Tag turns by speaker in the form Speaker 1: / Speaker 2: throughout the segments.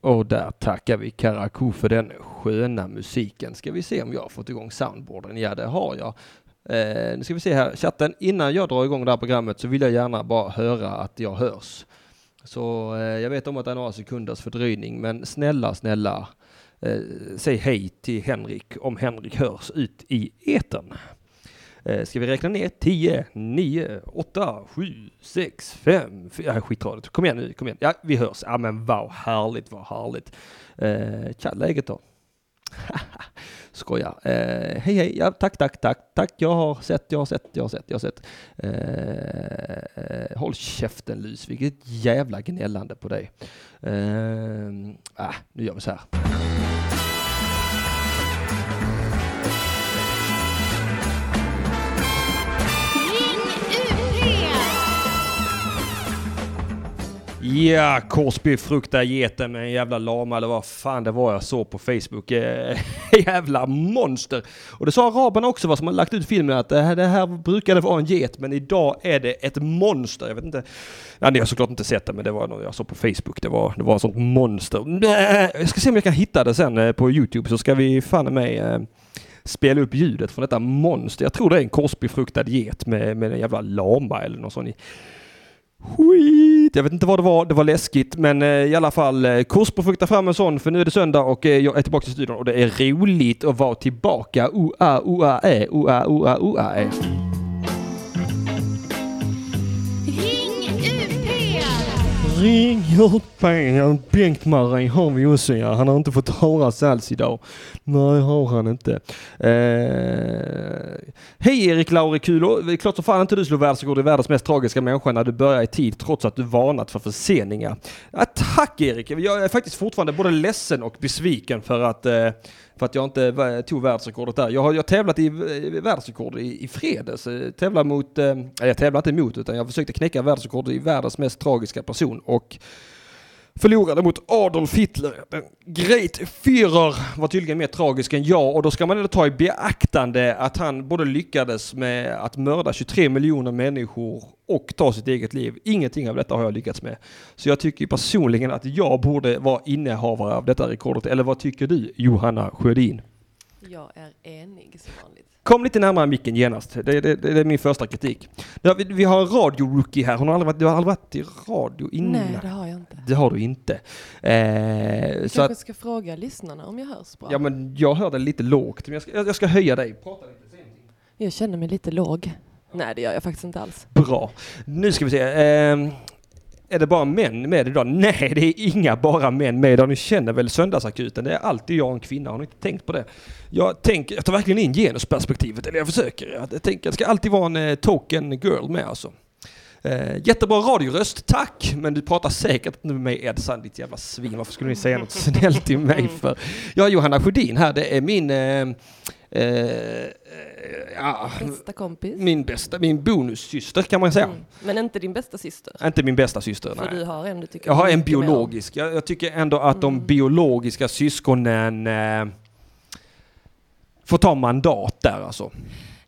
Speaker 1: Och där tackar vi Karakou för den sköna musiken. Ska vi se om jag har fått igång soundboarden? Ja, det har jag. Eh, nu ska vi se här, chatten. Innan jag drar igång det här programmet så vill jag gärna bara höra att jag hörs. Så eh, jag vet om att det är några sekunders fördröjning, men snälla, snälla, eh, säg hej till Henrik om Henrik hörs ut i etern. Eh, ska vi räkna ner? 10, 9, 8, 7, 6, 5, 4. Skitradigt. Kom igen nu, kom igen. Ja, vi hörs. Ja, men wow, härligt, vad härligt. Eh, tja, läget då? Skoja. Eh, hej, hej. Ja, tack, tack, tack, tack. Jag har sett, jag har sett, jag har sett, jag har sett. Eh, håll käften Lys, vilket jävla gnällande på dig. Eh, ah, nu gör vi så här.
Speaker 2: Ring UP!
Speaker 1: Ja, Korsby fruktar geten med en jävla lama eller vad fan det var jag såg på Facebook. Eh, jävla monster! Och det sa araberna också vad som har lagt ut filmen att det här, det här brukade vara en get men idag är det ett monster. Jag vet inte. Nej, det har jag såklart inte sett det men det var något jag såg på Facebook. Det var, det var ett sånt monster. Nej, Jag ska se om jag kan hitta det sen eh, på YouTube så ska vi fan mig eh, spela upp ljudet från detta monster. Jag tror det är en korsbefruktad get med, med en jävla lama eller någon sån Skit! Jag vet inte vad det var, det var läskigt men eh, i alla fall eh, korsbefrukta fram en sån för nu är det söndag och eh, jag är tillbaka till studion och det är roligt att vara tillbaka. Oa, oa, ä, oa, oa, oa, eh. ä.
Speaker 2: Ring UP!
Speaker 1: Ring hjälpen! Bengt-Marie har vi också ja. Han har inte fått höras alls idag. Nej, har han inte. Eh... Hej Erik Laurikulo! Det är eh, klart som fan inte du slog världsrekord i världens mest tragiska människa när du börjar i tid trots att du varnat för förseningar. Ja, tack Erik! Jag är faktiskt fortfarande både ledsen och besviken för att, eh, för att jag inte va- tog världsrekordet där. Jag har jag har tävlat i eh, världsrekord i, i fredags. Eh, Tävlar mot, eh, nej, jag tävlade inte emot utan jag försökte knäcka världsrekord i världens mest tragiska person och förlorade mot Adolf Hitler. Den Great Führer var tydligen mer tragisk än jag och då ska man ändå ta i beaktande att han både lyckades med att mörda 23 miljoner människor och ta sitt eget liv. Ingenting av detta har jag lyckats med. Så jag tycker personligen att jag borde vara innehavare av detta rekordet. Eller vad tycker du Johanna Sjödin?
Speaker 3: Jag är enig som vanligt.
Speaker 1: Kom lite närmare micken genast. Det, det, det är min första kritik. Ja, vi, vi har en radio-rookie här. Hon har aldrig varit, du har aldrig varit i radio innan.
Speaker 3: Nej, det har jag inte.
Speaker 1: Det har du inte. Eh,
Speaker 3: Jag
Speaker 1: så att,
Speaker 3: kanske ska fråga lyssnarna om jag hörs bra.
Speaker 1: ja, men jag hörde lite lågt, men jag ska, jag jag ska höja dig. Prata lite. säg någonting.
Speaker 3: Jag känner mig lite låg. Nej, det gör jag faktiskt inte alls.
Speaker 1: Bra. Nu ska vi se. Eh, är det bara män med idag? Nej, det är inga bara män med idag. Ni känner väl söndagsakuten? Det är alltid jag och en kvinna. Har ni inte tänkt på det? Jag, tänker, jag tar verkligen in genusperspektivet, eller jag försöker. Jag, tänker, det ska alltid vara en eh, token girl med alltså. Eh, jättebra radioröst, tack! Men du pratar säkert inte med mig Edsan, ditt jävla svin. Varför skulle ni säga något snällt till mig för? Jag är Johanna Sjödin här, det är min... Eh, eh, eh, ja,
Speaker 3: Bästa kompis.
Speaker 1: min bästa, min bonussyster kan man säga.
Speaker 3: Mm. Men inte din bästa syster.
Speaker 1: Inte min bästa syster,
Speaker 3: För du
Speaker 1: nej.
Speaker 3: har en du tycker
Speaker 1: Jag har en
Speaker 3: mycket Mm. mer om.
Speaker 1: biologisk. Jag, jag tycker ändå att de biologiska syskonen eh, får ta mandat där alltså.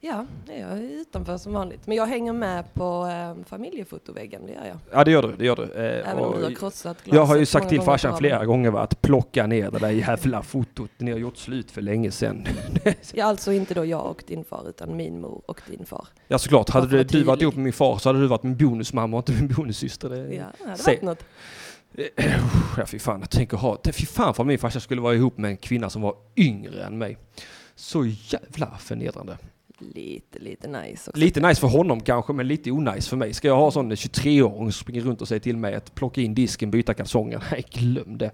Speaker 3: Ja, nej, jag är utanför som vanligt. Men jag hänger med på eh, familjefotoväggen, det gör jag.
Speaker 1: Ja, det gör du. Det gör du. Eh,
Speaker 3: Även
Speaker 1: och
Speaker 3: om du har krossat glaset
Speaker 1: jag har ju sagt
Speaker 3: många
Speaker 1: till
Speaker 3: gånger
Speaker 1: farsan
Speaker 3: på
Speaker 1: flera
Speaker 3: raden.
Speaker 1: gånger va, att plocka ner det där jävla fotot. Ni har gjort slut för länge sedan.
Speaker 3: Ja, alltså inte då jag och din far, utan min mor och din far.
Speaker 1: Ja, såklart.
Speaker 3: Varför
Speaker 1: Hade du,
Speaker 3: var
Speaker 1: du varit
Speaker 3: tydlig?
Speaker 1: ihop med min far så hade du varit min bonusmamma och inte min bonussyster. Det,
Speaker 3: Ja, det hade
Speaker 1: Se.
Speaker 3: varit något.
Speaker 1: Ja, fy fan, jag tänker ha... Fy fan för min farsa skulle vara ihop med en kvinna som var yngre än mig. Så jävla förnedrande.
Speaker 3: Lite, lite nice också.
Speaker 1: Lite nice för honom kanske, men lite onajs för mig. Ska jag ha sån 23-åring som springer runt och säger till mig att plocka in disken, byta kalsonger? Nej, glöm det.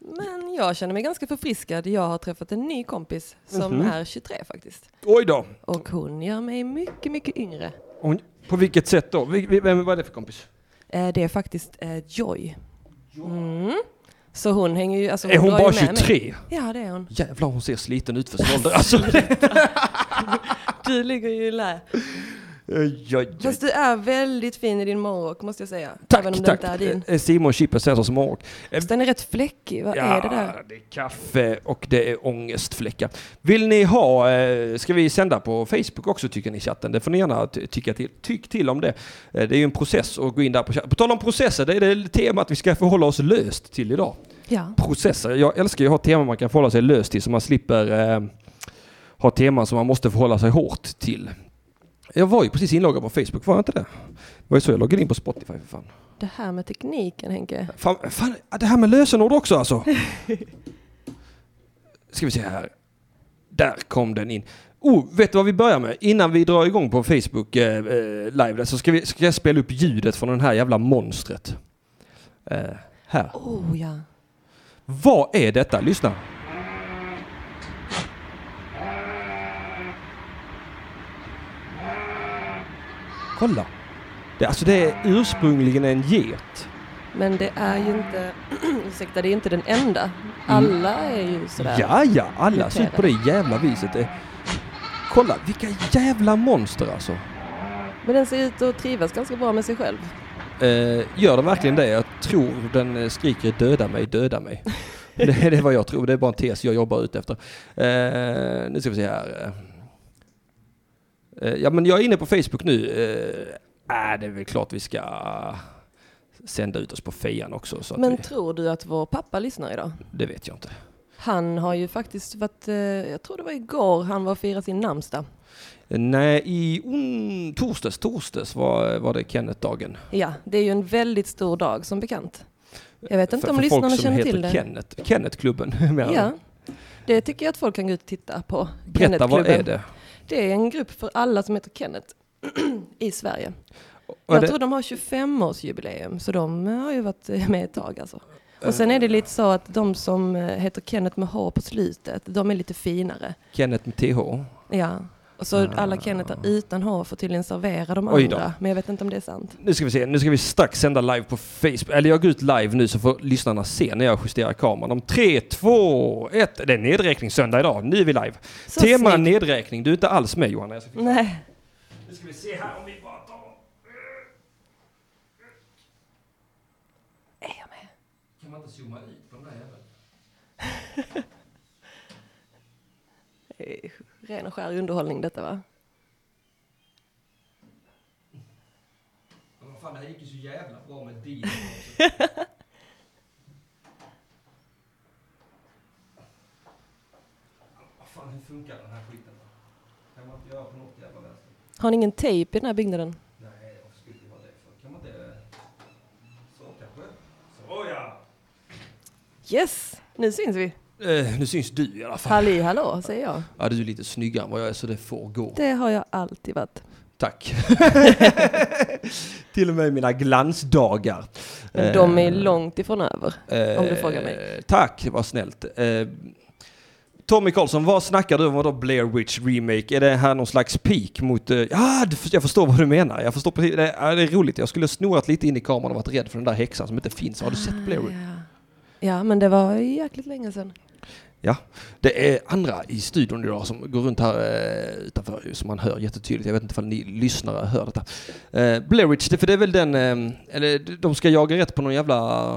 Speaker 3: Men jag känner mig ganska förfriskad. Jag har träffat en ny kompis som
Speaker 1: Mhm.
Speaker 3: är 23 faktiskt.
Speaker 1: Oj då!
Speaker 3: Och hon gör mig mycket, mycket yngre.
Speaker 1: Hon- På vilket sätt då? Vi- vi- Vem var det för kompis?
Speaker 3: Eh, det är faktiskt eh, Joy. Mm. Så hon hänger ju... Alltså,
Speaker 1: Är hon
Speaker 3: drar ju
Speaker 1: bara
Speaker 3: med mig.
Speaker 1: 23?
Speaker 3: Ja, det är hon.
Speaker 1: Jävlar, hon ser sliten ut för sin ålder. Alltså,
Speaker 3: Du ligger ju i lä.
Speaker 1: oj, oj, oj.
Speaker 3: Fast du är väldigt fin i din morgonrock, måste jag säga. Även om
Speaker 1: Tack,
Speaker 3: det
Speaker 1: tack.
Speaker 3: inte är din.
Speaker 1: Eh, Simon Chippen Eh, Svensson som har
Speaker 3: Fast den är rätt fläckig. Vad är det där?
Speaker 1: det är kaffe och det är ångestfläckar. Vill ni ha, eh, ska vi sända på Facebook också tycker ni i chatten? Det får ni gärna ty- tycka till. Tyck till om det. Eh, Det är ju en process att gå in där på chatten. På tal om processer, det är det temat vi ska förhålla oss löst till idag.
Speaker 3: Ja.
Speaker 1: processer. Jag älskar ju att ha teman man kan förhålla sig löst till så man slipper eh, ha teman som man måste förhålla sig hårt till. Jag var ju precis inloggad på Facebook, var jag inte det? Det var ju så jag loggade in på Spotify för fan.
Speaker 3: Det här med tekniken Henke.
Speaker 1: Fan, fan det här med lösenord också alltså. Ska vi se här. Där kom den in. Oh, vet du vad vi börjar med? Innan vi drar igång på Facebook eh, eh, live där, så ska, vi, ska jag spela upp ljudet från den här jävla monstret. Eh, här.
Speaker 3: Oh ja.
Speaker 1: Vad är detta? Lyssna. Kolla. Det, alltså det är ursprungligen en get.
Speaker 3: Men det är ju inte, ursäkta, det är inte den enda. Alla är ju sådär.
Speaker 1: Mm. Ja, ja, alla ser ut på det jävla viset. Det- Kolla, vilka jävla monster alltså.
Speaker 3: Men den ser ut att trivas ganska bra med sig själv.
Speaker 1: Eh, gör den verkligen det? Jag tror den eh, skriker döda mig, döda mig. det, det är vad jag tror, det är bara en tes jag jobbar ut efter. Eh, nu ska vi se här. Eh, ja men jag är inne på Facebook nu. Eh, äh, det är väl klart vi ska sända ut oss på fejan också. Så att
Speaker 3: Men
Speaker 1: vi,
Speaker 3: tror du att vår pappa lyssnar idag?
Speaker 1: det vet jag inte.
Speaker 3: Han har ju faktiskt varit, eh, jag tror det var igår, han var och firade sin namnsdag.
Speaker 1: Eh, Nej, i on, torsdags, torsdags var, var det Kenneth-dagen.
Speaker 3: Ja, det är ju en väldigt stor dag som bekant. Jag vet inte
Speaker 1: För-
Speaker 3: om
Speaker 1: för
Speaker 3: lyssnarna
Speaker 1: folk som
Speaker 3: känner
Speaker 1: heter
Speaker 3: till det.
Speaker 1: Kenneth, Kennethklubben. menar jag.
Speaker 3: Ja. Det tycker jag att folk kan gå ut och titta på.
Speaker 1: Berätta, vad är
Speaker 3: Kennethklubben.
Speaker 1: det?
Speaker 3: Det är en grupp för alla som heter Kenneth i Sverige.
Speaker 1: Och är
Speaker 3: Jag
Speaker 1: det
Speaker 3: tror de har 25-årsjubileum, så de eh, har ju varit med ett tag alltså. Och sen
Speaker 1: Eh.
Speaker 3: är det lite så att de som eh, heter Kenneth med H på slutet, de är lite finare.
Speaker 1: Kenneth med TH?
Speaker 3: Ja. Och så alla Kennethar utan H får tydligen servera de
Speaker 1: Ah. Oj då.
Speaker 3: andra, men jag vet inte om det är sant.
Speaker 1: Nu ska vi se, nu ska vi strax sända live på Facebook. Eller jag går ut live nu så får lyssnarna se när jag justerar kameran. Om 3, 2, 1. Det är nedräkning söndag idag. Nu är vi live.
Speaker 3: Så
Speaker 1: Tema
Speaker 3: snyggt.
Speaker 1: nedräkning. Du är inte alls med Johanna. Jag ska fixa-
Speaker 3: Nej.
Speaker 1: Nu ska vi se här om vi bara tar...
Speaker 3: Är jag med?
Speaker 1: Kan man inte zooma ut på den där jäveln?
Speaker 3: Det är Ren och skär underhållning detta va?
Speaker 1: Men vad fan, det här gick ju så jävla bra med din. Vad fan, hur funkar den här skiten? Kan man inte göra på något jävla vänster?
Speaker 3: Har ni ingen tejp i den här byggnaden?
Speaker 1: Nej, varför skulle det vara det? För kan man inte... Så kanske? Så ja!
Speaker 3: Yes! Nu syns vi!
Speaker 1: Eh, nu syns du i alla fall.
Speaker 3: Halli hallå, säger jag.
Speaker 1: Ja, du är lite snyggare än vad jag är så det får gå.
Speaker 3: Det har jag alltid varit.
Speaker 1: Tack. Till och med mina glansdagar.
Speaker 3: Men de är långt ifrån över.
Speaker 1: Eh,
Speaker 3: om du frågar mig.
Speaker 1: eh, Tack, det var snällt. Eh, Tommy Karlsson, vad snackar du om? Vadå Blair Witch Remake? Är det här någon slags peak mot... eh, Ja, du för- jag förstår vad du menar. Jag förstår precis. Det, ja, det är roligt. Jag skulle ha snorat lite in i kameran och varit rädd för den där häxan som inte finns. Har du sett Blair Witch?
Speaker 3: Ja. ja, men det var jäkligt länge sedan.
Speaker 1: Ja, det är andra i studion idag som går runt här eh, utanför ju, som man hör jättetydligt. Jag vet inte ifall ni lyssnare hör detta. Eh, Blair Witch, det, för det är väl den, eh, eller d- de ska jaga rätt på någon jävla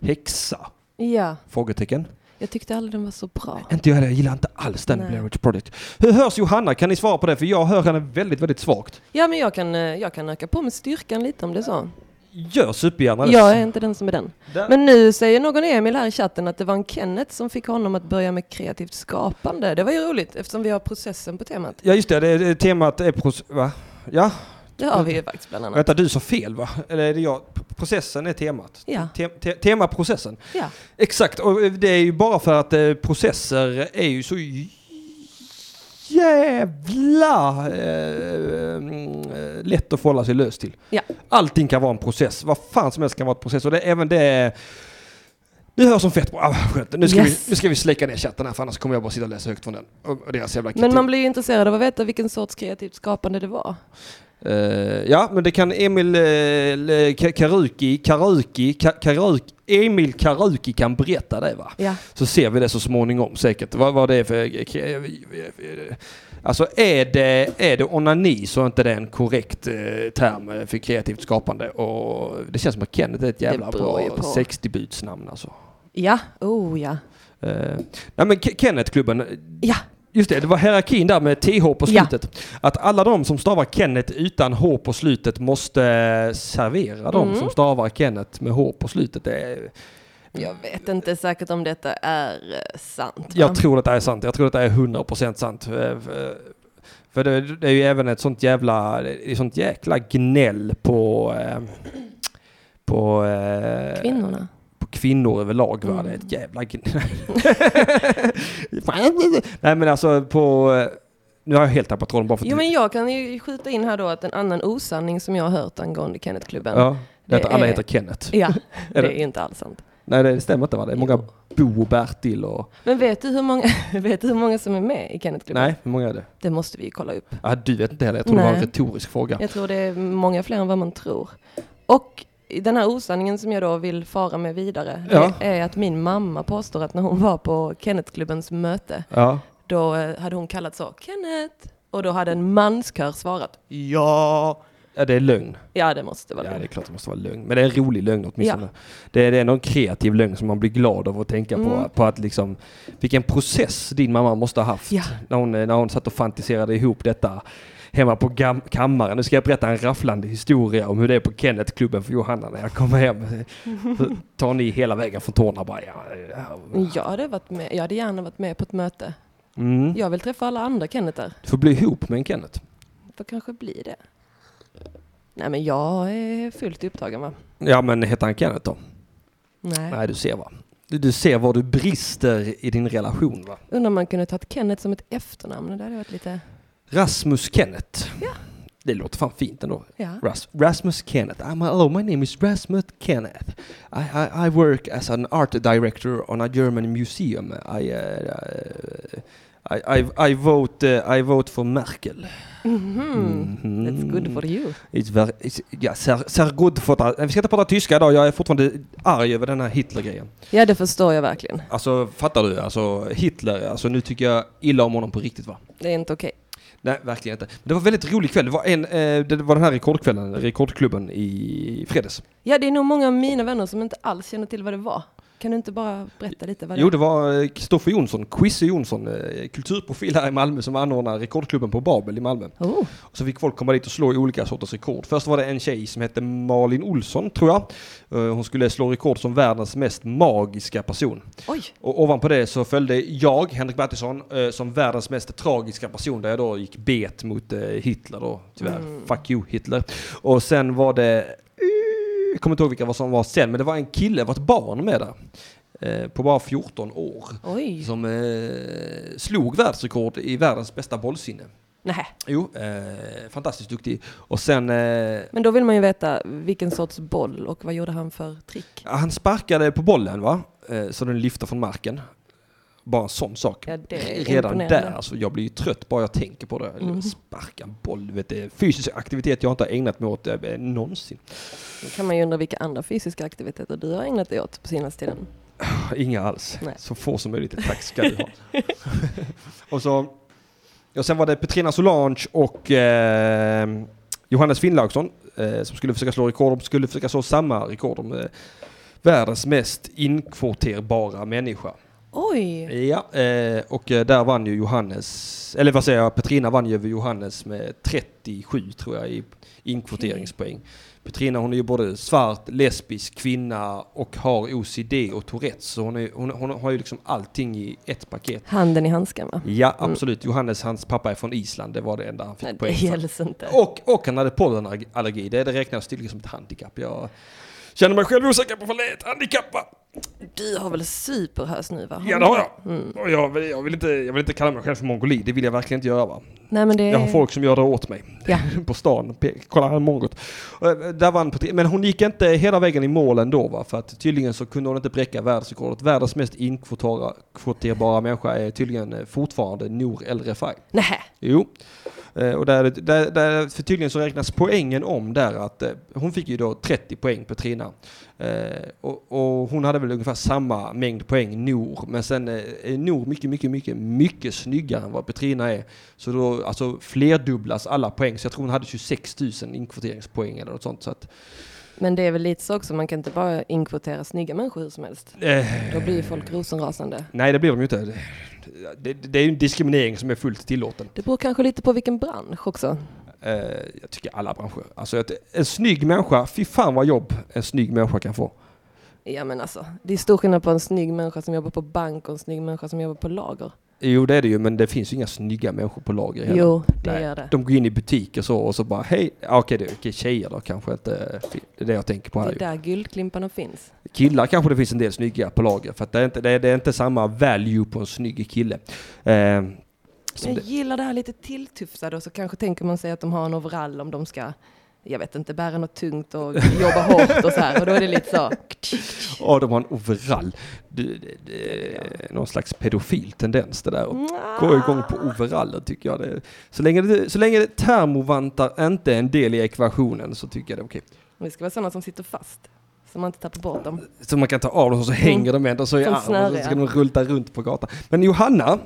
Speaker 1: häxa?
Speaker 3: Ja,
Speaker 1: Frågetecken.
Speaker 3: jag tyckte aldrig den var så bra.
Speaker 1: Inte jag heller, jag gillar inte alls den
Speaker 3: Nej.
Speaker 1: Blair Witch Project. Hur hörs Johanna? Kan ni svara på det? För jag hör henne väldigt, väldigt svagt.
Speaker 3: Ja, men jag kan, eh, jag kan öka på med styrkan lite om det är så.
Speaker 1: Gör supergärna det.
Speaker 3: Jag är inte den som är den.
Speaker 1: Där-
Speaker 3: Men nu säger någon Emil här i chatten att det var en Kenneth som fick honom att börja med kreativt skapande. Det var ju roligt eftersom vi har processen på temat.
Speaker 1: Ja just det, det, det temat är... Pros- va? Ja,
Speaker 3: Det har vi ju faktiskt bland annat.
Speaker 1: vänta du sa fel va? Eller är det jag? P- Processen är temat.
Speaker 3: Ja,
Speaker 1: Te- te- tema processen.
Speaker 3: ja.
Speaker 1: Exakt, och det är ju bara för att eh, processer är ju så jävla eh, mm, eh, lätt att förhålla sig lös till.
Speaker 3: Ja.
Speaker 1: Allting kan vara en process, vad fan som helst kan vara en process och det, även det nu hörs som fett bra. Ah, skönt. Nu, ska
Speaker 3: Yes.
Speaker 1: vi, nu ska vi släcka ner chatten här för annars kommer jag bara sitta och läsa högt från den. Och, och deras jävla
Speaker 3: Men man blir ju intresserad av att veta vilken sorts kreativt skapande det var.
Speaker 1: Eh, ja, men det kan Emil eh, le- Ka- Karuki, Karuki, Ka- Karuki, Emil Karuki kan berätta det va?
Speaker 3: Ja.
Speaker 1: Så ser vi det så småningom säkert. Vad, vad det är för... Alltså är det, är det onani så är inte det en korrekt eh, term för kreativt skapande. Och det känns som att Kenneth är ett jävla
Speaker 3: Det beror ju
Speaker 1: bra
Speaker 3: på.
Speaker 1: 60-budsnamn alltså.
Speaker 3: Ja, oh ja.
Speaker 1: Eh, nej men Ke- Kennethklubben,
Speaker 3: Ja,
Speaker 1: just det, det var hierarkin där med TH på
Speaker 3: Ja.
Speaker 1: slutet. Att alla de som stavar Kenneth utan H på slutet måste eh, servera de
Speaker 3: Mm.
Speaker 1: som stavar Kenneth med H på slutet. Det är,
Speaker 3: Jag vet inte säkert om detta är eh, sant. va?
Speaker 1: Jag tror att det är sant. Jag tror att det är 100% sant. Eh, f- För det, det är ju även ett sånt jävla, det är sånt jäkla gnäll på, eh, på, eh,
Speaker 3: Kvinnorna.
Speaker 1: på kvinnor överlag. Va?
Speaker 3: Mm.
Speaker 1: Det är ett jävla gnäll. Nej men alltså på, eh, nu har jag helt tappat tråden bara för att
Speaker 3: Jo men jag kan ju skjuta in här då att en annan osanning som jag har hört angående Kennethklubben. Ja,
Speaker 1: ja, det är att
Speaker 3: det
Speaker 1: alla
Speaker 3: är-
Speaker 1: heter Kenneth.
Speaker 3: det
Speaker 1: Är
Speaker 3: är
Speaker 1: det-
Speaker 3: inte alls sant.
Speaker 1: Nej det stämmer inte va? Det är många
Speaker 3: Jo.
Speaker 1: Bo och Bertil och...
Speaker 3: Men vet du hur många, vet du hur många som är med i Kennethklubben?
Speaker 1: Nej, hur många är det?
Speaker 3: Det måste vi ju kolla upp.
Speaker 1: Ah, du vet inte heller, jag tror det var en
Speaker 3: Nej.
Speaker 1: retorisk fråga.
Speaker 3: Jag tror det är många fler än vad man tror. Och den här osanningen som jag då vill fara med vidare
Speaker 1: Ja.
Speaker 3: det är att min mamma påstår att när hon var på Kennetklubbens möte
Speaker 1: Ja.
Speaker 3: då eh, hade hon kallat så Kenneth och då hade en manskör svarat
Speaker 1: Ja. Ja, det är lögn.
Speaker 3: ja det måste vara
Speaker 1: Ja, det är
Speaker 3: det.
Speaker 1: klart det måste vara lögn. Men det är en rolig lögn åtminstone. Det, är, det är någon kreativ lögn som man blir glad av att tänka på.
Speaker 3: Mm.
Speaker 1: På att liksom, vilken process din mamma måste ha haft
Speaker 3: Ja.
Speaker 1: när, hon, när hon satt och fantiserade ihop detta hemma på gam- kammaren. Nu ska jag berätta en rafflande historia om hur det är på Kennethklubben för Johanna när jag kommer hem. Så tar ni hela vägen från tårna bara. Ja, ja.
Speaker 3: Jag hade, varit med, jag hade gärna varit med på ett möte.
Speaker 1: Mm.
Speaker 3: Jag vill träffa alla andra Kennetar.
Speaker 1: Du får bli ihop med en Kenneth.
Speaker 3: Får kanske bli det. Nej men jag är fullt upptagen va?
Speaker 1: Ja men heter han Kenneth då?
Speaker 3: Nej.
Speaker 1: Nej du ser va. Du, du ser var du brister i din relation va.
Speaker 3: Undrar om man kunde tagit Kenneth som ett efternamn. Det hade varit lite...
Speaker 1: Rasmus Kenneth. Det låter fan fint ändå.
Speaker 3: Ja.
Speaker 1: Ras- Rasmus Kenneth. I'm, hello, my name is Rasmus Kenneth. I, I, I work as an art director on a German museum. I, uh, I, I, I vote, uh, I vote for Merkel.
Speaker 3: Mhm. That's good for you.
Speaker 1: It's very, it's, yeah, ser, ser good for... Vi ska inte prata tyska idag, jag är fortfarande arg över den här Hitler-grejen.
Speaker 3: Ja, det förstår jag verkligen.
Speaker 1: Alltså fattar du? Alltså Hitler, alltså nu tycker jag illa om honom på riktigt va?
Speaker 3: Det är inte okej.
Speaker 1: Nej, verkligen inte. Men det var en väldigt rolig kväll. Det var, en, eh, det var den här rekordkvällen, rekordklubben i fredags.
Speaker 3: Ja, det är nog många av mina vänner som inte alls känner till vad det var. Kan du inte bara berätta lite vad det
Speaker 1: Jo, det var eh, Kristoffer Jonsson, Quizze Jonsson, eh, kulturprofil här i Malmö som anordnar rekordklubben på Babel i Malmö.
Speaker 3: Oh.
Speaker 1: Så fick folk komma dit och slå i olika sorters rekord. Först var det en tjej som hette Malin Olsson, tror jag. Eh, Hon skulle slå rekord som världens mest magiska person.
Speaker 3: Oj,
Speaker 1: Och ovanpå det så följde jag, Henrik Mattisson, eh, som världens mest tragiska person där jag då gick bet mot eh, Hitler då, tyvärr. Fuck you Hitler. Och sen var det, jag kommer inte ihåg vilka vad som var sen, men det var en kille, det var ett barn med där. eh, På bara 14 år.
Speaker 3: oj.
Speaker 1: Som eh, slog världsrekord i världens bästa bollsinne.
Speaker 3: Nej.
Speaker 1: Jo, eh, fantastiskt duktig. Och sen eh,
Speaker 3: Men då vill man ju veta vilken sorts boll och vad gjorde han för trick?
Speaker 1: Han sparkade på bollen va? Eh, Så den lyfte från marken. Bara en sån sak.
Speaker 3: Ja, det är
Speaker 1: Redan
Speaker 3: imponerande. Mm.
Speaker 1: där, alltså, jag blir ju trött bara jag tänker på det. Sparka en boll, du vet, det är fysisk aktivitet jag inte har ägnat mig åt eh, någonsin.
Speaker 3: Då kan man ju undra vilka andra fysiska aktiviteter du har ägnat dig åt på senaste tiden.
Speaker 1: Inga alls.
Speaker 3: Nej.
Speaker 1: Så få som möjligt. Tack ska du ha. och, så, och sen var det Petrina Solange och eh, Johannes Finnlaugsson eh, som skulle försöka slå rekord. De skulle försöka slå samma rekord om eh, världens mest inkvoterbara människa.
Speaker 3: Oj!
Speaker 1: Ja, eh, och eh, där vann ju Johannes, eller vad säger jag, Petrina vann ju över Johannes med 37 tror jag i inkvoteringspoäng. Petrina hon är ju både svart, lesbisk, kvinna och har OCD och Tourettes. Så hon, är, hon, hon har ju liksom allting i ett paket.
Speaker 3: Handen i handsken va?
Speaker 1: Ja, absolut. Johannes, hans pappa är från Island. Det var det enda han fick
Speaker 3: Mm. Nej, det
Speaker 1: poäng för.
Speaker 3: gäller inte.
Speaker 1: Och, och han hade pollenallergi. Det, det räknas tydligen som ett handikapp. Jag känner mig själv osäker på vad det är ett handikapp va?
Speaker 3: Du har väl superhös nu va?
Speaker 1: Ja det har jag. Och jag, vill, jag, vill inte, jag vill inte kalla mig själv för mongolid, det vill jag verkligen inte göra va.
Speaker 3: Nej men det är...
Speaker 1: Jag har folk som gör det åt mig
Speaker 3: Ja.
Speaker 1: på stan. Pe- Kolla han är mongot. Och, eh, Där vann Petri- Men hon gick inte hela vägen i mål ändå va. För att tydligen så kunde hon inte bräcka världsrekordet. Världens mest inkvoterbara människa är tydligen eh, fortfarande Nour El Refai.
Speaker 3: Nej.
Speaker 1: Jo. Eh, Och där, där, där, för tydligen så räknas poängen om där att eh, hon fick ju då 30 poäng på Trina. Eh, och, och hon hade väl ungefär samma mängd poäng Nor. Men sen eh, är Nor mycket, mycket, mycket, mycket snyggare än vad Petrina är. Så då alltså flerdubblas alla poäng. Så jag tror hon hade 26 000 inkvoteringspoäng eller något sånt. Så att,
Speaker 3: Men det är väl lite så också, man kan inte bara inkvotera snygga människor hur som helst.
Speaker 1: eh,
Speaker 3: Då blir ju folk rosenrasande.
Speaker 1: nej, det blir de ju inte. Det, det är ju en diskriminering som är fullt tillåten.
Speaker 3: Det beror kanske lite på vilken bransch också.
Speaker 1: Eh, jag tycker alla branscher. Alltså att en snygg människa, fy fan vad jobb en snygg människa kan få.
Speaker 3: Ja men alltså, det är stor skillnad på en snygg människa som jobbar på bank och en snygg människa som jobbar på lager.
Speaker 1: Jo det är det ju men det finns ju inga snygga människor på lager heller.
Speaker 3: Jo, det
Speaker 1: Nej.
Speaker 3: gör det.
Speaker 1: De går in i butiker så och så bara hej, Ja, okej det är okej, tjejer då kanske inte, det är det jag tänker på
Speaker 3: Det
Speaker 1: här
Speaker 3: är
Speaker 1: ju.
Speaker 3: där guldklimparna finns.
Speaker 1: Killar kanske det finns en del snygga på lager för att det är inte, det är, det är inte samma value på en snygg kille. Eh, som
Speaker 3: Jag
Speaker 1: det,
Speaker 3: gillar det här lite tilltufsade och så kanske tänker man sig att de har en overall om de ska, jag vet inte, bära något tungt och jobba hårt och så här. Och då är det lite så,
Speaker 1: ja de har en overall. Det, det, det, är Någon slags pedofil tendens det där att gå igång på
Speaker 3: Ah.
Speaker 1: overaller tycker jag. Det, så, länge det, så länge termovantar inte är en del i ekvationen så tycker jag det är okej.
Speaker 3: vi ska vara sådana som sitter fast. Så man inte tappar bort dem.
Speaker 1: Så man kan ta av dem och så hänger de ändå så i
Speaker 3: Som
Speaker 1: armen och så ska
Speaker 3: Mm. snöriga. Mm.
Speaker 1: de rulta runt på gatan. Men Johanna,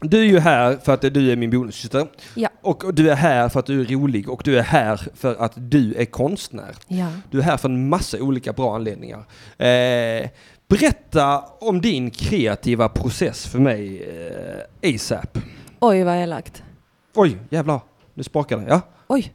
Speaker 1: du är ju här för att du är min bonussyster.
Speaker 3: Ja.
Speaker 1: Och och du är här för att du är rolig och du är här för att du är konstnär.
Speaker 3: Ja.
Speaker 1: Du är här för en massa olika bra anledningar. Eh, berätta om din kreativa process för mig eh, ASAP.
Speaker 3: Oj vad elakt.
Speaker 1: Oj, jävlar. Nu spakar det. Ja.
Speaker 3: Oj.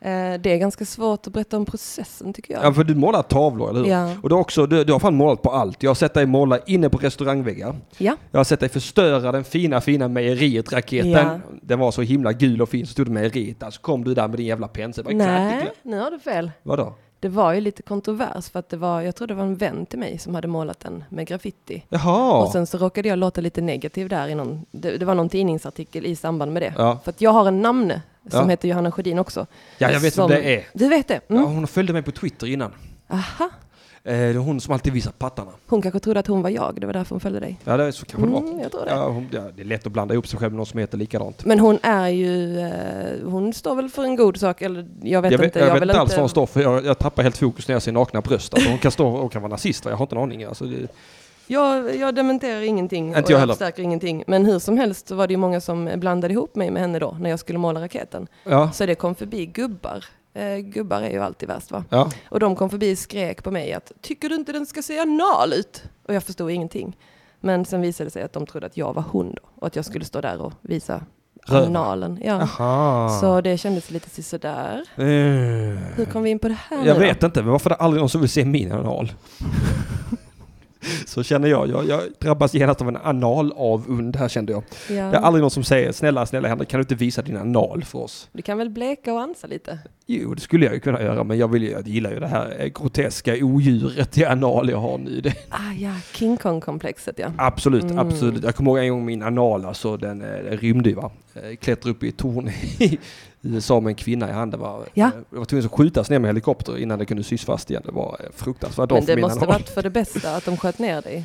Speaker 3: Eh, det är ganska svårt att berätta om processen tycker jag.
Speaker 1: ja, för du målar tavlor, eller hur?
Speaker 3: Ja.
Speaker 1: Och du, har också, du, du har fan målat på allt. Jag har sett dig måla inne på restaurangväggar.
Speaker 3: ja.
Speaker 1: Jag har sett dig förstöra den fina, fina mejeriet, raketen.
Speaker 3: Ja.
Speaker 1: Den var så himla gul och fin, så stod det mejeriet där. Så kom du där med din jävla pensel. Det var exakt
Speaker 3: Nej,
Speaker 1: likadant.
Speaker 3: nu har du fel.
Speaker 1: Vadå?
Speaker 3: Det var ju lite kontrovers för att det var, jag tror det var en vän till mig som hade målat den med graffiti.
Speaker 1: Jaha!
Speaker 3: Och sen så råkade jag låta lite negativ där i någon, det, det var någon tidningsartikel i samband med det.
Speaker 1: Ja.
Speaker 3: För att jag har en namne som
Speaker 1: Ja.
Speaker 3: heter Johanna Sjödin också.
Speaker 1: ja, jag vet
Speaker 3: som,
Speaker 1: vem det är.
Speaker 3: Du vet det? Mm.
Speaker 1: Ja, hon följde mig på Twitter innan.
Speaker 3: Aha.
Speaker 1: Eh, det är hon som alltid visar pattarna.
Speaker 3: Hon kanske trodde att hon var jag, det var därför hon följde dig.
Speaker 1: Ja, det är så kanske det
Speaker 3: Mm,
Speaker 1: var.
Speaker 3: jag tror det.
Speaker 1: Ja, hon, ja, det är lätt att blanda ihop sig själv med någon som heter likadant.
Speaker 3: Men hon är ju, eh, hon står väl för en god sak, eller jag vet
Speaker 1: jag vet,
Speaker 3: inte.
Speaker 1: jag vet
Speaker 3: vill
Speaker 1: inte alls vad hon står för. Jag, jag tappar helt fokus när jag ser nakna bröst. Alltså, hon kan stå och kan vara nazist. va? Jag har inte en aning. Alltså, det,
Speaker 3: Jag, jag dementerar ingenting
Speaker 1: Inte
Speaker 3: och
Speaker 1: jag heller.
Speaker 3: förstärker ingenting. Men hur som helst så var det ju många som blandade ihop mig med henne då när jag skulle måla raketen.
Speaker 1: ja,
Speaker 3: Så det kom förbi gubbar. Eh, gubbar är ju alltid värst va?
Speaker 1: ja.
Speaker 3: Och de kom förbi och skrek på mig att tycker du inte den ska se anal ut? Och jag förstod ingenting. Men sen visade det sig att de trodde att jag var hon då och att jag skulle stå där och visa
Speaker 1: Röven.
Speaker 3: analen. Ja.
Speaker 1: Aha.
Speaker 3: Så det kändes lite sisådär.
Speaker 1: Eh.
Speaker 3: Hur kom vi in på det här
Speaker 1: Jag
Speaker 3: nu då?
Speaker 1: vet inte, men varför är det aldrig någon som vill se min anal? Så känner jag. jag. Jag drabbas genast av en analavund här kände jag.
Speaker 3: Ja.
Speaker 1: Det är aldrig någon som säger snälla, snälla Henrik, kan du inte visa din anal för oss?
Speaker 3: Du kan väl bleka och ansa lite?
Speaker 1: Jo, det skulle jag ju kunna göra, men jag, vill, ju- jag gillar ju det här eh, groteska odjuret i anal jag har nu. Det,
Speaker 3: Ah ja, King Kong-komplexet ja.
Speaker 1: absolut,
Speaker 3: Mm.
Speaker 1: absolut. Jag kommer ihåg en gång min anal, alltså den, eh, den rymde ju va. Eh, Klättrade upp i ett torn i USA med en kvinna i handen. Va?
Speaker 3: Ja.
Speaker 1: Eh, Jag var tvungen att skjutas ner med helikopter innan det kunde sys fast igen. Det var eh, fruktansvärt dag
Speaker 3: Men
Speaker 1: för
Speaker 3: det
Speaker 1: min
Speaker 3: måste
Speaker 1: anal.
Speaker 3: varit för det bästa att de sköt ner dig.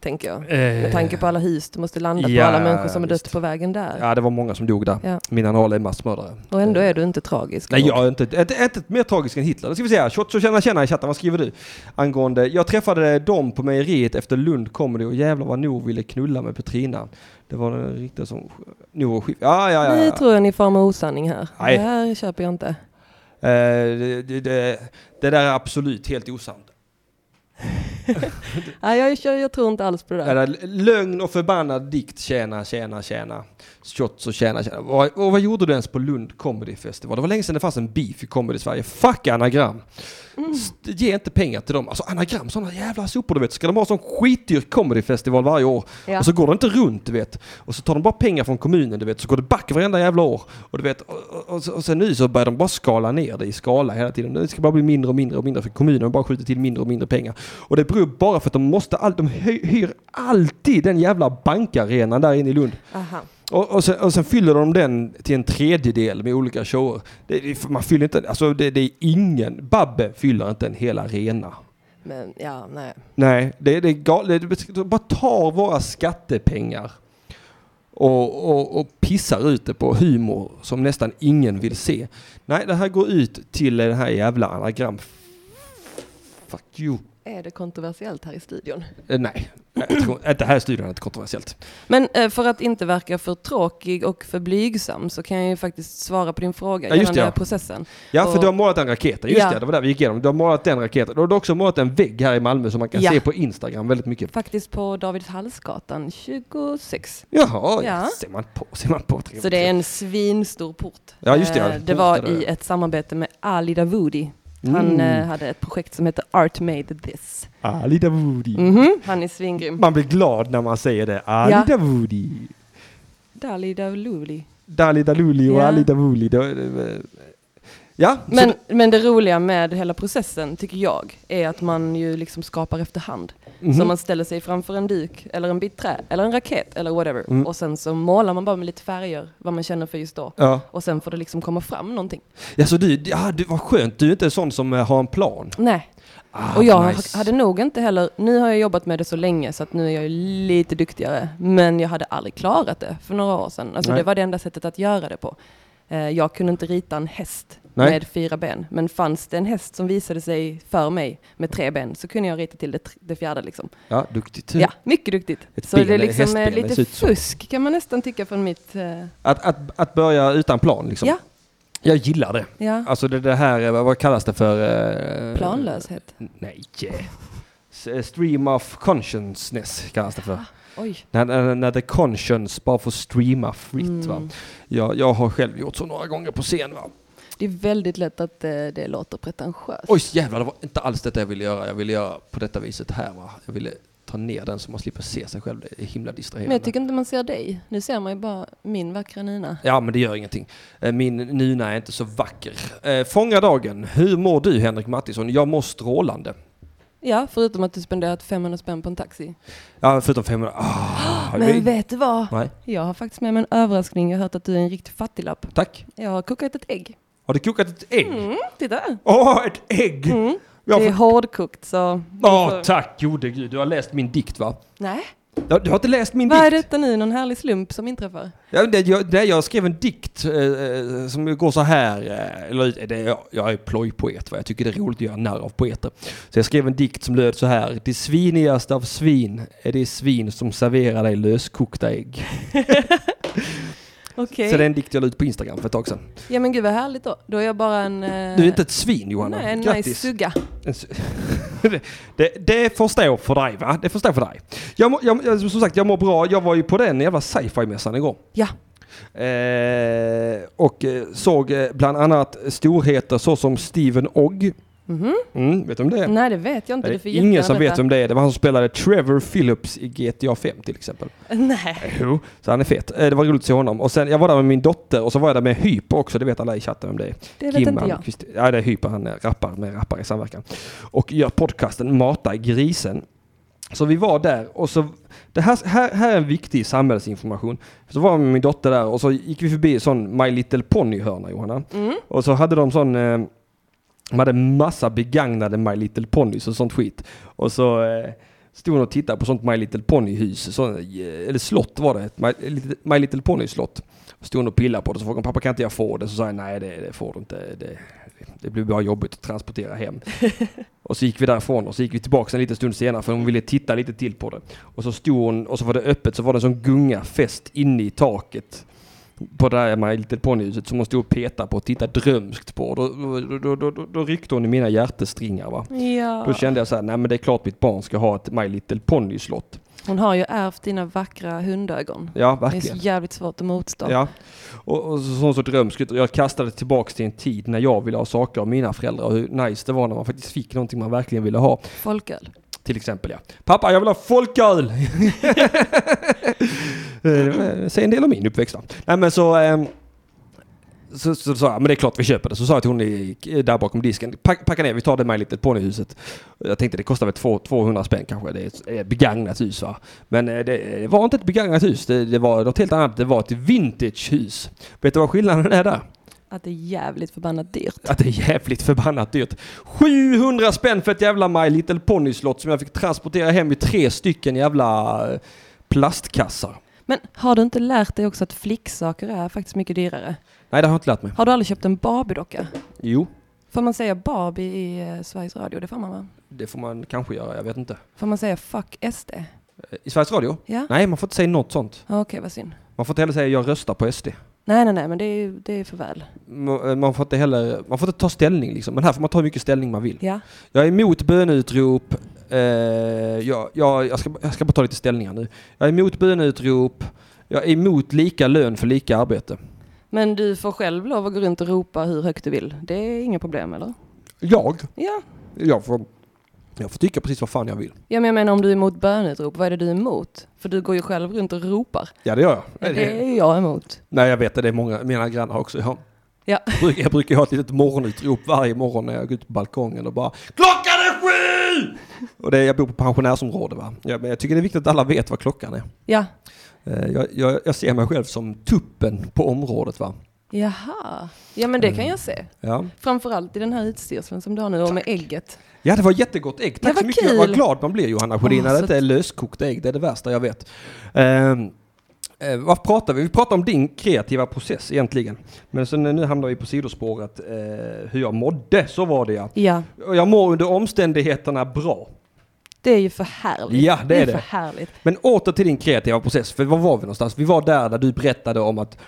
Speaker 3: Tänker jag.
Speaker 1: Eh,
Speaker 3: Med tanke på alla hus du måste landa
Speaker 1: Ja,
Speaker 3: på, alla människor som har
Speaker 1: visst.
Speaker 3: dött på vägen där.
Speaker 1: Ja, det var många som dog där.
Speaker 3: Ja.
Speaker 1: Min anal är massmördare. Eh,
Speaker 3: Och ändå är du inte tragisk.
Speaker 1: Nej, jag är inte, inte, inte mer tragisk än Hitler. Det ska vi se här. Shotzo tjena tjena i chatten, vad skriver du? Angående, jag träffade dem på mejeriet efter Lund comedy och jävlar vad Nour ville knulla med Petrina. Det var den riktiga som... Nour skick... Ah, Ja, ja, ja.
Speaker 3: Nu
Speaker 1: ja.
Speaker 3: tror jag ni far med osanning här.
Speaker 1: Nej.
Speaker 3: Det här köper jag inte.
Speaker 1: Eh, det, det, det, det där är absolut helt osant.
Speaker 3: Nej, jag, jag, jag tror inte alls på det
Speaker 1: Det
Speaker 3: där.
Speaker 1: där, lögn och förbannad dikt, tjena, tjena, tjena. Shotzo tjena, tjena. Vad, och vad gjorde du ens på Lund comedy festival? Det var länge sedan det fanns en beef i comedy i Sverige. Fuck anagram! St- Ge inte pengar till dem. Alltså anagram, sådana jävla sopor du vet. Ska de ha sån skitdyr comedyfestival varje år?
Speaker 3: Ja.
Speaker 1: Och så går det inte runt du vet. Och så tar de bara pengar från kommunen du vet. Så går det back varenda jävla år. Och du vet, och, och, och, så- och sen nu så börjar de bara skala ner det i skala hela tiden. Det ska bara bli mindre och mindre och mindre för kommunen bara skjuter till mindre och mindre pengar. Och det beror bara för att de måste, all, de hy- hyr alltid den jävla bankarenan där inne i Lund.
Speaker 3: Aha.
Speaker 1: Och, och, sen, och sen fyller de den till en tredjedel med olika shower. Det, det, man fyller inte, alltså det, det är ingen, Babbe fyller inte en hel arena.
Speaker 3: Men ja, nej.
Speaker 1: Nej, det, det är galet. De bara tar våra skattepengar och, och, och pissar ut det på humor som nästan ingen vill se. Nej, det här går ut till den här jävla anagram. Fuck you.
Speaker 3: Är det kontroversiellt här i studion?
Speaker 1: Eh, Nej, jag tror inte. Det här i studion är inte kontroversiellt.
Speaker 3: Men eh, för att inte verka för tråkig och för blygsam så kan jag ju faktiskt svara på din fråga
Speaker 1: Ja, just det,
Speaker 3: gällande
Speaker 1: ja.
Speaker 3: processen.
Speaker 1: Ja, för
Speaker 3: Och-
Speaker 1: du har målat den raketen. Just
Speaker 3: Ja.
Speaker 1: det, det var där vi gick igenom. Du har målat den raketen. Du har också målat en vägg här i Malmö som man kan
Speaker 3: Ja.
Speaker 1: se på Instagram väldigt mycket.
Speaker 3: Faktiskt på David Hallsgatan 26.
Speaker 1: Jaha, ja.
Speaker 3: Ja.
Speaker 1: ser man på. Ser man på
Speaker 3: Så det är en svinstor port.
Speaker 1: Ja, just det, ja.
Speaker 3: Eh,
Speaker 1: Port
Speaker 3: Det var
Speaker 1: är det.
Speaker 3: i ett samarbete med Ali Davoodi. Han
Speaker 1: Mm.
Speaker 3: eh, hade ett projekt som hette Art Made This.
Speaker 1: Ali Dawoodi.
Speaker 3: Mhm, Han är svingrym.
Speaker 1: Man blir glad när man säger det. Ali
Speaker 3: Ja.
Speaker 1: Dawoodi.
Speaker 3: Dali Davluli.
Speaker 1: Dali Daluli och
Speaker 3: Ja.
Speaker 1: Ali Dawoodi. Det- det- Ja, så
Speaker 3: Men, men det roliga med hela processen, tycker jag, är att man ju liksom skapar efterhand.
Speaker 1: Mhm.
Speaker 3: Så man ställer sig framför en duk, eller en bit trä, eller en raket, eller whatever.
Speaker 1: Mm.
Speaker 3: Och sen så målar man bara med lite färger, vad man känner för just då.
Speaker 1: Ja,
Speaker 3: Och sen får det liksom komma fram någonting.
Speaker 1: ja så du, ja, du var skönt. Du är inte en sån som eh, har en plan.
Speaker 3: Nej,
Speaker 1: Ah,
Speaker 3: och jag
Speaker 1: nice.
Speaker 3: hade nog inte heller, nu har jag jobbat med det så länge så att nu är jag ju lite duktigare. Men jag hade aldrig klarat det för några år sedan. Alltså
Speaker 1: Nej.
Speaker 3: det var det enda sättet att göra det på. Eh, Jag kunde inte rita en häst
Speaker 1: Nej.
Speaker 3: med fyra ben. Men fanns det en häst som visade sig för mig med tre ben så kunde jag rita till det, tr- det fjärde liksom.
Speaker 1: Ja, duktigt.
Speaker 3: Ja, mycket duktigt.
Speaker 1: Ett
Speaker 3: så
Speaker 1: ben
Speaker 3: det är
Speaker 1: eller
Speaker 3: liksom eh,
Speaker 1: hästben, det ser
Speaker 3: lite
Speaker 1: ut Liksom. så.
Speaker 3: fusk kan man nästan tycka från mitt... eh,
Speaker 1: Att, att, att börja utan plan liksom.
Speaker 3: Ja,
Speaker 1: Jag gillar det.
Speaker 3: ja.
Speaker 1: Alltså det, det här, eh, vad vad kallas det för? eh,
Speaker 3: Planlöshet.
Speaker 1: Nej. S- eh, Stream of consciousness kallas det för.
Speaker 3: Ah. Oj.
Speaker 1: När, när, när the conscience bara får streama fritt va.
Speaker 3: Mm.
Speaker 1: Jag, jag har själv gjort så några gånger på scen va.
Speaker 3: Det är väldigt lätt att eh, det låter pretentiöst.
Speaker 1: Oj jävlar, det var inte alls detta jag ville göra. Jag ville göra på detta viset här va. Jag ville ta ner den så man slipper se sig själv. Det är himla
Speaker 3: Men
Speaker 1: distraherande.
Speaker 3: jag tycker inte man ser dig. Nu ser man ju bara min vackra Nina.
Speaker 1: Ja men det gör ingenting. Eh, Min Nina är inte så vacker. Eh, Fånga dagen. Hur mår du Henrik Mattisson? Jag mår strålande.
Speaker 3: Ja, förutom att du spenderat 500 spänn på en taxi.
Speaker 1: Ja, förutom 500. Ah,
Speaker 3: Men vet du vad?
Speaker 1: Nej,
Speaker 3: Jag har faktiskt med mig en överraskning. Jag har hört att du är en riktig fattiglapp.
Speaker 1: tack.
Speaker 3: Jag har kokat ett ägg.
Speaker 1: Har du kokat ett ägg? Åh,
Speaker 3: Mm, titta!
Speaker 1: ett ägg!
Speaker 3: Mm.
Speaker 1: Jag
Speaker 3: Det är
Speaker 1: får...
Speaker 3: hårdkokt så...
Speaker 1: Åh, tack gode gud. Du har läst min dikt va?
Speaker 3: Nej,
Speaker 1: Ja, Du har inte läst min
Speaker 3: vad är
Speaker 1: dikt?
Speaker 3: detta nu? Någon härlig slump som inträffar?
Speaker 1: Ja, det, jag, nej, jag skrev en dikt eh, eh, som går så här. Eh, eller, det, jag, jag är plojpoet va? Jag tycker det är roligt att göra narr av poeter. Så jag skrev en dikt som löd så här. Det svinigaste av svin är det svin som serverar dig löskokta ägg.
Speaker 3: Okej.
Speaker 1: Så det är en dikt jag la ut på Instagram för ett tag sedan.
Speaker 3: Ja men gud vad härligt då. Då är jag bara en... eh,
Speaker 1: Du är inte ett svin Johanna.
Speaker 3: Nej, en nice
Speaker 1: Grattis.
Speaker 3: sugga.
Speaker 1: En s- det, det, det får stå för dig va? Det får stå för dig. Jag, må, jag, jag, som sagt, jag mår bra. Jag var ju på den jävla sci-fi-mässan igår.
Speaker 3: Ja.
Speaker 1: Eh, och eh, såg eh, bland annat storheter såsom Steven Ogg.
Speaker 3: Mhm.
Speaker 1: Mm, vet du om det är?
Speaker 3: Nej det vet jag inte.
Speaker 1: Det
Speaker 3: Du
Speaker 1: är
Speaker 3: får
Speaker 1: ingen som
Speaker 3: jättegärna
Speaker 1: vet vem det är. Det var han som spelade Trevor Phillips i GTA 5 till exempel.
Speaker 3: berätta. Nej.
Speaker 1: Jo, så han är fet. Eh, Det var roligt att se honom. Och sen, jag var där med min dotter och så var jag där med Hyper också. Det vet alla i chatten om det är.
Speaker 3: Det vet inte jag.
Speaker 1: Almqvist. Ja, det är Hyper. Han är rappar med Rappar i samverkan. Och gör podcasten Mata grisen. Så vi var där och så, det här, här, här är en viktig samhällsinformation. Så var jag med min dotter där och så gick vi förbi en sån My Little Pony-hörna Johanna.
Speaker 3: Mm.
Speaker 1: Och så hade de sån, eh, de hade massa begagnade My Little Ponys och sånt skit. Och så eh, stod de och tittade på sånt My Little Pony-hus, så, eh, eller slott var det, ett My, Little- My Little Pony-slott. Och Stod de och pillade på det, så frågade de, pappa kan inte jag få det? Så sa jag nej det, det får du inte, det, det blir bara jobbigt att transportera hem. och så gick vi därifrån och så gick vi tillbaka en liten stund senare för hon ville titta lite till på det. Och så stod hon, och så var det öppet, så var det en sån gunga fäst inne i taket på det här My Little Pony-huset som hon stod och petade på och tittade drömskt på. Då, då, då, då, då, då ryckte hon i mina hjärtestringar va.
Speaker 3: Ja.
Speaker 1: Då kände jag så här, nej men det är klart mitt barn ska ha ett My Little Pony-slott.
Speaker 3: Hon har ju ärvt dina vackra hundögon.
Speaker 1: Ja,
Speaker 3: Det är så
Speaker 1: verkligen.
Speaker 3: jävligt svårt att motstå.
Speaker 1: Ja. Och, och så, så, så drömskt ut. Och Jag kastade tillbaks till en tid när jag ville ha saker av mina föräldrar och hur nice det var när man faktiskt fick någonting man verkligen ville ha.
Speaker 3: Folköl.
Speaker 1: Till exempel ja. Pappa, jag vill ha folköl! Eh, Säg en del om min uppväxt då. Nej men så... ehm, Så, så sa jag, men det är klart vi köper det. Så sa jag till hon i, eh, där bakom disken, "Pack- packa ner, vi tar det med lite ponyhuset. Jag tänkte det kostar väl två- 200 spänn kanske, det är ett eh, begagnat hus va. Men eh, det var inte ett begagnat hus, det, det var något helt annat, det var ett vintagehus. Vet du vad skillnaden är där?
Speaker 3: Att det är jävligt förbannat dyrt.
Speaker 1: Att det är jävligt förbannat dyrt. 700 spänn för ett jävla My Little Pony-slott som jag fick transportera hem i tre stycken jävla eh, plastkassar.
Speaker 3: Men har du inte lärt dig också att flicksaker är faktiskt mycket dyrare?
Speaker 1: Nej, det har jag inte lärt mig.
Speaker 3: Har du aldrig köpt en Barbie-docka?
Speaker 1: Jo,
Speaker 3: Får man säga Barbie i eh, Sveriges Radio? Det får man va?
Speaker 1: det får man kanske göra, jag vet inte.
Speaker 3: Får man säga fuck SD?
Speaker 1: Eh, I Sveriges Radio?
Speaker 3: Ja?
Speaker 1: Nej, man får inte säga något sånt.
Speaker 3: Okej, vad synd.
Speaker 1: Man får inte heller säga jag röstar på SD.
Speaker 3: Nej, nej, nej, men det är, det är för väl.
Speaker 1: Ma- eh, Man får inte heller, man får inte ta ställning liksom. Men här får man ta hur mycket ställning man vill.
Speaker 3: Ja,
Speaker 1: Jag är emot böneutrop. Eh, jag, jag, jag, ska, jag ska bara ta lite ställningar nu. Jag är emot böneutrop. Jag är emot lika lön för lika arbete.
Speaker 3: men du får själv lov att gå runt och ropa hur högt du vill. Det är inga problem, eller?
Speaker 1: Jag?
Speaker 3: Ja.
Speaker 1: Jag får, jag får tycka precis vad fan jag vill.
Speaker 3: ja, men jag menar om du är emot bönutrop, vad är det du är emot? För du går ju själv runt och ropar.
Speaker 1: Ja det gör jag.
Speaker 3: Ja, det är ju jag emot.
Speaker 1: Nej jag vet det, det är många, mina grannar också. Jag,
Speaker 3: Ja.
Speaker 1: brukar- jag brukar ha ett litet morgonutrop varje morgon när jag går ut på balkongen och bara Klockan är sju! Och det, jag bor på pensionärsområde va. Ja, men jag tycker det är viktigt att alla vet vad klockan är.
Speaker 3: Ja.
Speaker 1: Eh, Jag, jag, jag ser mig själv som tuppen på området va.
Speaker 3: Jaha. Ja, men det
Speaker 1: Mm.
Speaker 3: kan jag se.
Speaker 1: Ja,
Speaker 3: Framförallt i den här utstyrseln som du har nu och med ägget.
Speaker 1: ja det var jättegott ägg.
Speaker 3: Ja,
Speaker 1: Tack så
Speaker 3: vad
Speaker 1: mycket.
Speaker 3: kul.
Speaker 1: Vad glad man blir Johanna Sjödin
Speaker 3: Åh,
Speaker 1: när det
Speaker 3: så
Speaker 1: inte är löskokta ägg. Det är det värsta jag vet. Ehm, eh, vad pratar vi? Vi pratar om din kreativa process egentligen. Men sen, eh, nu hamnar vi på sidospåret. Eh, hur jag mådde, så var det ja.
Speaker 3: Ja,
Speaker 1: Och Jag mår under omständigheterna bra.
Speaker 3: det är ju för härligt.
Speaker 1: Ja, det är det.
Speaker 3: för härligt.
Speaker 1: Men åter till din kreativa process, för var var vi någonstans? Vi var där där du berättade om att...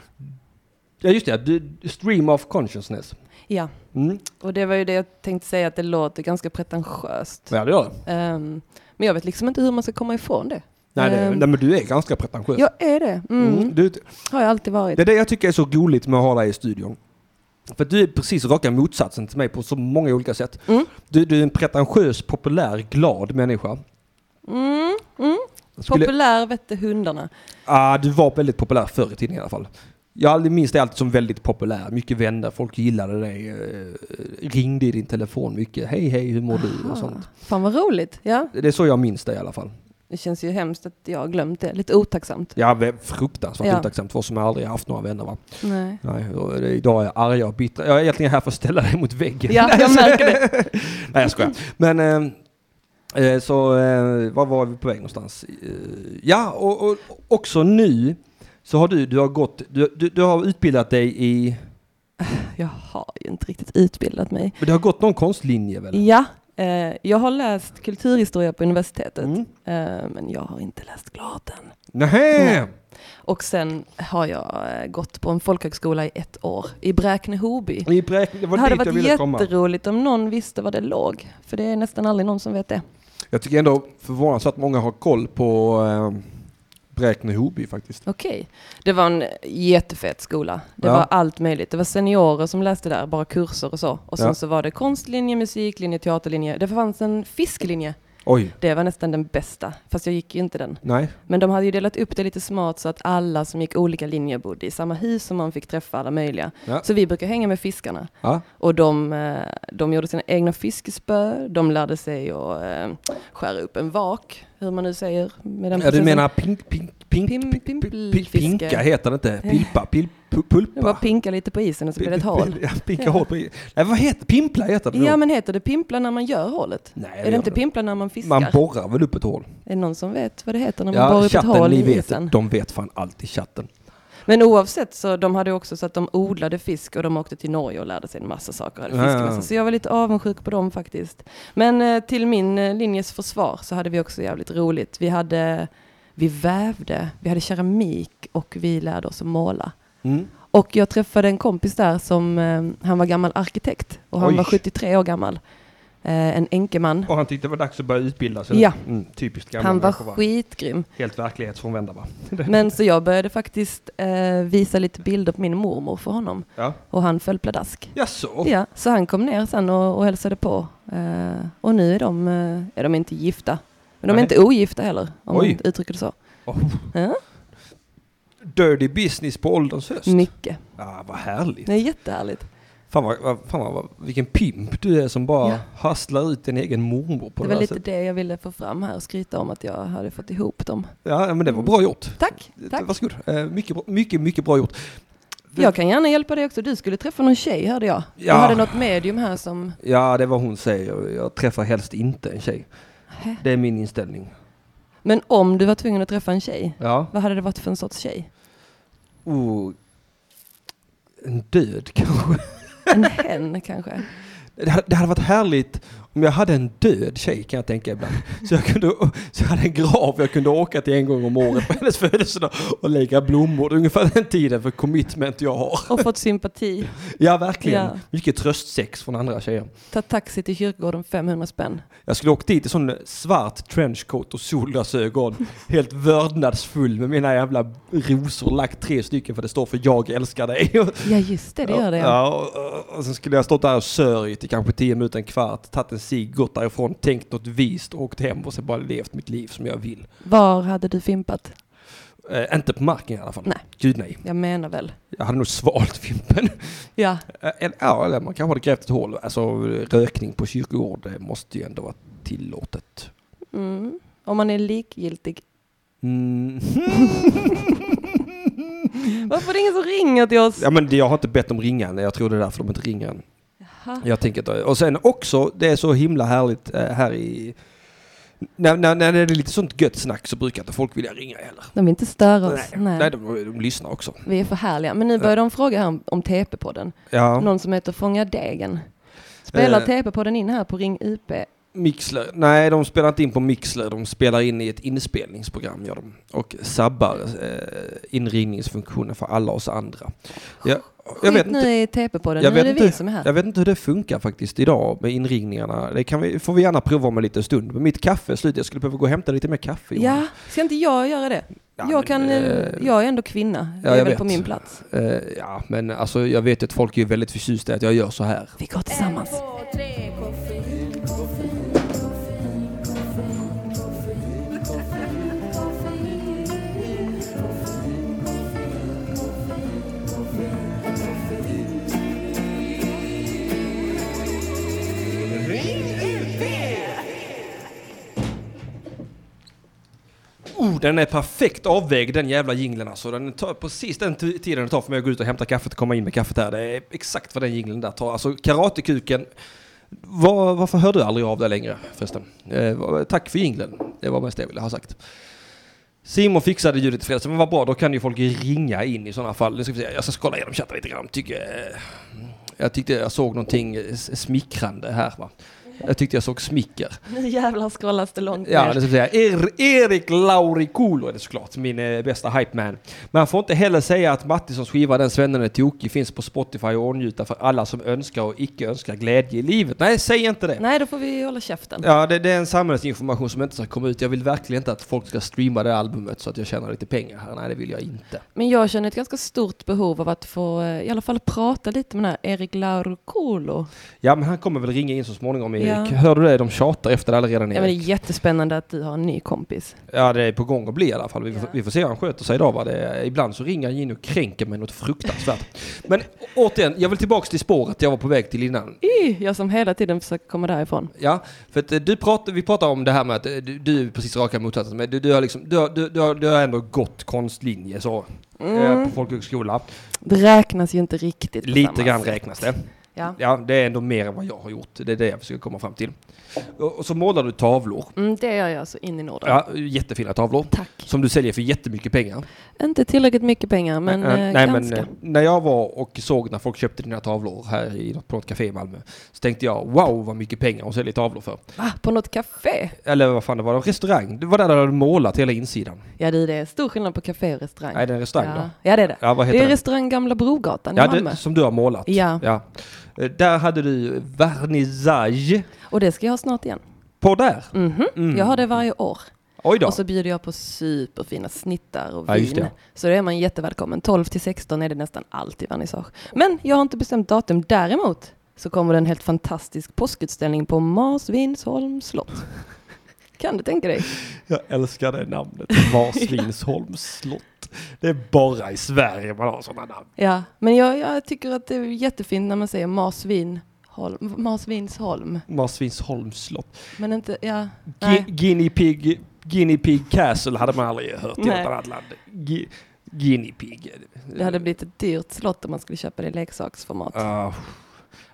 Speaker 1: Ja just det, du, stream of consciousness.
Speaker 3: Ja,
Speaker 1: Mm.
Speaker 3: och det var ju det jag tänkte säga att det låter ganska pretentiöst.
Speaker 1: Ja det gör det.
Speaker 3: Ehm, men jag vet liksom inte hur man ska komma ifrån det.
Speaker 1: Nej, det,
Speaker 3: Ehm,
Speaker 1: nej men du är ganska pretentiös.
Speaker 3: Jag är det. Mm.
Speaker 1: Mm. Du,
Speaker 3: Har jag alltid varit.
Speaker 1: det är det jag tycker är så roligt med att ha dig i studion. För att du är precis raka motsatsen till mig på så många olika sätt.
Speaker 3: Mm.
Speaker 1: Du, du är en pretentiös, populär, glad människa.
Speaker 3: Mm, mm.
Speaker 1: Jag Skulle,
Speaker 3: Populär vette hundarna.
Speaker 1: ah, du var väldigt populär förr i tiden i alla fall. Jag minns dig alltid som väldigt populär, mycket vänner, folk gillade dig, eh, ringde i din telefon mycket, hej hej hur mår du och sånt.
Speaker 3: Fan vad roligt. Ja,
Speaker 1: Det är så jag minns dig i alla fall.
Speaker 3: det känns ju hemskt att jag har glömt det. Lite otacksamt.
Speaker 1: Ja, vä- fruktansvärt
Speaker 3: Ja.
Speaker 1: otacksamt för oss som aldrig haft några vänner va.
Speaker 3: Nej.
Speaker 1: Nej, och det- idag är jag arga och bittra. Jag är egentligen här för att ställa dig mot väggen.
Speaker 3: Ja, jag märker det.
Speaker 1: Nej jag skojar. Men eh, eh, så, eh, var var vi på väg någonstans? Eh, ja, och, och också nu så har du, du har gått, du, du, du har utbildat dig i,
Speaker 3: Jag har ju inte riktigt utbildat mig.
Speaker 1: men du har gått någon konstlinje väl?
Speaker 3: Ja, eh, jag har läst kulturhistoria på universitetet.
Speaker 1: Mm.
Speaker 3: Eh, men jag har inte läst klart än.
Speaker 1: Nähä!
Speaker 3: Nej. Och sen har jag eh, gått på en folkhögskola i ett år i Bräkne-Hoby.
Speaker 1: I Bräkne, det
Speaker 3: Det
Speaker 1: var
Speaker 3: hade
Speaker 1: dit jag
Speaker 3: varit
Speaker 1: ville komma.
Speaker 3: jätteroligt om någon visste var det låg. För det är nästan aldrig någon som vet det.
Speaker 1: Jag tycker ändå förvånansvärt många har koll på eh, Bräkne-Hoby faktiskt.
Speaker 3: Okej. Det var en jättefet skola. Det
Speaker 1: Ja.
Speaker 3: var allt möjligt. Det var seniorer som läste där, bara kurser och så. Och sen
Speaker 1: Ja.
Speaker 3: så var det konstlinje, musiklinje, teaterlinje. Det fanns en fisklinje.
Speaker 1: Oj,
Speaker 3: Det var nästan den bästa, fast jag gick ju inte den.
Speaker 1: nej.
Speaker 3: Men de hade ju delat upp det lite smart så att alla som gick olika linjer bodde i samma hus och man fick träffa alla möjliga.
Speaker 1: Ja.
Speaker 3: Så vi brukar hänga med fiskarna.
Speaker 1: Ja.
Speaker 3: Och de, eh, de gjorde sina egna fiskespö, de lärde sig att eh, skära upp en vak, hur man nu säger. Med den
Speaker 1: Ja, du
Speaker 3: processen.
Speaker 1: menar pink, pink, pink,
Speaker 3: Pim-
Speaker 1: pink,
Speaker 3: pimpel-
Speaker 1: pink, pinka
Speaker 3: fiske.
Speaker 1: heter det inte? Pilpa, pil, pu-
Speaker 3: Eh. Det var
Speaker 1: pulpa?
Speaker 3: pinka lite på isen och så blev det ett hål.
Speaker 1: Ja, pinka hål på Nej, vad heter Pimpla heter det
Speaker 3: Ja
Speaker 1: nog.
Speaker 3: men heter det pimpla när man gör hålet?
Speaker 1: Nej, det
Speaker 3: är
Speaker 1: gör
Speaker 3: det inte
Speaker 1: det.
Speaker 3: pimpla när man fiskar?
Speaker 1: Man borrar väl upp ett hål?
Speaker 3: är det någon som vet vad det heter när man borrar
Speaker 1: Ja,
Speaker 3: upp ett hål
Speaker 1: chatten, ni
Speaker 3: i
Speaker 1: vet,
Speaker 3: isen?
Speaker 1: de vet fan allt i chatten.
Speaker 3: Men oavsett så de hade också så att de odlade fisk och de åkte till Norge och lärde sig en massa saker. Hade
Speaker 1: Ja, ja, ja.
Speaker 3: fiskemässa. Så jag var lite avundsjuk på dem faktiskt. Men eh, till min eh, linjes försvar så hade vi också jävligt roligt. Vi hade, vi vävde, vi hade keramik och vi lärde oss att måla.
Speaker 1: Mm.
Speaker 3: Och jag träffade en kompis där som, eh, han var gammal arkitekt och han
Speaker 1: Oj.
Speaker 3: var 73 år gammal. Eh, en enkeman.
Speaker 1: Och han tyckte det var dags att börja utbilda
Speaker 3: sig. Ja.
Speaker 1: Mm, typiskt gamla
Speaker 3: Han var
Speaker 1: människor, va?
Speaker 3: skitgrym.
Speaker 1: Helt verklighetsfrånvända va?
Speaker 3: Men så jag började faktiskt eh, visa lite bilder på min mormor för honom
Speaker 1: Ja.
Speaker 3: och han föll pladask.
Speaker 1: Jaså?
Speaker 3: Ja, så han kom ner sen och, och hälsade på. Eh, och nu är de, eh, är de inte gifta. Men de
Speaker 1: Nej.
Speaker 3: är inte ogifta heller, om
Speaker 1: Oj.
Speaker 3: man uttrycker det så.
Speaker 1: Oh.
Speaker 3: Ja.
Speaker 1: Dirty business på ålderns höst?
Speaker 3: Mycket.
Speaker 1: Ah, vad härligt.
Speaker 3: Det är jättehärligt.
Speaker 1: Fan, vad, vad, fan vad- vad, vilken pimp du är som bara
Speaker 3: Ja.
Speaker 1: hustlar ut din egen mormor på
Speaker 3: det
Speaker 1: det,
Speaker 3: var
Speaker 1: där
Speaker 3: lite
Speaker 1: sättet.
Speaker 3: det jag ville få fram här och skryta om att jag hade fått ihop dem.
Speaker 1: Ja, men det var bra gjort.
Speaker 3: Tack, tack.
Speaker 1: Varsågod. Eh, Mycket, bra- mycket, mycket bra gjort.
Speaker 3: Jag kan gärna hjälpa dig också. Du skulle träffa någon tjej hörde jag. Du
Speaker 1: Ja.
Speaker 3: hade något medium här som...
Speaker 1: Ja, det är vad hon säger. Jag träffar helst inte en tjej.
Speaker 3: Hä?
Speaker 1: Det är min inställning.
Speaker 3: Men om du var tvungen att träffa en tjej,
Speaker 1: Ja.
Speaker 3: vad hade det varit för en sorts tjej?
Speaker 1: Oh. En död kanske.
Speaker 3: En hen kanske?
Speaker 1: Det hade, det hade varit härligt Men jag hade en död tjej kan jag tänka ibland. Så jag, kunde, så jag hade en grav jag kunde åka till en gång om året på hennes födelsedag och lägga blommor. Det är ungefär den tiden för commitment jag har.
Speaker 3: Och fått sympati.
Speaker 1: Ja, verkligen.
Speaker 3: Ja.
Speaker 1: Mycket tröstsex från andra tjejer.
Speaker 3: Ta taxi till kyrkogården 500 spänn.
Speaker 1: Jag skulle åkt dit i sån svart trenchcoat och solglasögon. Helt vördnadsfull med mina jävla rosor. Lagt tre stycken för det står för jag älskar dig.
Speaker 3: Ja just det, det gör det. Ja.
Speaker 1: Ja, och- och, och sen skulle jag stått där och sörjt i kanske 10 minuter, en kvart, tagit en cigg, gått därifrån, tänkt något vist, åkt hem och sen bara levt mitt liv som jag vill.
Speaker 3: Var hade du fimpat?
Speaker 1: Eh, inte på marken i alla fall.
Speaker 3: Nej.
Speaker 1: Gud nej.
Speaker 3: Jag menar väl.
Speaker 1: Jag hade nog svalt Fimpen.
Speaker 3: Ja,
Speaker 1: Eh, Eller, ja, eller man kanske hade grävt ett hål. Alltså rökning på kyrkogård det måste ju ändå vara tillåtet.
Speaker 3: mm. om man är likgiltig.
Speaker 1: Mm.
Speaker 3: Varför är det ingen som ringer till oss?
Speaker 1: Ja men det- jag har inte bett dem ringa än. Jag tror det är därför de inte ringer än.
Speaker 3: Jaha.
Speaker 1: Jag tänker att, och sen också, det är så himla härligt eh, här i... När, när, när det är lite sånt gött snack så brukar inte folk vilja ringa heller.
Speaker 3: De vill inte störa oss.
Speaker 1: Nej, nej de, de lyssnar också.
Speaker 3: Vi är för härliga. Men nu börjar de fråga här om, om TP-podden.
Speaker 1: Ja,
Speaker 3: Någon som heter Fånga degen. Spelar
Speaker 1: Eh.
Speaker 3: TP-podden in här på Ring UP?
Speaker 1: Mixler. Nej, de spelar inte in på Mixler. De spelar in i ett inspelningsprogram gör de. Och sabbar eh, inringningsfunktionen för alla oss andra. Jag, jag vet
Speaker 3: Skit
Speaker 1: inte.
Speaker 3: nu i TP-podden, nu
Speaker 1: Jag vet
Speaker 3: är det vi
Speaker 1: inte.
Speaker 3: som är här.
Speaker 1: Jag vet inte hur det funkar faktiskt idag med inringningarna. Det kan vi, får vi gärna prova om en liten stund. Men mitt kaffe är slut. Jag skulle behöva gå och hämta lite mer kaffe. Johan.
Speaker 3: Ja, ska inte jag göra det?
Speaker 1: Ja, men,
Speaker 3: jag, kan, eh,
Speaker 1: eh,
Speaker 3: jag är ändå kvinna,
Speaker 1: ja,
Speaker 3: jag är
Speaker 1: jag
Speaker 3: väl
Speaker 1: vet.
Speaker 3: på min plats.
Speaker 1: Eh, ja, men alltså jag vet ju att folk är väldigt förtjusta i att jag gör så här.
Speaker 3: Vi går tillsammans.
Speaker 1: Oh, den är perfekt avvägd den jävla jingeln alltså. Den tar precis den t- tiden det tar för mig att gå ut och hämta kaffet och komma in med kaffet här. Det är exakt vad den jingeln där tar. Alltså karatekuken. Var, varför hör du aldrig av dig längre förresten? Eh, va- tack för jingeln. Det var mest det jag ville ha sagt. Simon fixade ljudet i fredags, men vad bra, då kan ju folk ringa in i sådana fall. Nu ska vi se, jag ska scrolla igenom chatten lite grann. Tycker, eh, jag tyckte jag såg någonting eh, s- smickrande här va. Jag tyckte jag såg smicker.
Speaker 3: Nu jävlar scrollas det långt
Speaker 1: Ja,
Speaker 3: ner.
Speaker 1: det ska jag säga. Er, Erik Laurikulo är det såklart, min eh, bästa hype man. Men han får inte heller säga att Mattissons skiva Den svennen är tokig finns på Spotify och åtnjuta för alla som önskar och icke önskar glädje i livet. Nej, säg inte det.
Speaker 3: Nej, då får vi hålla käften.
Speaker 1: Ja, det, det är en samhällsinformation som inte ska komma ut. Jag vill verkligen inte att folk ska streama det albumet så att jag tjänar lite pengar här. Nej, det vill jag inte.
Speaker 3: Men jag känner ett ganska stort behov av att få eh, i alla fall prata lite med den här Erik Laurukolo.
Speaker 1: Ja, men han kommer väl ringa in så småningom, Erik.
Speaker 3: Ja.
Speaker 1: Hör du det? De tjatar efter det redan,
Speaker 3: Ja, men det är
Speaker 1: Erik.
Speaker 3: jättespännande att du har en ny kompis.
Speaker 1: Ja, det är på gång att bli i alla fall. Vi, får-
Speaker 3: Ja.
Speaker 1: vi får se hur han sköter sig idag. Va? Det, är- ibland så ringer han in och kränker mig något fruktansvärt. Men å- återigen, jag vill tillbaka till spåret jag var på väg till innan.
Speaker 3: Ih, Jag som hela tiden försöker komma därifrån.
Speaker 1: Ja, för att eh, du pratar, vi pratar om det här med att eh, du, du är precis raka motsatsen. Men du, du, har liksom, du, har- du, du, har, du har ändå gått konstlinje så, eh, på folkhögskola.
Speaker 3: Det räknas ju inte riktigt. på
Speaker 1: Lite
Speaker 3: Mm. samma
Speaker 1: grann
Speaker 3: sätt.
Speaker 1: räknas det.
Speaker 3: Ja.
Speaker 1: Ja, det är ändå mer än vad jag har gjort. Det är det jag försöker komma fram till. Och, och så målar du tavlor.
Speaker 3: Mm, det gör jag så in i Norden.
Speaker 1: Ja, jättefina tavlor.
Speaker 3: Tack.
Speaker 1: Som du säljer för jättemycket pengar.
Speaker 3: Inte tillräckligt mycket pengar, men
Speaker 1: Nej,
Speaker 3: eh,
Speaker 1: nej, men
Speaker 3: ganska.
Speaker 1: eh, när jag var och såg när folk köpte dina tavlor här i något, på något café i Malmö så tänkte jag wow vad mycket pengar hon säljer tavlor för.
Speaker 3: Va, Ah, på något café?
Speaker 1: Eller vad fan det var, en restaurang. Det var där de hade målat hela insidan.
Speaker 3: Ja, det är det. Stor skillnad på café och restaurang.
Speaker 1: Nej, det är en restaurang
Speaker 3: ja.
Speaker 1: då.
Speaker 3: ja, det är det.
Speaker 1: Ja, vad heter
Speaker 3: det är
Speaker 1: den?
Speaker 3: restaurang Gamla Brogatan i
Speaker 1: Ja,
Speaker 3: Malmö.
Speaker 1: det, som du har målat.
Speaker 3: Ja.
Speaker 1: Eh, Där hade du vernissage
Speaker 3: Och det ska jag ha snart igen.
Speaker 1: på där.
Speaker 3: Mhm.
Speaker 1: Mm.
Speaker 3: Jag har det varje år.
Speaker 1: Oj då.
Speaker 3: Och så bjuder jag på superfina snittar och
Speaker 1: Ja,
Speaker 3: vin.
Speaker 1: just det.
Speaker 3: Så då är man jättevälkommen. 12 till 16 är det nästan alltid vernissage. Men jag har inte bestämt datum. Däremot så kommer det en helt fantastisk påskutställning på Marsvinsholms slott. kan du tänka dig?
Speaker 1: Jag älskar det namnet. Marsvinsholms slott. Det är bara i Sverige man har sådana namn.
Speaker 3: Ja, men jag, jag tycker att det är jättefint när man säger Marsvinholm, Marsvinsholm.
Speaker 1: Marsvinsholms slott.
Speaker 3: Men inte, ja.
Speaker 1: Gi-
Speaker 3: Nej.
Speaker 1: Guinea Pig, Guinea Pig Castle hade man aldrig hört i
Speaker 3: Nej.
Speaker 1: något annat land. Gi- Guinea Pig.
Speaker 3: Det hade blivit ett dyrt slott om man skulle köpa det i leksaksformat.
Speaker 1: Ah.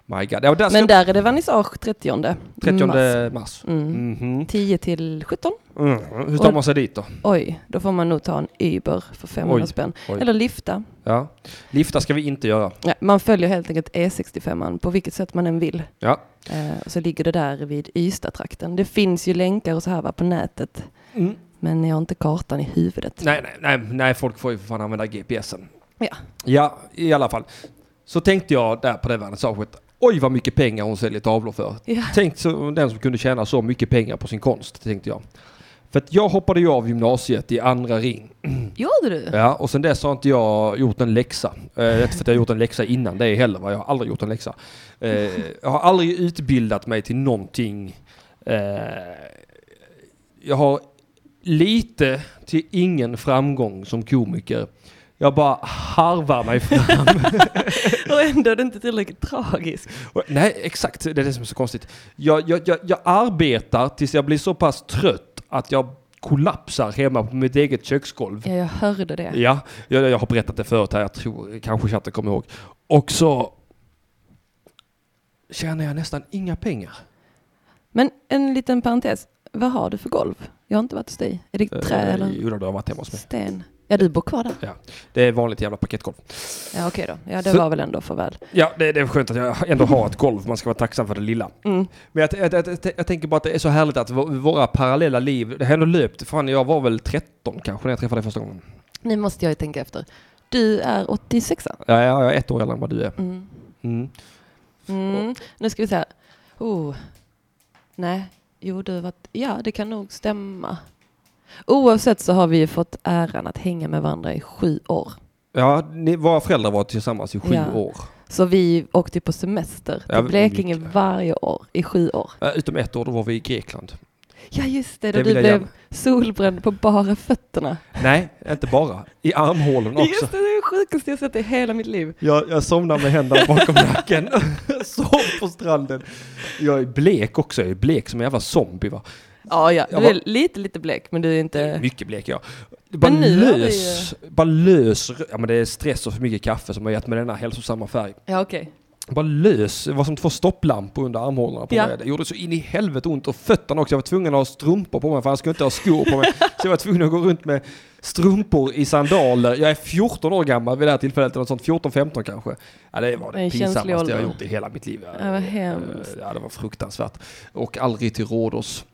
Speaker 1: My God. Ja, där ska
Speaker 3: Men där är det vernissage 30,
Speaker 1: 30
Speaker 3: mars.
Speaker 1: mars.
Speaker 3: Mm.
Speaker 1: Mhm.
Speaker 3: 10 till 17.
Speaker 1: Mm. Hur tar man sig dit då?
Speaker 3: Oj, då får man nog ta en Uber för 500
Speaker 1: Oj,
Speaker 3: spänn.
Speaker 1: oj.
Speaker 3: Eller lifta.
Speaker 1: Ja. Lifta ska vi inte göra.
Speaker 3: Ja, man följer helt enkelt E65 på vilket sätt man än vill.
Speaker 1: Ja.
Speaker 3: Eh, och så ligger det där vid Ystad-trakten. Det finns ju länkar och så här va, på nätet.
Speaker 1: Mm.
Speaker 3: Men jag har inte kartan i huvudet.
Speaker 1: Nej, nej, nej, nej, folk får ju för fan använda GPSen.
Speaker 3: Ja.
Speaker 1: Ja, i alla fall. Så tänkte jag där på det vernissaget. Oj vad mycket pengar hon säljer tavlor för.
Speaker 3: Ja.
Speaker 1: Tänk så, den som kunde tjäna så mycket pengar på sin konst, tänkte jag. För att jag hoppade ju av gymnasiet i andra ring.
Speaker 3: Gjorde du?
Speaker 1: Ja, och sen dess har inte jag gjort en läxa. Eh, inte för att jag har gjort en läxa innan det heller, va? jag har aldrig gjort en läxa. Eh, jag har aldrig utbildat mig till någonting. Eh, jag har lite till ingen framgång som komiker. Jag bara harvar mig fram.
Speaker 3: Och ändå är det inte tillräckligt tragiskt.
Speaker 1: Och- Nej, exakt. Det är det som är så konstigt. Jag, jag, jag, jag arbetar tills jag blir så pass trött att jag kollapsar hemma på mitt eget köksgolv.
Speaker 3: Ja, jag hörde det.
Speaker 1: Ja, jag, jag har berättat det förut här. Jag tror kanske chatten kommer ihåg. Och så tjänar jag nästan inga pengar.
Speaker 3: Men en liten parentes. Vad har du för golv? Jag har inte varit hos dig. Är det trä
Speaker 1: Eh,
Speaker 3: eller
Speaker 1: Jo, då, det har varit hemma hos mig.
Speaker 3: sten? Ja, du bor kvar där.
Speaker 1: Det är vanligt jävla paketgolv.
Speaker 3: Ja, okej då. Ja, det
Speaker 1: Så-
Speaker 3: var väl ändå för väl.
Speaker 1: Ja, det, det är skönt att jag ändå har ett golv. Man ska vara tacksam för det lilla.
Speaker 3: Mm.
Speaker 1: Men jag, jag, jag, jag, jag tänker bara att det är så härligt att vå- våra parallella liv, det har ändå löpt, fan jag var väl 13 kanske när jag träffade dig första gången.
Speaker 3: Nu måste jag ju tänka efter. Du är 86
Speaker 1: Ja, jag jag är ett år äldre än vad du är.
Speaker 3: mm.
Speaker 1: Mm.
Speaker 3: Mm. Nu ska vi se här. Oh. Nej, jo du har varit... Ja, det kan nog stämma. Oavsett så har vi ju fått äran att hänga med varandra i sju år.
Speaker 1: Ja, ni, våra föräldrar var tillsammans i sju
Speaker 3: Ja.
Speaker 1: år.
Speaker 3: Så vi åkte ju på semester till
Speaker 1: Ja, vi-
Speaker 3: Blekinge
Speaker 1: mycket.
Speaker 3: varje år i sju år.
Speaker 1: Eh, Utom ett år, då var vi i Grekland.
Speaker 3: Ja just det, då
Speaker 1: Det
Speaker 3: du
Speaker 1: vill jag
Speaker 3: blev
Speaker 1: gärna.
Speaker 3: solbränd på bara fötterna.
Speaker 1: Nej, inte bara. I armhålorna också.
Speaker 3: Just det, det är det sjukaste jag sett i hela mitt liv.
Speaker 1: Jag, jag somnar med händerna bakom nacken. Sov på stranden. Jag är blek också. Jag är blek som en jävla zombie va.
Speaker 3: Ja, ja, du
Speaker 1: Jag var-
Speaker 3: är lite, lite blek men du är inte...
Speaker 1: Mycket blek jag. Bara
Speaker 3: nu har
Speaker 1: lös. Bara lös. Ja men det är stress och för mycket kaffe som har gett mig denna hälsosamma färg.
Speaker 3: Ja okej.
Speaker 1: Bara lös. Det var som två stopplampor under armhålorna på
Speaker 3: Ja.
Speaker 1: mig. Det gjorde så in i helvete ont. Och fötterna också. Jag var tvungen att ha strumpor på mig för jag skulle inte ha skor på mig. Så jag var tvungen att gå runt med strumpor i sandaler. Jag är 14 år gammal vid det här tillfället. Eller något sånt. 14-15 kanske. Ja, det var det,
Speaker 3: Det är en känslig
Speaker 1: pinsammaste jag har
Speaker 3: ålder.
Speaker 1: gjort i hela mitt liv. Eh,
Speaker 3: Ja, vad hemskt.
Speaker 1: Ja, det var fruktansvärt. Och aldrig till Rhodos.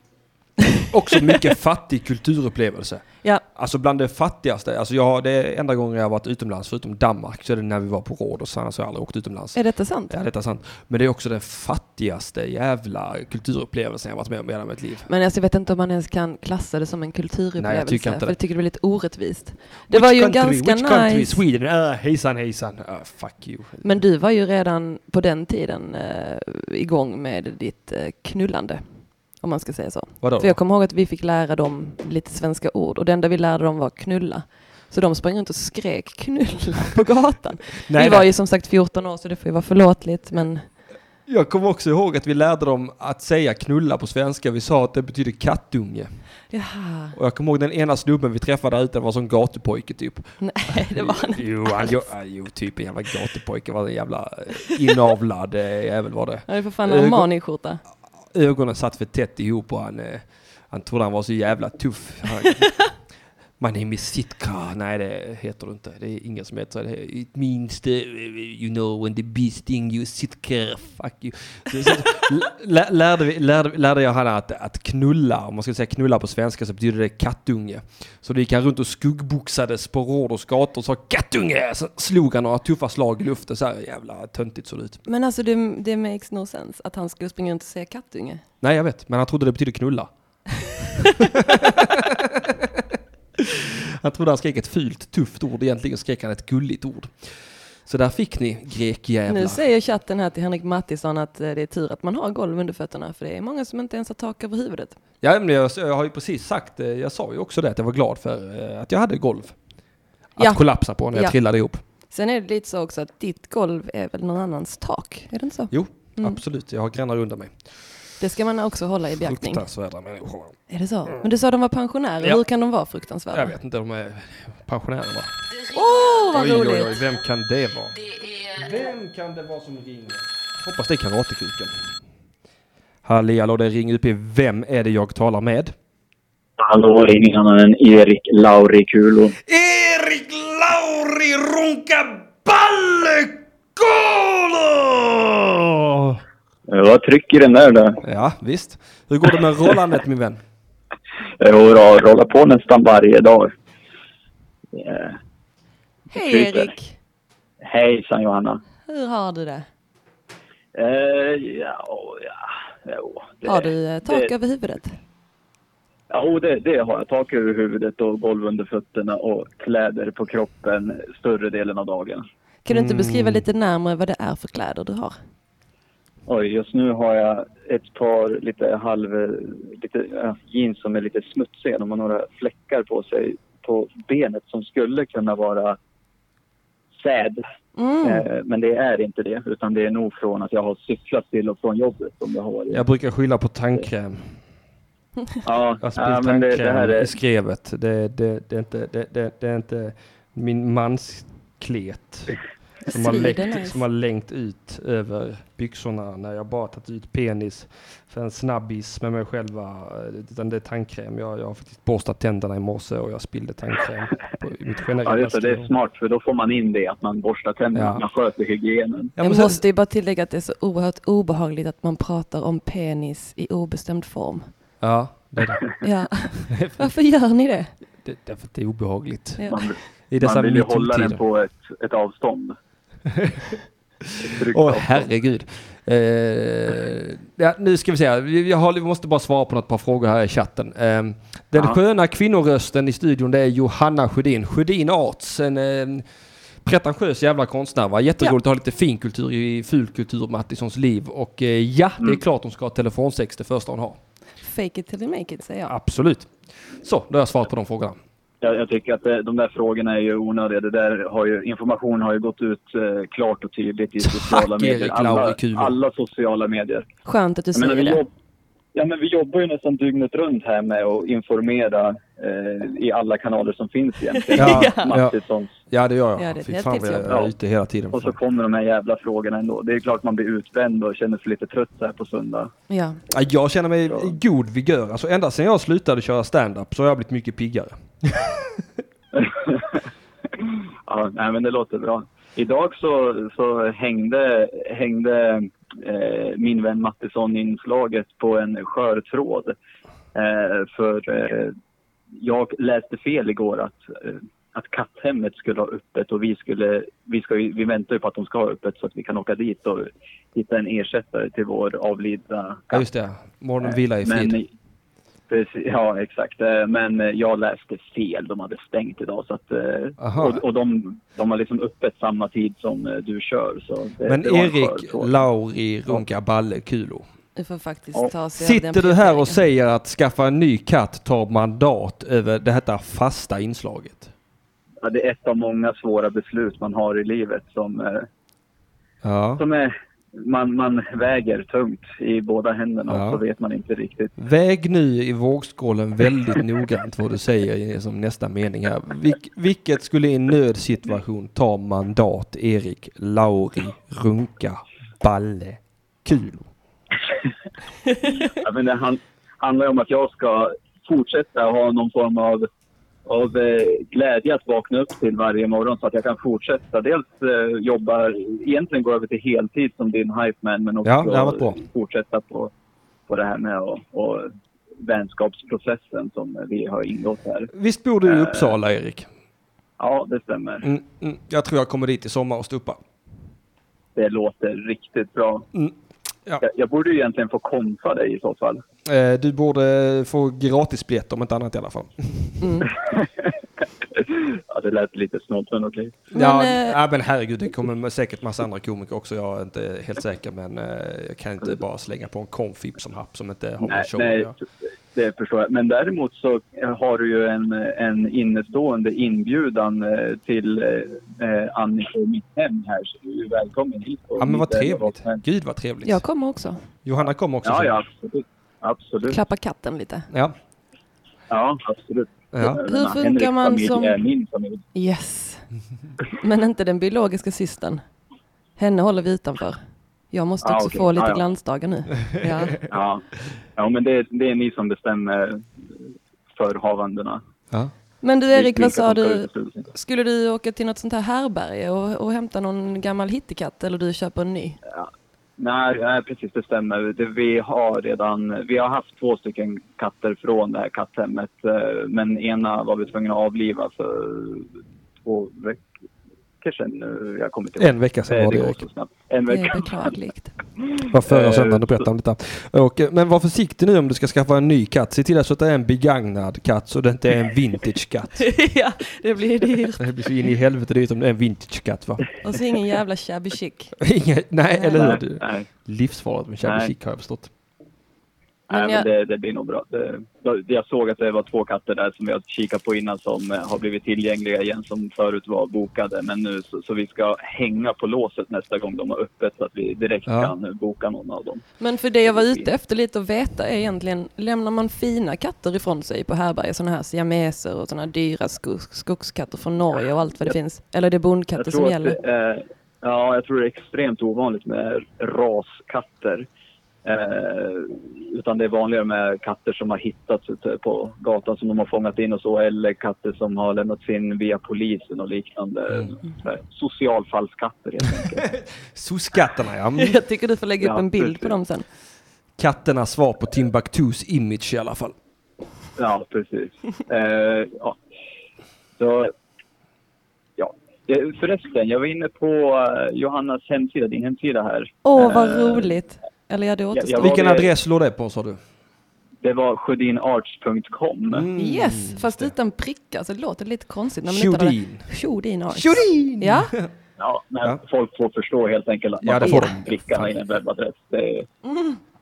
Speaker 1: Också mycket fattig kulturupplevelse.
Speaker 3: Ja.
Speaker 1: Alltså bland det fattigaste. Alltså jag, har- det är enda gången jag har varit utomlands, förutom Danmark, så är det när vi var på Rhodos. Annars har jag aldrig åkt utomlands.
Speaker 3: Är detta sant?
Speaker 1: Ja, detta är sant. Men det är också den fattigaste jävla kulturupplevelsen jag varit med om i hela mitt liv.
Speaker 3: Men alltså, jag vet inte om man ens kan klassa det som en kulturupplevelse.
Speaker 1: Nej, jag tycker inte
Speaker 3: för
Speaker 1: det.
Speaker 3: jag tycker det blir lite orättvist. Det var ju en ganska
Speaker 1: which country?
Speaker 3: nice...
Speaker 1: Sweden? Uh, hejsan hejsan. Ah, fuck you.
Speaker 3: Men du var ju redan på den tiden eh, igång med ditt eh, knullande. Om man ska säga så.
Speaker 1: Vadå?
Speaker 3: För jag kommer ihåg att vi fick lära dem lite svenska ord och det enda vi lärde dem var knulla. Så de sprang runt och skrek knulla på gatan.
Speaker 1: nej,
Speaker 3: vi var
Speaker 1: nej.
Speaker 3: ju som sagt 14 år så det får ju vara förlåtligt men
Speaker 1: Jag kommer också ihåg att vi lärde dem att säga knulla på svenska. Vi sa att det betyder kattunge.
Speaker 3: jaha,
Speaker 1: Och jag kommer ihåg den ena snubben vi träffade där ute var som gatupojke typ.
Speaker 3: nej det var han inte.
Speaker 1: Jo, han, jo, ah, jo typ en jävla gatupojke. Var en jävla eh, inavlad eh, jävel var det.
Speaker 3: Han är för fan
Speaker 1: Ögon-
Speaker 3: Armani-skjorta.
Speaker 1: ögonen satt för tätt ihop och han, eh, han trodde han var så jävla tuff. Han, My name is Sitka. Nej, det heter du inte. Det är ingen som heter så. Det är- It means the, you know, when the bee sting you, Sitka, fuck you. Så, så, lä- lärde, vi, lärde, lärde jag han att, att knulla, om man ska säga knulla på svenska så betyder det kattunge. Så då gick han runt och skuggboxades på Rhodos gator och sa kattunge! Så slog han några tuffa slag i luften. Så här jävla töntigt såg det ut.
Speaker 3: Men alltså det, det makes no sense att han skulle springa runt och säga kattunge.
Speaker 1: Nej, jag vet. Men han trodde det betydde knulla. han trodde han skrek ett fult, tufft ord. Egentligen skrek han ett gulligt ord. Så där fick ni
Speaker 3: Nu
Speaker 1: grekjävlar.
Speaker 3: säger chatten här till Henrik Mattisson att eh, det är tur att man har golv under fötterna för det är många som inte ens har tak över huvudet.
Speaker 1: Ja, men jag, jag har ju precis sagt, eh, jag sa ju också det att jag var glad för eh, att jag hade golv. Att
Speaker 3: Ja.
Speaker 1: kollapsa på när jag
Speaker 3: Ja.
Speaker 1: trillade ihop.
Speaker 3: Sen är det lite så också att ditt golv är väl någon annans tak, är det inte så?
Speaker 1: Jo,
Speaker 3: Mm.
Speaker 1: absolut. Jag har grannar under mig.
Speaker 3: Det ska man också hålla i beaktning.
Speaker 1: Fruktansvärda människor.
Speaker 3: Är det så?
Speaker 4: Mm.
Speaker 3: Men du sa de var pensionärer,
Speaker 1: Ja.
Speaker 3: hur kan de vara
Speaker 1: Jag
Speaker 3: fruktansvärda?
Speaker 1: vet inte, de är pensionärer va?
Speaker 3: Åh, vad
Speaker 1: oj,
Speaker 3: roligt!
Speaker 1: oj, oj, vem kan det vara? Vem kan det vara som ringer? Hoppas det är karatekuken. Halli hallå, det är Ring UP. Vem är det jag talar med?
Speaker 4: Hallå, ingen annan än Erik Lauri Kulon.
Speaker 1: Erik Lauri Runka Ballekolo!
Speaker 4: Det var tryck i Eh, den där du.
Speaker 1: Ja, visst. Hur går det med rollandet min vän?
Speaker 4: Jag har rollat på nästan varje dag. Eh,
Speaker 3: Hej
Speaker 4: Kryper.
Speaker 3: Erik!
Speaker 4: Hejsan Johanna.
Speaker 3: Hur har du det?
Speaker 4: Eh, ja, ja, jo, det,
Speaker 3: Har du eh, tak
Speaker 4: det-
Speaker 3: över huvudet?
Speaker 4: Ja, det, det har jag. Tak över huvudet och golv under fötterna och kläder på kroppen större delen av dagen.
Speaker 3: Kan
Speaker 1: Mm.
Speaker 3: du inte beskriva lite närmare vad det är för kläder du har?
Speaker 4: Oj, just nu har jag ett par lite halv... Lite, ja, jeans som är lite smutsiga. De har några fläckar på sig på benet som skulle kunna vara säd.
Speaker 3: Mm.
Speaker 4: Eh, men det är inte det, utan det är nog från att jag har cyklat till och från jobbet. Om jag har varit.
Speaker 1: Jag brukar skylla på tandkräm.
Speaker 4: Ja,
Speaker 1: Jag har spillt
Speaker 4: ja, men
Speaker 1: tandkräm
Speaker 4: det, det här är...
Speaker 1: i skrevet. Det, det, det, är inte, det, det, det är inte min mans klet. Som har,
Speaker 3: Svider
Speaker 1: läckt,
Speaker 3: nice.
Speaker 1: som har längt ut över byxorna när jag bara tagit ut penis för en snabbis med mig själva. Utan det är tandkräm. Jag, jag har faktiskt borstat tänderna i morse och jag spillde tandkräm på mitt
Speaker 4: Ja,
Speaker 1: generella
Speaker 4: just det, det är
Speaker 1: skrev.
Speaker 4: smart, för då får man in det att man borstar tänderna,
Speaker 1: Ja.
Speaker 4: man sköter hygienen.
Speaker 1: Ja,
Speaker 3: jag
Speaker 1: men sen-
Speaker 3: måste ju bara tillägga att det är så oerhört obehagligt att man pratar om penis i obestämd form.
Speaker 1: Ja, det är det.
Speaker 3: Ja. Varför gör ni det?
Speaker 1: det. Därför att det är obehagligt.
Speaker 3: Ja.
Speaker 4: Man,
Speaker 1: I dessa
Speaker 4: man vill ju hålla den
Speaker 1: metoo-tider.
Speaker 4: på ett, ett avstånd. Ett tryggt
Speaker 1: Åh
Speaker 4: avstånd.
Speaker 1: herregud. Eh, ja, nu ska vi se. Vi, vi, har, vi måste bara svara på något par frågor här i chatten. Eh, den
Speaker 4: Ja.
Speaker 1: sköna kvinnorösten i studion det är Johanna Sjödin. Sjödin Arts. En eh, pretentiös jävla konstnär va? Jätteroligt att ha lite finkultur i fulkultur Mattissons liv. Och eh, ja, det är klart hon ska ha telefonsex det första hon har.
Speaker 3: Fake it till you make it, säger jag.
Speaker 1: Absolut. Så, då har jag svarat på de frågorna.
Speaker 4: Jag, jag tycker att eh, de där frågorna är ju onödiga. Det där har ju, information har ju gått ut eh, klart och tydligt i sociala
Speaker 1: Erik
Speaker 4: medier. Alla,
Speaker 1: Laurikulo.
Speaker 4: alla sociala medier.
Speaker 3: Skönt att du
Speaker 4: Jag menar,
Speaker 3: säger
Speaker 4: vi,
Speaker 3: det.
Speaker 4: jobb, ja, men vi jobbar ju nästan dygnet runt här med att informera eh, i alla kanaler som finns egentligen.
Speaker 1: Ja, ja.
Speaker 4: Mattissons.
Speaker 1: Ja det gör jag.
Speaker 3: Ja, det är ett
Speaker 1: Fy
Speaker 3: helt
Speaker 1: fan vad jag
Speaker 3: tips,
Speaker 4: ja.
Speaker 1: är ute hela tiden.
Speaker 4: Och så kommer de här jävla frågorna ändå. Det är klart man blir utbränd och känner sig lite trött så här på söndag.
Speaker 3: Ja.
Speaker 1: Ja, jag känner mig i god vigör. Alltså ända sedan jag slutade köra stand-up så har jag blivit mycket piggare.
Speaker 4: Ja, nej, men det låter bra. Idag så, så hängde, hängde eh, min vän Mattisson inslaget på en skör tråd. Eh, för eh, jag läste fel igår att, eh, att katthemmet skulle ha öppet och vi, skulle, vi, ska, ju- vi väntar ju på att de ska ha öppet så att vi kan åka dit och hitta en ersättare till vår avlidna
Speaker 1: Ja
Speaker 4: katt.
Speaker 1: just det, morgonen vila i frid.
Speaker 4: Eh, Men, precis, ja, exakt. Eh, Men eh, jag läste fel. De hade stängt idag. Så att, eh,
Speaker 1: Aha.
Speaker 4: och och de, de har liksom öppet samma tid som eh, du kör. Så det,
Speaker 1: Men
Speaker 4: det var en skör
Speaker 1: Erik
Speaker 4: tråd.
Speaker 1: Lauri Runka Balle Kulo.
Speaker 3: Du får faktiskt
Speaker 4: Ja.
Speaker 3: ta sig av den
Speaker 1: Sitter du här och
Speaker 3: prioriteringen.
Speaker 1: säger att skaffa en ny katt tar mandat över det här fasta inslaget?
Speaker 4: ja, det är ett av många svåra beslut man har i livet som, eh,
Speaker 1: Ja.
Speaker 4: som är, man, man väger tungt i båda händerna
Speaker 1: Ja.
Speaker 4: och så vet man inte riktigt.
Speaker 1: Väg nu i vågskålen väldigt noggrant vad du säger i som nästa mening här. Vilk, vilket skulle i en nödsituation ta mandat Erik Lauri Runka Balle Kulo?
Speaker 4: Ja, men det han, handlar ju om att jag ska fortsätta ha någon form av, av eh, glädje att vakna upp till varje morgon så att jag kan fortsätta. Dels eh, jobba, egentligen gå över till heltid som din hypeman men också
Speaker 1: Ja, det har varit bra.
Speaker 4: fortsätta på, på det här med och, och vänskapsprocessen som vi har ingått här.
Speaker 1: Visst bor
Speaker 4: Eh.
Speaker 1: du i Uppsala Erik?
Speaker 4: Ja, det stämmer.
Speaker 1: Mm, mm, jag tror jag kommer dit i sommar och stuppa.
Speaker 4: Det låter riktigt bra.
Speaker 1: Mm. Ja.
Speaker 4: Jag, jag borde ju egentligen få kompa dig i så fall.
Speaker 1: Eh, du borde få gratisbiljett om inte annat i alla fall.
Speaker 4: Ja, det lät lite snålt men okej.
Speaker 3: Men,
Speaker 1: ja,
Speaker 3: eh,
Speaker 1: ja, men herregud, det kommer säkert massa andra komiker också. Jag är inte helt säker, men eh, jag kan inte bara slänga på en konfip som happ som inte har med
Speaker 4: Nej,
Speaker 1: showen att
Speaker 4: nej
Speaker 1: göra.
Speaker 4: det förstår jag. Men däremot så har du ju en, en innestående inbjudan eh, till eh, Annika i mitt hem här. Så du är välkommen hit. och
Speaker 1: Ja, men vad
Speaker 4: lite-
Speaker 1: trevligt. Gud vad trevligt.
Speaker 3: Jag kommer också.
Speaker 1: Johanna kom också.
Speaker 4: Ja,
Speaker 1: sen.
Speaker 4: ja, absolut. Absolut.
Speaker 3: Klappa katten lite.
Speaker 1: ja.
Speaker 4: Ja, absolut.
Speaker 1: Ja.
Speaker 3: Hur funkar
Speaker 4: Henriks
Speaker 3: man
Speaker 4: familj
Speaker 3: som-
Speaker 4: är min familj.
Speaker 3: Yes. Men inte den biologiska systern. Henne håller vi utanför. Jag måste
Speaker 4: Ah,
Speaker 3: också
Speaker 4: okej.
Speaker 3: få lite
Speaker 4: Ah, ja.
Speaker 3: glansdagar nu. Ja.
Speaker 4: Ja, ja men det, det är ni som bestämmer förhavandena.
Speaker 1: Ja.
Speaker 3: Men du Erik, vad sa
Speaker 4: Vilka som ska
Speaker 3: du?
Speaker 4: ut och sluta.
Speaker 3: Skulle du åka till något sånt här härberge och, och hämta någon gammal hittekatt eller du köper en ny?
Speaker 4: Nej, nej, precis det stämmer. Det, vi har redan, vi har haft två stycken katter från det här katthemmet. eh, Men ena var vi tvungna att avliva för två veckor sedan. nu. Jag kommer inte ihåg.
Speaker 1: En vecka sedan
Speaker 4: Eh,
Speaker 1: var det
Speaker 4: går
Speaker 1: Erik.
Speaker 4: så snabbt. En
Speaker 3: Det är
Speaker 4: vecka.
Speaker 3: beklagligt.
Speaker 1: var förra
Speaker 4: Eh,
Speaker 1: söndagen du berättade om detta. Och, eh, men var försiktig nu om du ska skaffa en ny katt. Se till alltså att det är en begagnad katt så det inte är en vintage katt.
Speaker 3: ja, det blir dyrt.
Speaker 1: Det blir så in i helvete dyrt om det är en vintage katt va?
Speaker 3: Och så ingen jävla shabby chic.
Speaker 1: Inga, nej, eller
Speaker 4: Nej,
Speaker 1: hur?
Speaker 4: nej,
Speaker 1: Livsfarligt med shabby
Speaker 4: Nej.
Speaker 1: chic har jag förstått.
Speaker 3: Men
Speaker 4: nej, men
Speaker 3: jag-
Speaker 4: det, det blir nog bra. Det, jag såg att det var två katter där som vi har kikat på innan som eh, har blivit tillgängliga igen som förut var bokade. Men nu så, så vi ska hänga på låset nästa gång de har öppet så att vi direkt
Speaker 1: Ja.
Speaker 4: kan eh, boka någon av dem.
Speaker 3: Men för det jag var ute efter lite att veta är egentligen, lämnar man fina katter ifrån sig på härberge, sådana här siameser och sådana här dyra skog, skogskatter från Norge och allt vad det finns? Eller är det bondkatter som
Speaker 4: att det
Speaker 3: gäller?
Speaker 4: är- ja, jag tror det är extremt ovanligt med raskatter. Eh, utan det är vanligare med katter som har hittats ute på gatan som de har fångat in och så eller katter som har lämnats in via polisen och liknande.
Speaker 3: Mm.
Speaker 4: Så här, Socialfallskatter helt enkelt.
Speaker 1: Soskatterna ja. Mm.
Speaker 3: Jag tycker du får lägga upp
Speaker 4: Ja,
Speaker 3: en bild
Speaker 4: precis.
Speaker 3: på dem sen.
Speaker 1: Katternas svar på Timbuktus image i alla fall.
Speaker 4: Ja, precis. Eh, ja. Så, ja. Eh, Förresten, jag var inne på eh, Johannas hemsida, din hemsida här.
Speaker 3: Åh, vad
Speaker 4: Eh,
Speaker 3: roligt! Eller ja, det
Speaker 4: jag
Speaker 3: återstår.
Speaker 4: var-
Speaker 1: Vilken
Speaker 4: det-
Speaker 1: adress låg det på sa du?
Speaker 4: Det var sjödinarts.com.
Speaker 3: Mm. Yes, fast utan prickar så det låter lite konstigt. när man inte hade-
Speaker 1: Tjodin.
Speaker 3: Tjodin Arts.
Speaker 1: Tjodin!
Speaker 3: Ja,
Speaker 4: Ja, men
Speaker 1: Ja.
Speaker 4: folk får förstå helt enkelt att man
Speaker 1: Ja, det får
Speaker 4: får
Speaker 1: de.
Speaker 4: prickarna i en webbadress. Det är...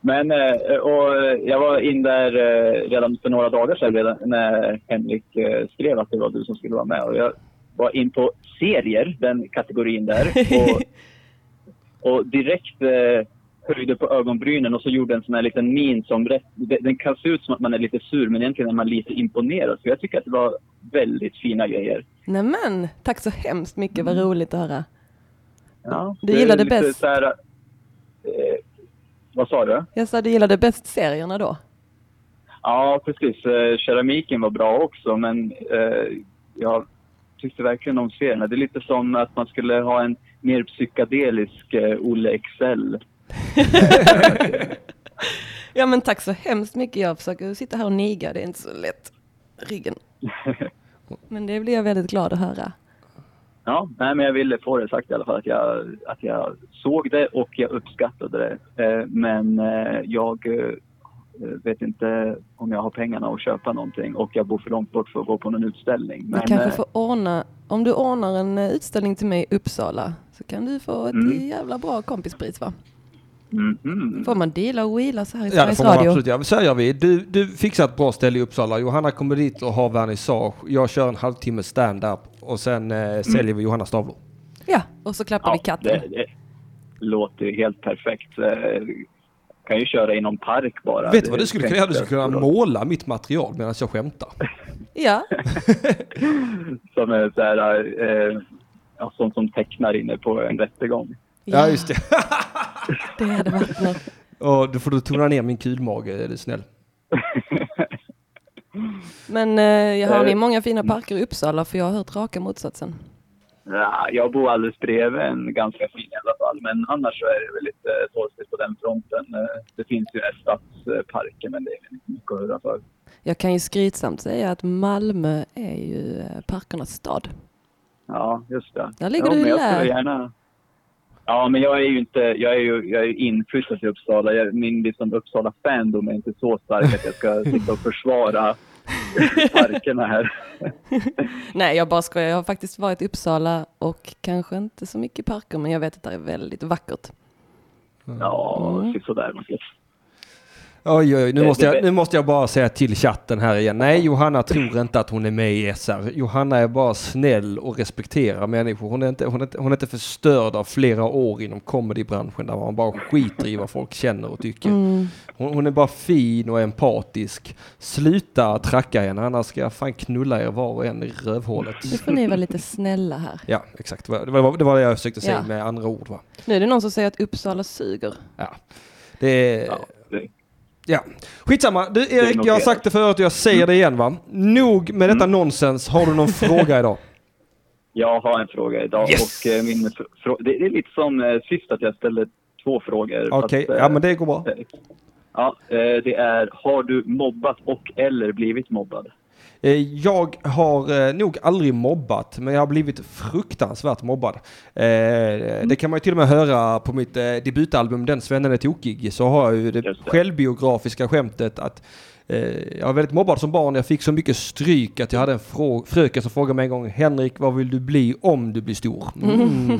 Speaker 4: Men eh, och eh, jag var in där eh, redan för några dagar sedan redan när Henrik eh, skrev att det var du som skulle vara med. Och jag var in på serier, den kategorin där. Och, och direkt eh, höjde på ögonbrynen och så gjorde en sån här liten min som rätt, den den kan se ut som att man är lite sur men egentligen är man lite imponerad. Så jag tycker att det var väldigt fina grejer.
Speaker 3: nämen, tack så hemskt mycket,
Speaker 4: Mm.
Speaker 3: vad roligt att höra.
Speaker 4: Ja,
Speaker 3: Du gillade
Speaker 4: lite
Speaker 3: bäst?
Speaker 4: så här, eh, vad sa du?
Speaker 3: Jag sa du gillade bäst serierna då?
Speaker 4: Ja, precis. Eh, keramiken var bra också, men eh, jag tyckte verkligen om serierna. Det är lite som att man skulle ha en mer psykedelisk eh, Olle Excel.
Speaker 3: Ja men tack så hemskt mycket, jag försöker sitta här och niga, det är inte så lätt. Ryggen. Men det blir jag väldigt glad att höra.
Speaker 4: Ja, nej, men jag ville få det sagt i alla fall att jag, att jag såg det och jag uppskattade det. Eh, men eh, jag eh, vet inte om jag har pengarna att köpa någonting och jag bor för långt bort för att gå på någon utställning.
Speaker 3: Du
Speaker 4: Men,
Speaker 3: kanske
Speaker 4: eh,
Speaker 3: får ordna, om du ordnar en eh, utställning till mig i Uppsala så kan du få ett
Speaker 4: Mm.
Speaker 3: jävla bra kompispris va?
Speaker 4: mhm.
Speaker 3: Får man deala och wheela så här i
Speaker 1: Ja det
Speaker 3: Sveriges
Speaker 1: får man
Speaker 3: Radio?
Speaker 1: absolut göra. Så här gör vi. Du, du fixar ett bra ställe i Uppsala. Johanna kommer dit och har vernissage. Jag kör en halvtimme stand-up och sen
Speaker 4: Mm.
Speaker 1: eh, säljer vi Johannas tavlor.
Speaker 3: Ja, och så klappar vi katten.
Speaker 4: Det, det låter ju helt perfekt. Eh, Kan ju köra i någon park bara.
Speaker 1: Vet du
Speaker 4: Det
Speaker 1: vad du skulle kunna
Speaker 4: tänker
Speaker 1: göra? Du skulle kunna
Speaker 4: jag på.
Speaker 1: måla mitt material medan jag skämtar.
Speaker 3: Ja,
Speaker 4: Som är så här, eh, ja, sånt som tecknar inne på en rättegång.
Speaker 1: Ja, just det.
Speaker 3: det hade varit något.
Speaker 1: Och då får du tona ner min kulmage, är du snäll.
Speaker 3: Men eh, har ni många fina parker i Uppsala? För jag har hört raka motsatsen.
Speaker 4: Ja, jag bor alldeles bredvid en ganska fin i alla fall. Men annars så är det väl lite torftigt på den fronten. Eh, Det finns ju stadsparker men det är väl inte mycket att höra för.
Speaker 3: Jag kan ju skrytsamt säga att Malmö är ju eh, parkernas stad.
Speaker 4: Ja, just det.
Speaker 3: Där ligger
Speaker 4: ja,
Speaker 3: du
Speaker 4: men jag
Speaker 3: lär.
Speaker 4: skulle gärna... Ja, men jag är ju inte... Jag är ju jag är ju inflyttad till Uppsala. Jag, min liksom Uppsala-fandom är inte så stark att jag ska sitta och försvara parkerna här.
Speaker 3: Nej, jag bara skojar. Jag har faktiskt varit i Uppsala och kanske inte så mycket parker,
Speaker 1: Mm.
Speaker 3: men jag vet att det är väldigt vackert.
Speaker 4: Ja, mm. sådär.
Speaker 1: Oj, oj, oj. Nu,
Speaker 4: Eh,
Speaker 1: måste
Speaker 4: det-
Speaker 1: jag, nu måste jag bara säga till chatten här igen. Nej, Johanna tror inte att hon är med i SR. Johanna är bara snäll och respekterar människor. Hon är inte, hon är inte, hon är inte förstörd av flera år inom comedybranschen där man bara skiter i vad folk känner och tycker. Hon, hon är bara fin och empatisk. Sluta tracka henne, annars ska jag fan knulla er var och en i rövhålet.
Speaker 3: Nu får ni vara lite snälla här.
Speaker 1: Ja, exakt. Det var- det var det, var det jag försökte säga
Speaker 3: Ja.
Speaker 1: med andra ord. Va?
Speaker 3: Nu är det någon som säger att Uppsala suger.
Speaker 1: Ja. Det är...
Speaker 4: Ja, det-
Speaker 1: Ja, skitsamma. Du
Speaker 4: är
Speaker 1: Erik, jag har
Speaker 4: noterat. Mm.
Speaker 1: sagt det förut och jag säger det igen va. Nog med detta nonsens. Har du någon fråga idag?
Speaker 4: Jag har en fråga idag.
Speaker 1: Yes!
Speaker 4: Och, eh, min fr- frå- det, det är lite som eh, sist att jag ställde två frågor.
Speaker 1: Okej,
Speaker 4: fast, eh,
Speaker 1: ja men det går bra.
Speaker 4: eh, Ja, eh, det är har du mobbat och eller blivit mobbad?
Speaker 1: Eh, Jag har eh, nog aldrig mobbat, men jag har blivit fruktansvärt mobbad. Eh,
Speaker 4: Mm.
Speaker 1: Det kan man ju till och med höra på mitt eh, debutalbum Den svennen är tokig, så har jag ju det
Speaker 4: Just det.
Speaker 1: självbiografiska skämtet att eh, jag var väldigt mobbad som barn. Jag fick så mycket stryk att jag hade en frå- fröken som frågade mig en gång Henrik, vad vill du bli om du blir stor? Mm.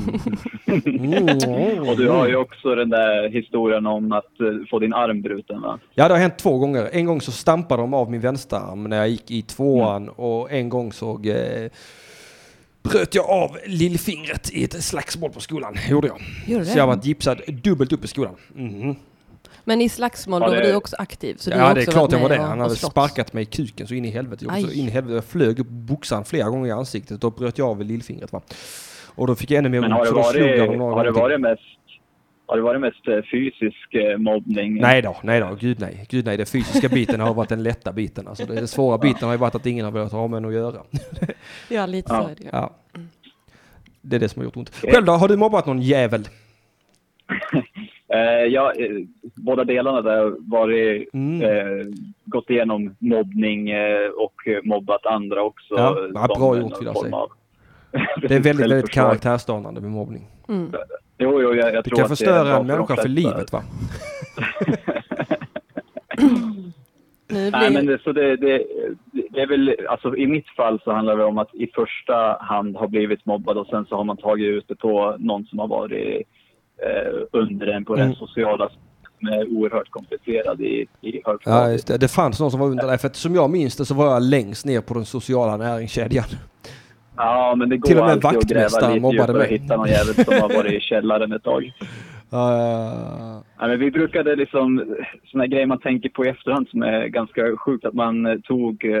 Speaker 1: Mm.
Speaker 4: Och du har ju också den där historien om att eh, få din arm bruten va?
Speaker 1: Ja, det har hänt två gånger. En gång så stampade de av min vänsterarm när jag gick i tvåan
Speaker 3: Mm.
Speaker 1: och en gång så eh, bröt jag av lillfingret i ett slagsmål på skolan. Gjorde jag.
Speaker 3: Gjorde
Speaker 1: så jag har varit gipsad dubbelt upp i skolan. Mhm.
Speaker 3: Men i slagsmål, då
Speaker 4: Ja,
Speaker 3: var
Speaker 4: det-
Speaker 3: du också aktiv? Så du har
Speaker 1: Ja, det är
Speaker 3: också
Speaker 1: klart jag
Speaker 3: varit
Speaker 1: var
Speaker 3: med
Speaker 1: det.
Speaker 3: och-
Speaker 1: Han
Speaker 3: och
Speaker 1: hade
Speaker 3: slått.
Speaker 1: sparkat mig i kuken så in i helvete. Jag, gjorde så
Speaker 3: Aj.
Speaker 1: in i helvete. jag flög upp boxaren flera gånger i ansiktet och bröt jag av lillfingret. Va? Och då fick jag ännu mer
Speaker 4: Men har det
Speaker 1: så då slog jag
Speaker 4: varit,
Speaker 1: dem några
Speaker 4: har det
Speaker 1: gånger till.
Speaker 4: varit mest har det varit mest eh, fysisk eh, mobbning?
Speaker 1: Nej då, nej då, gud nej. Gud nej, den fysiska biten har varit den lätta biten. Alltså, den svåra biten har ju varit att ingen har velat ha med en att göra.
Speaker 3: Ja, lite
Speaker 4: Ja.
Speaker 3: så är det ju.
Speaker 1: Ja. Det är det som har gjort ont. Själv då, har du mobbat någon jävel?
Speaker 4: Eh, ja, eh, båda delarna där varit,
Speaker 1: Mm.
Speaker 4: eh, gått igenom mobbning eh, och eh, mobbat andra också.
Speaker 1: Ja,
Speaker 4: eh,
Speaker 1: ja,
Speaker 4: som
Speaker 1: bra
Speaker 4: en
Speaker 1: gjort, vill jag
Speaker 4: form
Speaker 1: säga.
Speaker 4: av-
Speaker 1: Det är väldigt, väldigt
Speaker 4: Självförsvar.
Speaker 1: karaktärsdanande med mobbning.
Speaker 4: Jo, jo, jag, jag
Speaker 1: Du kan
Speaker 4: tror att det är bra
Speaker 1: förstöra en
Speaker 4: de
Speaker 1: människa för
Speaker 4: flesta.
Speaker 1: livet va?
Speaker 3: Nu blir...
Speaker 4: Nej, men det, så det, det, det är väl, alltså i mitt fall så handlar det om att i första hand har blivit mobbad och sen så har man tagit ut det på någon som har varit eh, under en på
Speaker 1: Mm.
Speaker 4: den sociala som är oerhört komplicerad i, i
Speaker 1: Ja,
Speaker 4: högstadiet.
Speaker 1: just det. det fanns någon som var under dig. För att som jag minns det så var jag längst ner på den sociala näringskedjan.
Speaker 4: Ja, men det går
Speaker 1: Till och med
Speaker 4: alltid att
Speaker 1: vaktmästaren
Speaker 4: gräva lite
Speaker 1: mobbade
Speaker 4: djupare och
Speaker 1: mig.
Speaker 4: hitta någon jävel som har varit i källaren ett tag.
Speaker 1: Eh,
Speaker 4: Ja, men vi brukade liksom, såna här grejer man tänker på i efterhand som är ganska sjukt, att man eh, tog eh,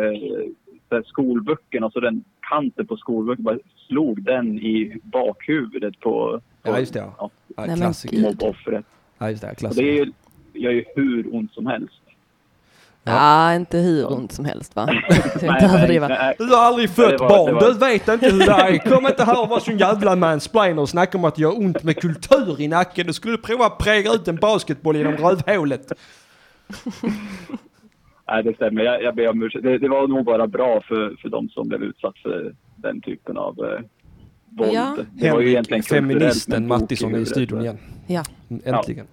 Speaker 4: så här skolböckerna, alltså den kanten på skolböckerna, bara slog den i bakhuvudet på, på
Speaker 1: ja, just det ja. ja
Speaker 3: men
Speaker 1: klassiker.
Speaker 3: gud.
Speaker 4: mobboffret.
Speaker 1: Ja, just det. ja,
Speaker 4: Och det är
Speaker 1: Klassiker.
Speaker 4: ju, gör ju hur ont som helst.
Speaker 3: Ja, inte hur ont som helst va? Jag ska inte
Speaker 4: nej,
Speaker 3: överdriva.
Speaker 4: nej,
Speaker 1: Du har aldrig
Speaker 4: det
Speaker 1: fött
Speaker 4: var-
Speaker 1: barn,
Speaker 4: det var-
Speaker 1: du vet inte hur det är. Kom inte här och var sån jävla mansplainer och snacka om att det gör ont med kultur i nacken. Du skulle prova att präga ut en basketboll genom rövhålet.
Speaker 4: nej, det stämmer. Jag, jag ber om ursäkt. Det, det var nog bara bra för, för de som blev utsatt för den typen av eh, våld.
Speaker 3: Ja.
Speaker 4: Det var ju egentligen kulturellt,
Speaker 1: feministen
Speaker 4: men tokig
Speaker 1: Mattisson är i
Speaker 4: huvudet,
Speaker 1: studion
Speaker 4: så.
Speaker 1: igen.
Speaker 3: Ja.
Speaker 1: Äntligen.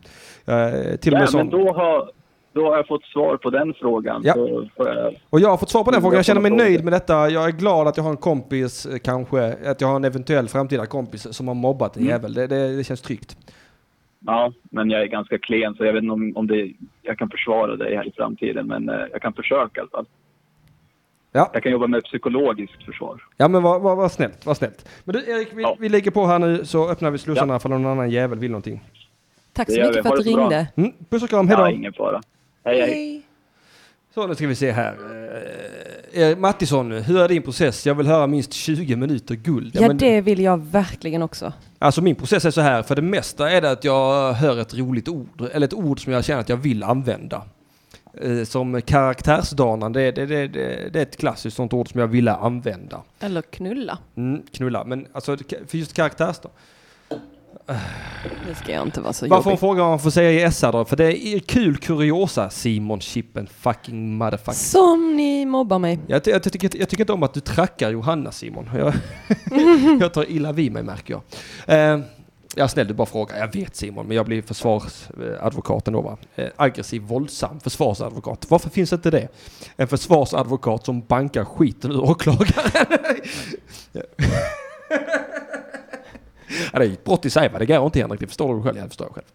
Speaker 1: Eh, till och med
Speaker 4: Ja, men
Speaker 1: sån.
Speaker 4: då har, då har jag fått svar på den frågan.
Speaker 1: Ja.
Speaker 4: Så får jag,
Speaker 1: Och jag har fått svar på den
Speaker 4: Jag
Speaker 1: frågan. Jag känner mig
Speaker 4: kommer ihåg
Speaker 1: nöjd
Speaker 4: det.
Speaker 1: med detta. Jag är glad att jag har en kompis, eh, kanske, att jag har en eventuell framtida kompis som har mobbat en
Speaker 4: Mm.
Speaker 1: jävel. Det, det, det känns tryggt.
Speaker 4: ja, men jag är ganska klen så jag vet inte om, om det, jag kan försvara dig här i framtiden. Men eh, jag kan försöka i alla fall.
Speaker 1: Ja,
Speaker 4: Jag kan jobba med psykologiskt försvar.
Speaker 1: ja men vad vad- vad snällt, vad snällt. Men du Erik, vi,
Speaker 4: Ja.
Speaker 1: vi lägger på här nu så öppnar vi slussarna ifall någon annan jävel vill någonting.
Speaker 3: Tack
Speaker 4: Det
Speaker 3: så
Speaker 4: gör vi.
Speaker 3: mycket för
Speaker 4: Ha
Speaker 3: att du
Speaker 4: det så bra.
Speaker 3: ringde.
Speaker 1: Mm, puss och kram,
Speaker 4: Ja,
Speaker 1: hejdå!
Speaker 4: ingen fara. Hej, hej.
Speaker 1: Så nu ska vi se här. Eh, Erik Mattisson, hur är din process? Jag vill höra minst 20 minuter guld.
Speaker 3: Ja,
Speaker 1: men-
Speaker 3: det vill jag verkligen också.
Speaker 1: Alltså min process är så här, för det mesta är det att jag hör ett roligt ord, eller ett ord som jag känner att jag vill använda. Eh, Som karaktärsdanande, det, det, det, det, det är ett klassiskt sånt ord som jag ville använda.
Speaker 3: Eller knulla.
Speaker 1: Mm, knulla, men alltså det- för just karaktärsdan.
Speaker 3: Det ska jag inte vara så
Speaker 1: Varför hon
Speaker 3: jobbig.
Speaker 1: frågar om man får säga i SR då? För det är kul kuriosa, Simon Chippen fucking motherfucker.
Speaker 3: Som ni mobbar mig.
Speaker 1: Jag, ty- jag, tycker, jag tycker inte om att du trackar Johanna Simon. Jag, jag tar illa vid mig märker jag. Eh, ja snäll du bara frågar. Jag vet Simon men jag blir försvarsadvokat ändå va. Eh, aggressiv våldsam försvarsadvokat. Varför finns inte det? En försvarsadvokat som bankar skiten ur åklagaren. ja, det är ett brott i sig va. Det går inte Henrik. Det förstår du själv. Jag förstår själv.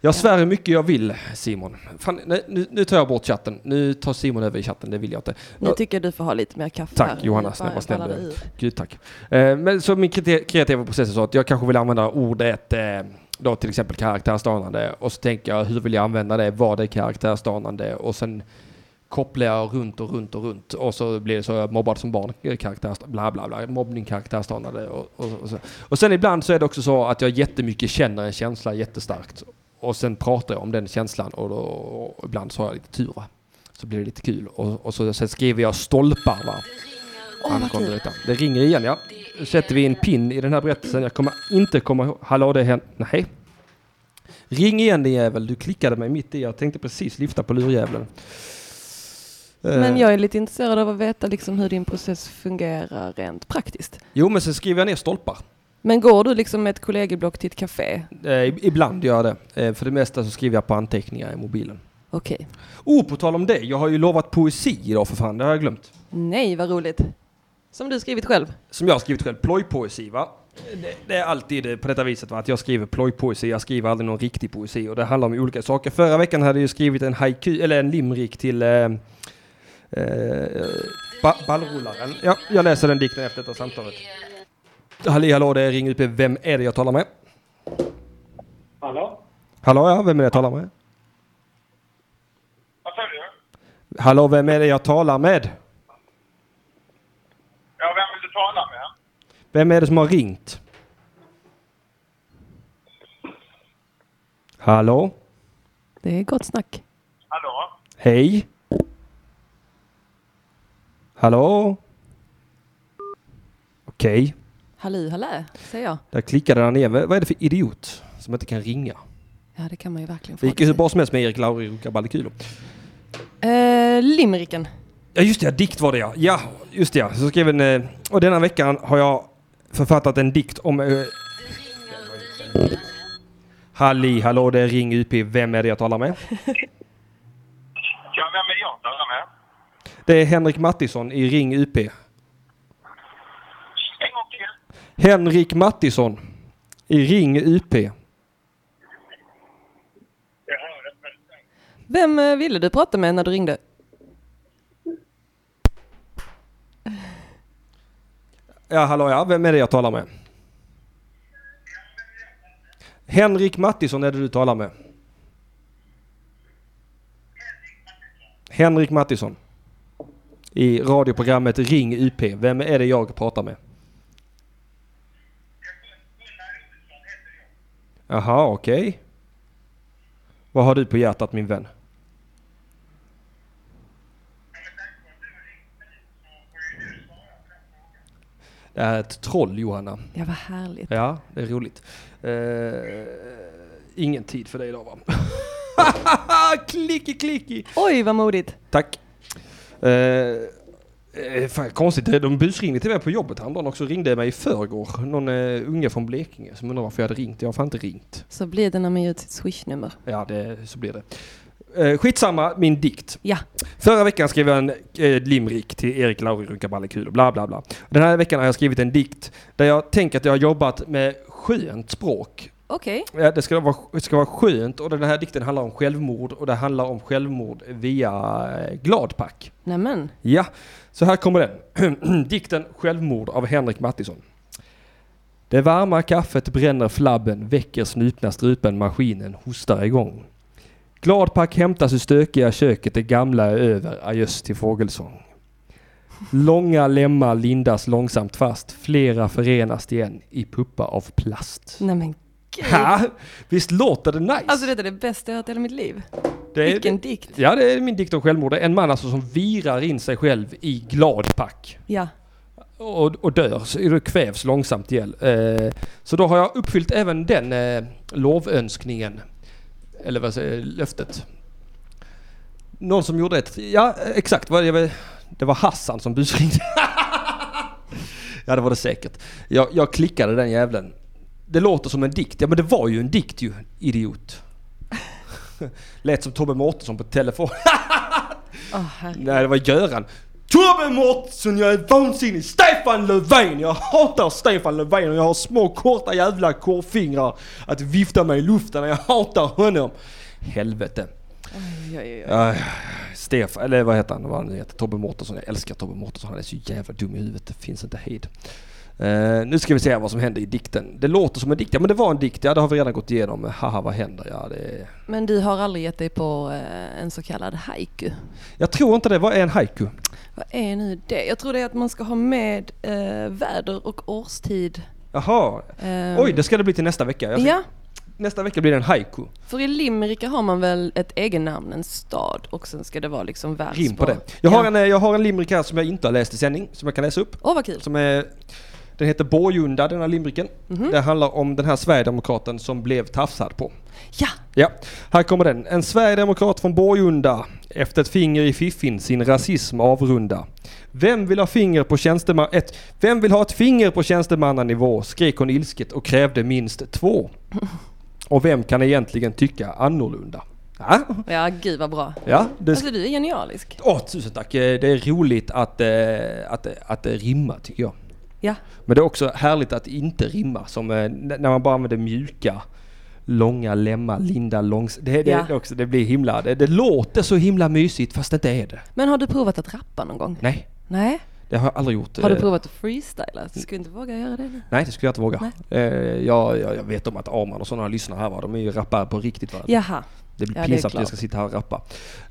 Speaker 1: Jag svär hur mycket jag vill, Simon. Fan, nej, nu, nu tar jag bort chatten. Nu tar Simon över i chatten, det vill jag inte.
Speaker 3: Nu tycker jag du får ha lite mer kaffe
Speaker 1: Tack,
Speaker 3: här.
Speaker 1: Johanna.
Speaker 3: Bara-
Speaker 1: Snälla,
Speaker 3: bara
Speaker 1: snälla.
Speaker 3: där i.
Speaker 1: Gud tack. Eh, men så min krite- kreativa process är så att jag kanske vill använda ordet eh, då till exempel karaktärsdanande och så tänker jag hur vill jag använda det, vad är karaktärsdanande och sen kopplar jag runt och runt och runt och så blir det så jag mobbad som barn, eh, karaktärs, bla bla bla, mobbning, karaktärsdanande och, och, och så. Och sen ibland så är det också så att jag jättemycket känner en känsla jättestarkt och sen pratar jag om den känslan och, då, och ibland så har jag lite tur va. Så blir det lite kul och, och så sen skriver jag stolpar va.
Speaker 3: Åh, vad
Speaker 1: Angående
Speaker 3: kul.
Speaker 1: detta. Det ringer igen ja. Nu sätter vi en pin i den här berättelsen. Jag kommer inte komma ihåg. Hallå det händer. Nej. Ring igen din jävel. Du klickade mig mitt i. Jag tänkte precis lyfta på lurjäveln.
Speaker 3: Men
Speaker 1: Eh,
Speaker 3: jag är lite intresserad av att veta liksom hur din process fungerar rent praktiskt.
Speaker 1: Jo men sen skriver jag ner stolpar.
Speaker 3: Men går du liksom med ett kollegieblock till ett café?
Speaker 1: Eh, ib- ibland gör jag det. Eh, för det mesta så skriver jag på anteckningar i mobilen.
Speaker 3: Okej.
Speaker 1: Oh, på tal om det. Jag har ju lovat poesi idag för fan. Det har jag glömt.
Speaker 3: Nej, vad roligt. Som du skrivit själv.
Speaker 1: Som jag har skrivit själv. Plojpoesi va? Det, det är alltid eh, på detta viset va? att jag skriver plojpoesi. Jag skriver aldrig någon riktig poesi och det handlar om olika saker. Förra veckan hade jag ju skrivit en haiku, eller en limrik till eh, eh, ba- ballrullaren. Ja, jag läser den dikten efter detta samtalet. Halli hallå, det är Ring UP. Vem är det jag talar med?
Speaker 5: Hallå?
Speaker 1: Hallå ja, vem är det jag talar med?
Speaker 5: Vad sa du?
Speaker 1: Hallå, vem är det jag talar med?
Speaker 5: Ja, vem vill du tala med?
Speaker 1: Vem är det som har ringt? Hallå?
Speaker 3: Det är gott snack.
Speaker 5: Hallå?
Speaker 1: Hej? Hallå? Okej,
Speaker 3: Halli hallä, säger jag.
Speaker 1: där klickade han igen. Vad vad är det för idiot som inte kan ringa?
Speaker 3: Ja, det kan man ju verkligen
Speaker 1: Det
Speaker 3: fråga
Speaker 1: gick ju hur
Speaker 3: sig.
Speaker 1: bra som helst med Erik Lauri och Kabalikulo.
Speaker 3: Eh, limericken.
Speaker 1: Ja just det, ja, dikt var det ja. Ja, just det ja. Så skrev en... eh, Och denna veckan har jag författat en dikt om... eh, Halli hallå, det är Ring UP. Vem är det jag talar med?
Speaker 5: Ja, vem vill jag tala med?
Speaker 1: Det är Henrik Mattisson i Ring UP.
Speaker 5: En gång till.
Speaker 1: Henrik Mattisson i Ring UP.
Speaker 5: Jag hör det väldigt länge.
Speaker 3: Vem eh, ville du prata med när du ringde?
Speaker 1: Ja, hallå ja. Vem är det jag talar med? Henrik Mattisson är det du talar med. Henrik Mattisson. I radioprogrammet Ring UP. Vem är det jag pratar med? Jaha, okej. Vad har du på hjärtat min vän? Det här är ett troll Johanna.
Speaker 3: Ja, vad härligt.
Speaker 1: Ja, det är roligt. Eh, ingen tid för dig idag va? klicki klicki!
Speaker 3: Oj, vad modigt.
Speaker 1: Tack. Eh, eh, fan, konstigt, de busringde till mig på jobbet häromdagen också. Ringde mig i förrgår. Någon eh, unge från Blekinge som undrar varför jag hade ringt. Jag har fan inte ringt.
Speaker 3: Så blir det när man ger ut sitt swishnummer.
Speaker 1: Ja, det, så blir det. Eh, skitsamma, min dikt.
Speaker 3: Ja,
Speaker 1: Förra veckan skrev jag en eh, limrik till Erik Lauri Runkabalekul och bla bla bla. Den här veckan har jag skrivit en dikt där jag tänker att jag har jobbat med skönt språk.
Speaker 3: okej.
Speaker 1: Ja, det ska vara, det ska vara skönt och den här dikten handlar om självmord och det handlar om självmord via eh, Gladpack.
Speaker 3: Nämen.
Speaker 1: Ja, så här kommer den. Dikten Självmord av Henrik Mattisson. Det varma kaffet bränner flabben, väcker snutna strupen, maskinen hostar igång. Gladpack hämtas ur stökiga köket, det gamla är över, adjöss till fågelsång. Långa lemmar lindas långsamt fast, flera förenas igen i puppa av plast.
Speaker 3: Nämen gud.
Speaker 1: Ha, visst låter det nice?
Speaker 3: Alltså detta är det bästa jag hört i hela mitt liv.
Speaker 1: det är,
Speaker 3: Vilken dikt.
Speaker 1: Ja, det är min dikt om självmord. Det är En man alltså som virar in sig själv i gladpack
Speaker 3: Ja.
Speaker 1: och, och dör, så- och kvävs långsamt ihjäl. Eh, så då har jag uppfyllt även den eh, lovönskningen, eller vad säger löftet. Någon som gjorde ett, ja exakt, vad, jag, vet- det var Hassan som busringde. ja det var det säkert. Jag, jag klickade den jävlen. Det låter som en dikt, ja men det var ju en dikt ju, idiot. Lät som Tobbe Mårtensson på telefon.
Speaker 3: Åh, herregud.
Speaker 1: Nej, det var Göran. Tobbe Mårtensson, jag är vansinnig! Stefan Löfven! Jag hatar Stefan Löfven och jag har små korta jävla korvfingrar att vifta med i luften. Jag hatar honom! Helvete.
Speaker 3: Oj, oj, oj.
Speaker 1: Uh, Stefan, eller vad heter han? Vad han heter? Tobbe Mårtensson. Jag älskar Tobbe Mårtensson. Han är så jävla dum i huvudet. Det finns inte hejd. Eh, nu ska vi se vad som händer i dikten. Det låter som en dikt. Ja men det var en dikt. Ja det har vi redan gått igenom. Haha vad händer? Ja det är...
Speaker 3: Men du har aldrig gett dig på eh, en så kallad haiku.
Speaker 1: Jag tror inte det. Vad är en haiku?
Speaker 3: Vad är nu det? Jag tror det är att man ska ha med eh, väder och årstid.
Speaker 1: Jaha.
Speaker 3: Ehm,
Speaker 1: Oj det ska det bli till nästa vecka. Jag ska-
Speaker 3: Ja,
Speaker 1: Nästa vecka blir det en haiku.
Speaker 3: för i Limerick har man väl ett egennamn, en stad och sen ska det vara liksom världsbar.
Speaker 1: Rim på det. Jag har,
Speaker 3: ja.
Speaker 1: en, eh, jag har en limerick här som jag inte har läst i sändning. Som jag kan läsa upp.
Speaker 3: Åh vad kul.
Speaker 1: Som är, den heter Borgunda den här limericken. Det handlar om den här Sverigedemokraten som blev tafsad på.
Speaker 3: Ja,
Speaker 1: Ja, här kommer den. En sverigedemokrat från Borgunda. Efter ett finger i fiffin sin rasism avrunda. Vem vill ha finger på tjänsteman... Ett, vem vill ha ett finger på tjänstemannanivå? Skrek hon ilsket och krävde minst två. Och vem kan egentligen tycka annorlunda? Ja,
Speaker 3: ja gud vad bra.
Speaker 1: ja det
Speaker 3: Alltså du är genialisk.
Speaker 1: Åh, tusen tack. Eh, Det är roligt att, eh, att, att det rimma tycker jag.
Speaker 3: Ja,
Speaker 1: Men det är också härligt att det inte rimma som eh, n- när man bara använder mjuka långa lemma, linda långs... Det, det,
Speaker 3: Ja.
Speaker 1: det, också, det blir himla... Det, det låter så himla mysigt fast det inte är det.
Speaker 3: men har du provat att rappa någon gång?
Speaker 1: Nej,
Speaker 3: Nej.
Speaker 1: det har jag aldrig gjort.
Speaker 3: Har du
Speaker 1: eh,
Speaker 3: provat att freestyla? Du skulle inte våga göra det nu.
Speaker 1: Nej, det skulle jag inte våga. Eh, Jag, jag, jag vet om att Arman och sådana lyssnar här va, de är ju rappare på riktigt va.
Speaker 3: Jaha.
Speaker 1: Det blir
Speaker 3: Ja, det är
Speaker 1: pinsamt att jag
Speaker 3: klart.
Speaker 1: ska sitta här och rappa.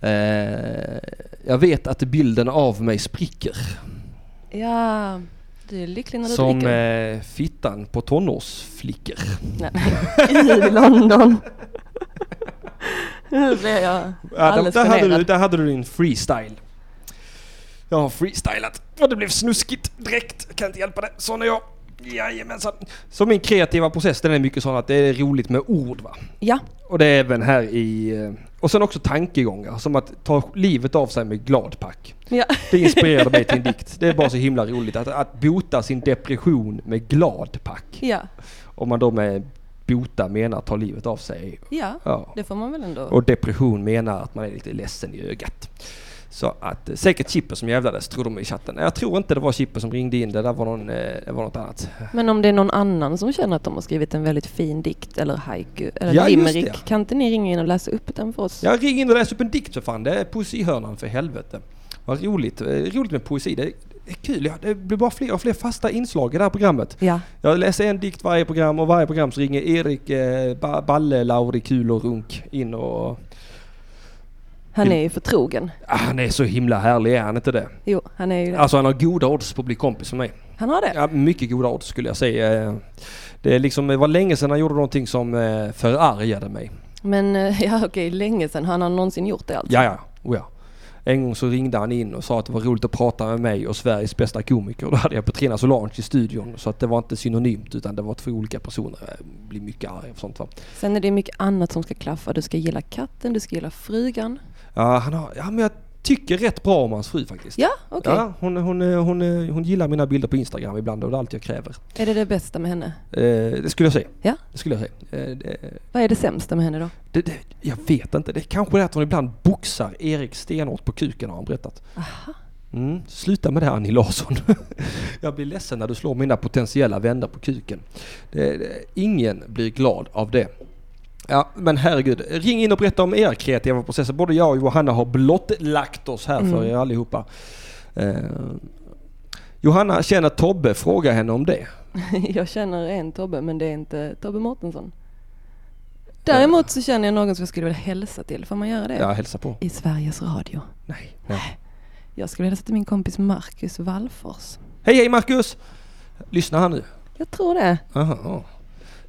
Speaker 1: Eh, jag vet att bilden av mig spricker.
Speaker 3: Ja, du är lycklig när du
Speaker 1: Som
Speaker 3: dricker.
Speaker 1: eh, fittan på tonårsflickor.
Speaker 3: Nej. I London. Nu blev jag
Speaker 1: Ja, där,
Speaker 3: alldeles
Speaker 1: där, hade du,
Speaker 3: generad.
Speaker 1: där hade du din freestyle. Jag har freestylat och det blev snuskigt direkt. Kan inte hjälpa det. Sån är jag. Jajamensan. Så min kreativa process den är mycket sån att det är roligt med ord va.
Speaker 3: Ja,
Speaker 1: Och det är även här i... eh, Och sen också tankegångar som att ta livet av sig med gladpack.
Speaker 3: ja.
Speaker 1: Det inspirerade mig till en dikt. Det är bara så himla roligt att, att bota sin depression med gladpack.
Speaker 3: ja,
Speaker 1: Om man då med bota menar ta livet av sig.
Speaker 3: ja.
Speaker 1: Ja.
Speaker 3: Det får man väl ändå.
Speaker 1: Och depression menar att man är lite ledsen i ögat. Så att eh, säkert Chippe som jävlades tror de i chatten. Jag tror inte det var Chippe som ringde in. Det där var, någon, eh, det var något annat.
Speaker 3: Men om det är någon annan som känner att de har skrivit en väldigt fin dikt eller haiku eller
Speaker 1: Ja, just
Speaker 3: limerick,
Speaker 1: det.
Speaker 3: kan inte ni ringa in och läsa upp den för oss?
Speaker 1: Jag ring in och läs upp en dikt för fan. Det är poesihörnan för helvete. Vad roligt. Eh, Roligt med poesi. Det är det är kul. Ja, Det blir bara fler och fler fasta inslag i det här programmet.
Speaker 3: Ja.
Speaker 1: Jag läser en dikt varje program och varje program så ringer Erik eh, Ba- Balle, Lauri, Kul och Runk in och...
Speaker 3: Han är ju förtrogen.
Speaker 1: Ah, han är så himla härlig, är han inte det?
Speaker 3: Jo, han är ju det.
Speaker 1: Alltså han har goda odds på att bli kompis med mig.
Speaker 3: Han har det?
Speaker 1: Ja, mycket goda odds skulle jag säga. Det, är liksom, det var länge sedan han gjorde någonting som eh, förargade mig.
Speaker 3: Men eh, ja, okej, länge sedan. Han har någonsin gjort det alltså?
Speaker 1: Ja, ja. Oh, ja. En gång så ringde han in och sa att det var roligt att prata med mig och Sveriges bästa komiker. Och Då hade jag Petrina Solange i studion. Så att det var inte synonymt utan det var två olika personer. Jag blir mycket arg för sånt va.
Speaker 3: Sen är det mycket annat som ska klaffa. Du ska gilla katten, du ska gilla frugan.
Speaker 1: Ja, han har, ja, men jag tycker rätt bra om hans fru faktiskt.
Speaker 3: Ja, okej.
Speaker 1: Ja, hon, hon, hon, hon, hon gillar mina bilder på Instagram ibland och det är allt jag kräver.
Speaker 3: Är det det bästa med henne?
Speaker 1: Eh, det skulle jag säga.
Speaker 3: Ja.
Speaker 1: Det skulle jag säga. Eh, det,
Speaker 3: Vad är det sämsta med henne då?
Speaker 1: Det, det, jag vet inte. Det kanske är att hon ibland boxar Erik stenhårt på kuken har han berättat. Mm, sluta med det Annie Larsson. jag blir ledsen när du slår mina potentiella vänner på kuken. Det, det, ingen blir glad av det. Ja, men herregud. Ring in och berätta om era kreativa processer. Både jag och Johanna har blottlagt oss här för er allihopa. Eh, Johanna känner Tobbe, fråga henne om det.
Speaker 3: Jag känner en Tobbe, men det är inte Tobbe Mårtensson.
Speaker 1: Eh.
Speaker 3: Däremot så känner jag någon som jag skulle vilja hälsa till. Får man göra det?
Speaker 1: Ja, hälsa på.
Speaker 3: I Sveriges Radio.
Speaker 1: Nej. nej.
Speaker 3: Jag skulle vilja hälsa till min kompis Marcus Wallfors.
Speaker 1: Hej, hej Marcus! Lyssna här nu.
Speaker 3: Jag tror det.
Speaker 1: Aha.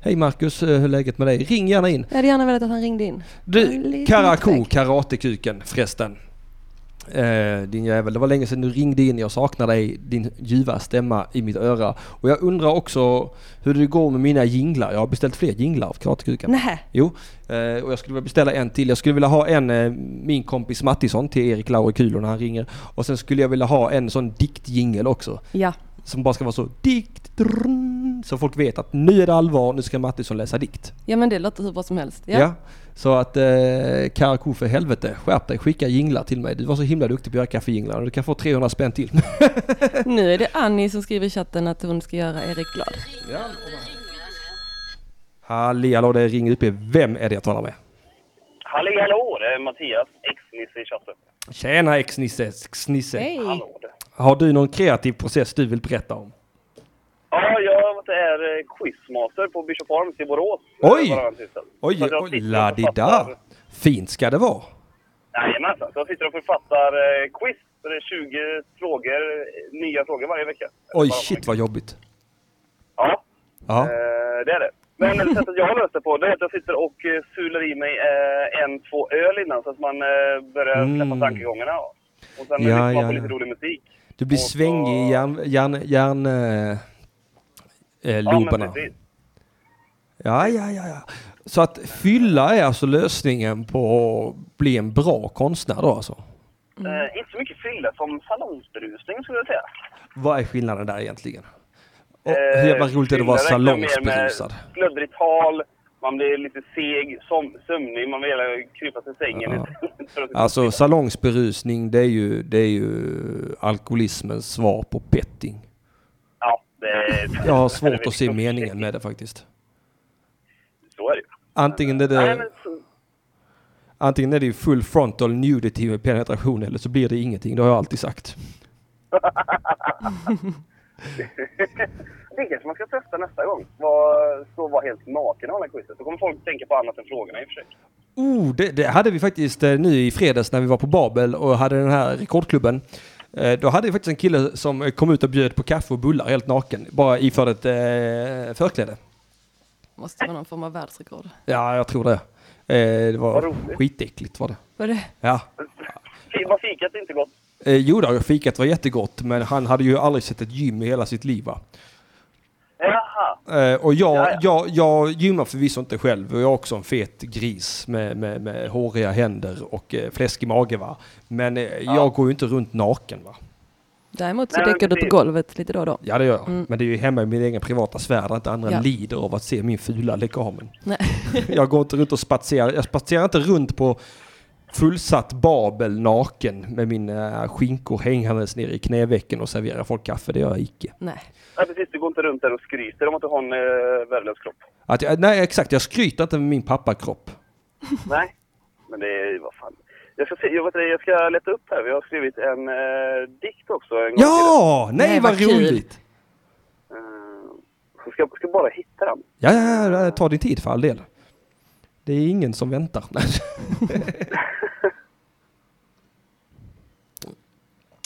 Speaker 1: Hej Marcus, eh, hur är läget med dig? Ring gärna in.
Speaker 3: Jag hade gärna velat att han ringde in. En
Speaker 1: Du,
Speaker 3: liten
Speaker 1: Karako,
Speaker 3: knäck.
Speaker 1: karatekuken förresten. Eh, din jävel, det var länge sedan du ringde in. Jag saknar dig, din ljuva stämma i mitt öra. Och jag undrar också hur det går med mina jinglar. Jag har beställt fler jinglar av Karatekuken.
Speaker 3: Nej.
Speaker 1: Jo, eh, och jag skulle vilja beställa en till. Jag skulle vilja ha en, eh, min kompis Mattisson till Erik Lauri Kulo när han ringer. Och sen skulle jag vilja ha en sån diktjingel också.
Speaker 3: Ja.
Speaker 1: Som bara ska vara så dikt drrrn, in så folk vet att nu är det allvar, nu ska Mattisson läsa dikt.
Speaker 3: Ja men det låter hur bra som helst. Ja.
Speaker 1: Så att eh, Karakou för helvete, skärp dig, skicka jinglar till mig. Du var så himla duktig på att göra kaffejinglar och du kan få 300 spänn till.
Speaker 3: Nu är det Annie som skriver i chatten att hon ska göra Erik glad.
Speaker 1: Halli hallå, det är Ring UP. Vem är det jag talar med?
Speaker 6: Halli hallå, det är Mattias, ex-nisse i chatten.
Speaker 1: Tjena ex-Nisse, snisse.
Speaker 3: Hej!
Speaker 6: Hallå du.
Speaker 1: Har du någon kreativ process du vill berätta om?
Speaker 6: Ja, jag är eh, quizmaster på Bishop Arms i Borås.
Speaker 1: Oj!
Speaker 6: Eh, varannan tisdag.
Speaker 1: Oj,
Speaker 6: Så att jag
Speaker 1: oj,
Speaker 6: sitter och
Speaker 1: la-di-da.
Speaker 6: författar-
Speaker 1: Fint ska det vara.
Speaker 6: Jajamensan, så jag sitter och författar eh, quiz. Så det är 20 frågor, eh, nya frågor varje vecka.
Speaker 1: Oj,
Speaker 6: Varannan
Speaker 1: shit
Speaker 6: vecka.
Speaker 1: vad jobbigt.
Speaker 6: Ja,
Speaker 1: Ja.
Speaker 6: eh, det är det. Men det sättet jag har löst det på, det är att jag sitter och eh, sular i mig eh, en, två öl innan så att man eh, börjar släppa
Speaker 1: Mm.
Speaker 6: tankegångarna. Och sen
Speaker 1: Ja,
Speaker 6: lyssnar man
Speaker 1: ja,
Speaker 6: på
Speaker 1: ja.
Speaker 6: lite rolig musik.
Speaker 1: Du blir
Speaker 6: och så-
Speaker 1: svängig i hjärn... hjärn, hjärn eh, eh, lobarna.
Speaker 6: precis.
Speaker 1: Ja, ja, ja, ja. Så att fylla är alltså lösningen på att bli en bra konstnär då alltså?
Speaker 6: Eh, inte så mycket fylla som salongsberusning skulle jag säga.
Speaker 1: Vad är skillnaden där egentligen? Och hur jävla roligt är det att vara
Speaker 6: Eh, fylla räknar mer med
Speaker 1: salongsberusad?
Speaker 6: Sluddrigt tal, man blir lite seg, som, sömnig, man vill eh, krypa till sängen.
Speaker 1: Ja.
Speaker 6: lite för att-
Speaker 1: Alltså salongsberusning det är ju, det är ju alkoholismens svar på petting.
Speaker 6: ja, det,
Speaker 1: Jag har svårt att se meningen med det faktiskt.
Speaker 6: Så är det ju.
Speaker 1: Antingen är
Speaker 6: Nej,
Speaker 1: det,
Speaker 6: men så-
Speaker 1: antingen är det ju full frontal nudity med penetration eller så blir det ingenting. Det har jag alltid sagt.
Speaker 6: Det kanske man ska testa nästa gång. Var, så var helt naken och hålla quizet. Då kommer folk tänka på annat än frågorna i och för sig.
Speaker 1: Oh, det, det hade vi faktiskt eh, nu i fredags när vi var på Babel och hade den här rekordklubben. Eh, Då hade vi faktiskt en kille som eh, kom ut och bjöd på kaffe och bullar helt naken. Bara iförd ett eh, förkläde.
Speaker 3: Måste vara någon form av världsrekord.
Speaker 1: Ja, jag tror det. Eh, det
Speaker 6: Vad
Speaker 1: var
Speaker 6: roligt.
Speaker 1: skitäckligt var det.
Speaker 3: Var det?
Speaker 1: Ja.
Speaker 6: Fi- Var fikat inte gott?
Speaker 1: Eh, jo då, fikat var jättegott men han hade ju aldrig sett ett gym i hela sitt liv va.
Speaker 6: Jaha,
Speaker 1: Eh, och jag,
Speaker 6: Jaja.
Speaker 1: jag, jag gymmar förvisso inte själv och jag är också en fet gris med, med, med håriga händer och eh, fläskig mage va. Men eh, jag går ju inte runt naken va.
Speaker 3: Däremot så
Speaker 6: Nej, men
Speaker 3: dyker du på
Speaker 6: precis.
Speaker 3: golvet lite då och då.
Speaker 1: Ja det gör jag. Men det är ju hemma i min egen privata sfär där inte andra
Speaker 3: Mm. Ja.
Speaker 1: lider av att se min fula lekamen.
Speaker 3: Nej.
Speaker 1: Jag går inte runt och spatserar. Jag spatserar inte runt på fullsatt Babel naken med mina skinkor hängandes nere i knävecken och serverar folk kaffe. Det gör jag icke.
Speaker 3: Nej.
Speaker 6: ja, precis. Du går inte runt där och skryter om att du har en eh, värdelös kropp.
Speaker 1: Att jag, nej exakt, jag skryter inte med min pappakropp.
Speaker 6: Nej, men det är vad fan. Jag ska, se, jag, vet, inte, jag ska leta upp här. Vi har skrivit en eh, dikt också. En gång till.
Speaker 1: Ja! Nej,
Speaker 3: Nej,
Speaker 1: vad,
Speaker 3: vad kul.
Speaker 1: roligt!
Speaker 6: Eh, så ska, ska bara hitta den.
Speaker 1: Ja, ja, ja, ta din tid för all del. Det är ingen som väntar.